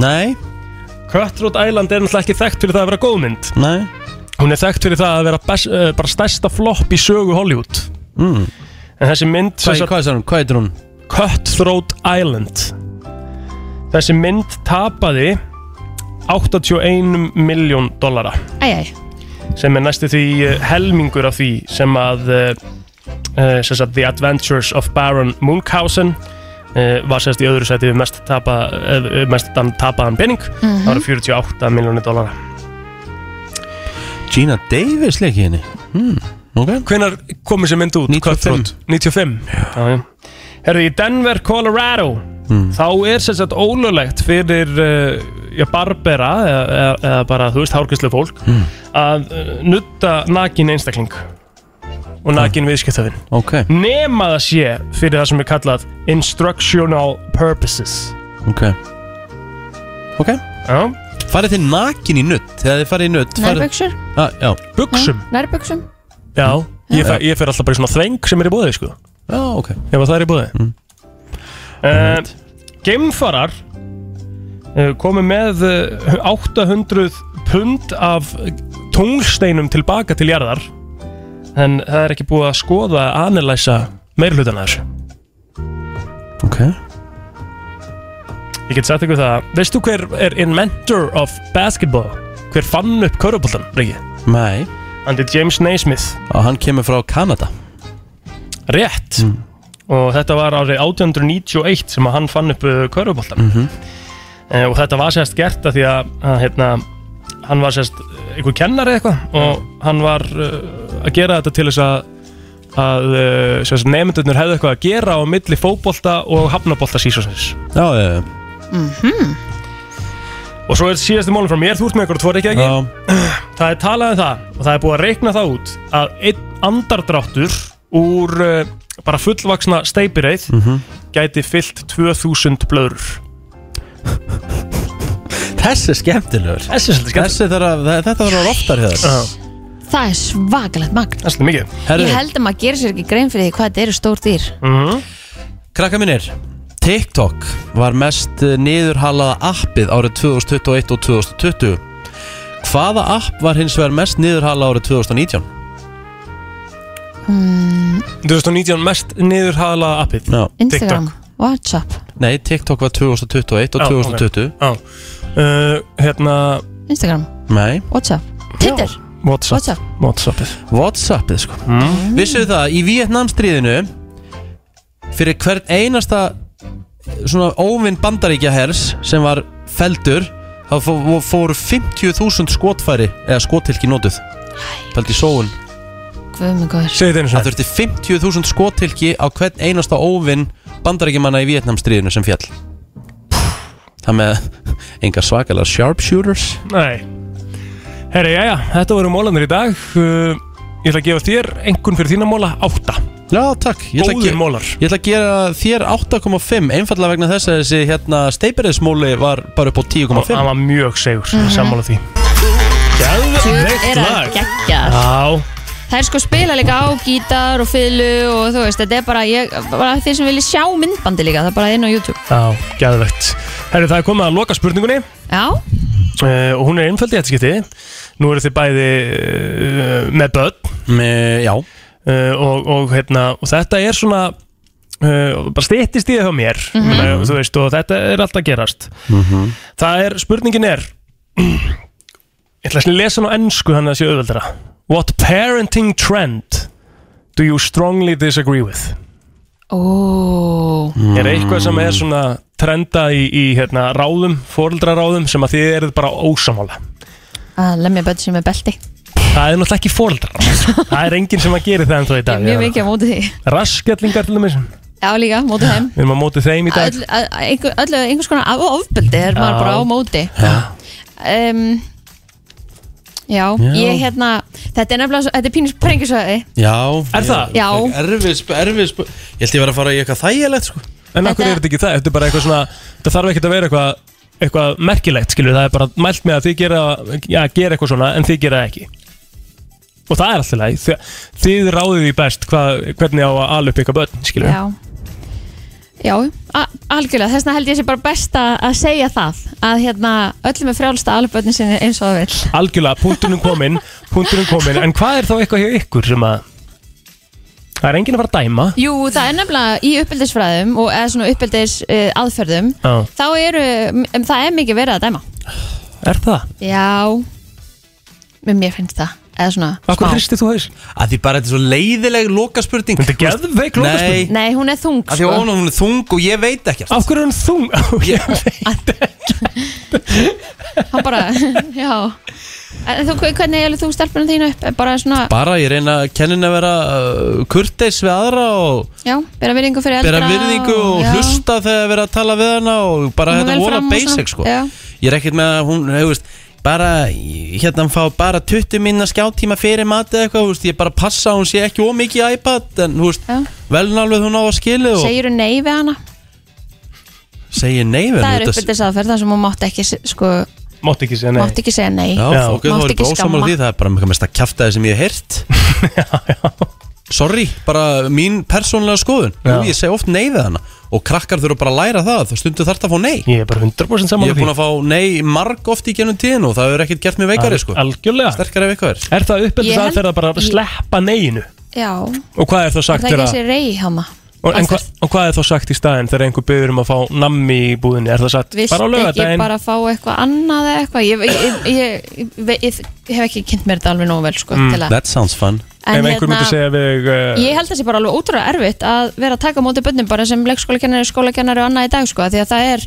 B: Nei
D: Cutthroat Island er náttúrulega ekki þekkt fyrir það að vera góð mynd
B: Nei
D: Hún er þekkt fyrir það að vera best, uh, bara stærsta flopp í sögu Hollywood
B: mm.
D: En þessi mynd sem
B: Hvað
D: sagt-
B: hva, hva heitir hún?
D: Cutthroat Island Þessi mynd tapaði 81 miljón dollara
C: Æj, æj
D: sem er næstu því eh, helmingur af því sem að eh, eh, sem sagt, The Adventures of Baron Munchausen eh, var sérst í öðru sæti við mest, tapa, eh, mest dan, tapaðan pening
C: Mhm.
D: það voru 48 miljónir dólara
B: Gina Davis leik í henni mm. okay.
D: Hvenar kom þessi mynd út? 95 95 Já, já. Herðu, í Denver, Colorado
B: Mm.
D: þá er sem sagt ólulegt fyrir uh, já, barbera eða, eða, eða bara, þú veist, hárgæslu fólk
B: Mm.
D: að uh, nutta nakin einstakling og nakin viðskiptafinn
B: Ok,
D: nema það sé fyrir það sem er kallað instructional purposes
B: ok Ok
D: Já
B: Farið þið nakin í nutt Þegar þið farið í nutt farið-
C: Nærbuxur?
B: Ah, Já
D: Buxum?
C: Nærbuxum
D: Já, ég fer, ég fer alltaf bara í svona þveng sem er í bóðið sko
B: Já, Ah, ok
D: Ef að það er í búði mm. Eh, Geimfarar uh, komu með uh, 800 pund af tunglsteinum tilbaka til jarðar en það er ekki búið að skoða að analysa meirhlutana þessu
B: Ok
D: Ég get sagt ykkur það Veistu hver er inventor of basketball? Hver fann upp köruboltan, Riki?
B: Nei
D: Andy James Naismith
B: Og hann kemur frá Kanada
D: Rétt Og þetta var árið 1891 sem að hann fann upp köruboltan mm
B: -hmm.
D: og þetta var sérst gert að því að, að hérna, hann var sérst eh, einhver kennari eitthvað og hann var uh, að gera þetta til þess að að uh, sérst nefndurnir hefðu eitthvað að gera á milli fótbolta og hafnabolta sísonsins
B: Já, já, já
D: og svo er síðastu málum frá mér, þú ert með ykkur og þú er ekki ekki það er talað um það og það er búið að reikna það út að einn andardráttur úr uh, bara fullvaksna steipireið
B: Mhm.
D: gæti fyllt 2000 blöður
B: Þessi er skemmtilegur
D: Þessi er svolítið skemmtilegur.
B: Þessi þarf að, þe- þetta þarf að vera oftar hér
D: Já.
C: Það er svakalegt magn
D: Það er svolítið mikið
C: Ég held að maður gerir sér ekki grein fyrir því hvað þetta eru stór dýr
D: -hmm.
B: Krakka mínir TikTok var mest eh, niðurhalaða appið árið 2021 og 2020 Hvaða app var hins vegar mest niðurhalaða árið 2019?
C: mm,
D: 2019 mest niðurhala appið
B: Já.
C: Instagram, Whatsapp
B: Nei, TikTok var 2021 og
D: Já,
B: 2020
D: ok. Já. uh, Hérna
C: Instagram,
B: Nei
C: Whatsapp, Tinder
D: Whatsapp
C: Whatsapp.
D: Whatsappið
B: Whatsappið sko mm. Vissuðu það, í Vietnamstríðinu Fyrir hvern einasta Svona óvinn bandaríkja hers Sem var feldur Þá fó- fóru 50.000 skotfæri Eða skotilki notuð Fældi í sóun
C: Guð minn góður
B: Það þurfti 50.000 skotilki Á hvern einasta óvinn bandaríkjamanna Í Vietnamstríðinu sem fjall Það með engar svakalega sharpshooters
D: Nei Herri, jæja, þetta voru mólanir í dag uh, Ég ætla að gefa þér einhvern fyrir þína móla átta
B: Já, takk Ég ætla að
D: Góðir
B: ge-
D: mólar
B: Ég ætla að gera þér 8,5 einfallega vegna þess að þessi hérna steipiriðsmóli var bara upp á 10,5
D: Hann var mjög segur, mm
C: Mhm.
D: sammála því Geðveikt
C: Djöfull er hann
D: lag.
C: geggjaður.
D: Já,
C: Það er sko spila líka á gítar og fiðlu og þú veist, þetta er bara, ég, bara þeir sem vilja sjá myndbandi líka, það er bara inn á YouTube
D: já, geðvegt Herri, það er komið að loka spurningunni
C: Já,
D: uh, Og hún er einföldi í þetta skipti Nú eru þið bæði uh, með börn eh,
B: með, Já
D: og, og, hérna, og þetta er svona uh, Bara styttist í það hjá mér mm
B: Mhm.
D: Þú veist, og þetta er alltaf að gerast
B: Mhm.
D: Það er, spurningin er Ég ætla að lesa hann á ennsku þannig að það sé auðveldara What parenting trend do you strongly disagree with?
C: ó
D: Er eitthvað sem er svona trenda í, í hérna, ráðum, fóreldraráðum sem að þið eruð bara ósamála
C: að lemja börn sem er belti
D: Það er náttúrulega ekki fóreldrar Það er enginn sem að gera það ennþá í dag
C: Mjög mikið á móti því
D: Raskjallingar til dæmis Við
C: Já líka, móti þeim
D: erum að móti þeim í dag
C: Öll- að- að einhver- Öllu einhvers konar af ofbeldi er maður
D: Já.
C: bara á móti um, Já,
B: Já.
C: ég hérna Þetta er nefnilega, svo- þetta er pínus prengjusöði
B: Já
C: Er
B: ég-
C: það? Já.
B: Erfið, sp- erfið sp- Ég held ég var að fara í eitthvað þægilegt sko
D: En af hverju er þetta ekki það? Þetta er bara eitthvað svona Það þarf ekkert að vera eitthvað, eitthvað merkilegt skilur Það er bara mælt með að þið gera, já, gera eitthvað svona en þið gera það ekki Og það er alltaf leið Þið, þið ráðið því best hvað, hvernig á að ala upp eitthvað börn skilur
C: Já Já, a- algjörlega, þess vegna held ég sé bara best að að segja það að hérna öllum er frjálst að alveg sinni eins og það vil
D: Algjörlega, punkturinn kominn Punkturinn kominn, en hvað er þá eitthvað hjá ykkur sem að Það er enginn að fara að dæma
C: Jú, það er nefnilega í uppeldisfræðum og eða svona uppeldis uh, aðferðum
D: Já,
C: þá eru, um, það er mikið verið að dæma
D: er það?
C: Já Mér- Mér finnst það eða svona smá.
D: hristið þú haus?
B: Að því bara þetta er svo leiðileg lokaspurning Þetta
D: er geðveik
B: Nei,
C: Nei, hún er þung
B: að því
C: sko. [LAUGHS]
B: að hún er þung og ég veit ekkert
D: Af hverju er hún þung? [LAUGHS] Ég
C: Hann bara, [LAUGHS] já En þú, hvernig er þú stelpunum þínu upp? Bara svona,
B: Bara ég reyna að kennin að vera uh, kurteis við aðra og
C: já, bera virðingu fyrir eldra
B: bera virðingu og
C: já.
B: hlusta þegar við erum að tala við hana og bara
C: Koma
B: þetta
C: vel
B: vola
C: fram og svona,
B: basic sko
C: já.
B: Ég er ekkert með að hún, þú veist bara, hérna hann fá bara 20 minna skjáttíma fyrir mat eða eitthvað, þú veist, ég bara passa að hún sé ekki ómikið í iPad en, þú veist,
C: Já.
B: velnálveg hún á að skilja og
C: Segirðu nei við hana?
B: segir nei við
C: það er
B: hana, þú veist,
C: uppbyrðisaðferð þar sem hún mátt ekki se- sko,
D: Mátt ekki segja nei
C: mátt ekki segja nei
B: Já, ok, þá
C: mátt
B: er
C: ekki
B: bara ósamar
C: skamma
B: því, það er bara mjög mest að kjafta það sem ég hef heyrt sorry, bara mín persónlega skoðun Jú, ég segi oft nei við hana og krakkar þurfa bara að læra það, það stundu þarf það að fá nei
D: Ég er bara 100%
B: Ég
D: saman
B: er búin að fá nei marg oft í genum tíðin og það hefur ekkert gert mér veikari sko
D: Algjörlega
B: Sterkari ef eitthvað er
D: Er það
C: Ég
D: uppeldis
C: held-
D: aðferð að bara
C: ég-
D: sleppa neginu?
C: Já,
D: Og hvað er þá
C: það
D: sagt
C: er
D: þegar
C: ekki
D: að-
C: þessi reyháma
D: og, en, hva, og hvað er þá sagt í staðinn þegar einhver byrður um að fá nammi í búðinni? Er það sagt
C: Vilt
D: bara á
C: ekki
D: lögadaginn?
C: bara fá eitthvað annað eða eitthvað ég, ég, ég, ég, ég, ég, ég hef ekki kynnt mér þetta alveg nógu vel sko,
D: Mm.
C: til að-
B: That sounds fun
C: En
D: Ef einhver
C: hérna-
D: myndi segja við uh,
C: Ég held að það sé bara alveg ótrúlega erfitt að vera að taka á móti bönnum bara sem leikskólakennari, skólakennari og annað í dag sko, af því að það er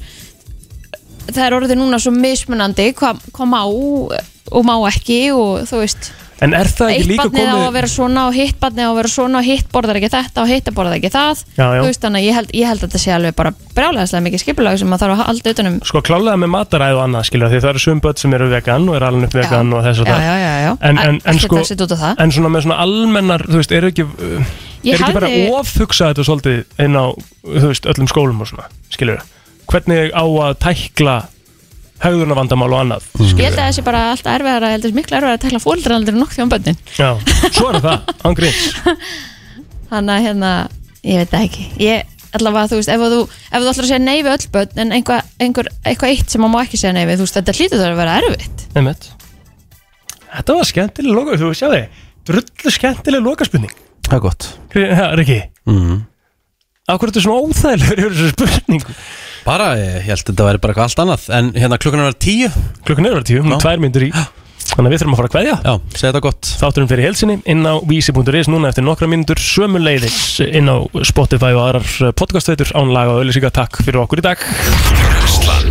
C: það er orðið núna svo mismunandi hvað hva má og má ekki og þú veist
D: En er það ekki
C: eitt
D: líka
C: barnið á að
D: komið
C: vera svona og hitt barnið á að vera svona og hitt borðar ekki þetta og hitt borðar ekki það
D: Já, já.
C: þú veist þannig að ég held, ég held að þetta sé alveg bara brjálæðislega mikið skipulag sem maður þarf að halda um. utanum
D: Sko klálega með mataræð og annað skilja því það eru sum börn sem eru vegan og eru alveg upp vegan og þess og
C: já,
D: það
C: já, já, já.
D: En, en, en,
C: Ekkert
D: sko,
C: þessi út á það.
D: en svona með svona almennar þú veist, eru ekki, uh,
C: Ég
D: er ekki bara
C: hafði-
D: ofhugsa þetta svolítið inn á þú veist, öllum skólum og svona skilur hvernig á að tækla haugðurna og annað
C: ég
D: skilurðu?
C: held að þessi bara alltaf erfiðara, ég held að þessi miklu erfiðara að tekla fóldraldur nokk því um bönnin
D: Já, svo er það, án gríns
C: þannig að hérna, ég veit það ekki ég, allavega þú veist, ef þú, ef þú ætlar að segja nei við öll börn en einhvað, einhver, eitthvað eitt sem maður má ekki segja nei við, þú veist, þetta hlýtur það að vera erfitt
D: Einmitt. Þetta var skemmtileg loka, þú sjáði drullu skemmtileg lokaspurning
B: Það er gott
D: Riki,
B: mm.
D: akkur er þetta svona óþægilegur yfir þessu spurningu
B: Bara, ég held að þetta væri bara eitthvað allt annað En hérna klukkan er að vera tíu
D: Klukkan er að vera tíu, hún er tvær myndur í Þannig að við þurfum að fara að kveðja
B: Já, segja þetta gott
D: Þátturum fyrir helsinni inn á vísi.is Núna eftir nokkra myndur sömu leiðis eh, inn á Spotify og aðrar podcastveitur án laga og auðlýsinga Takk fyrir okkur í dag
A: Brenslan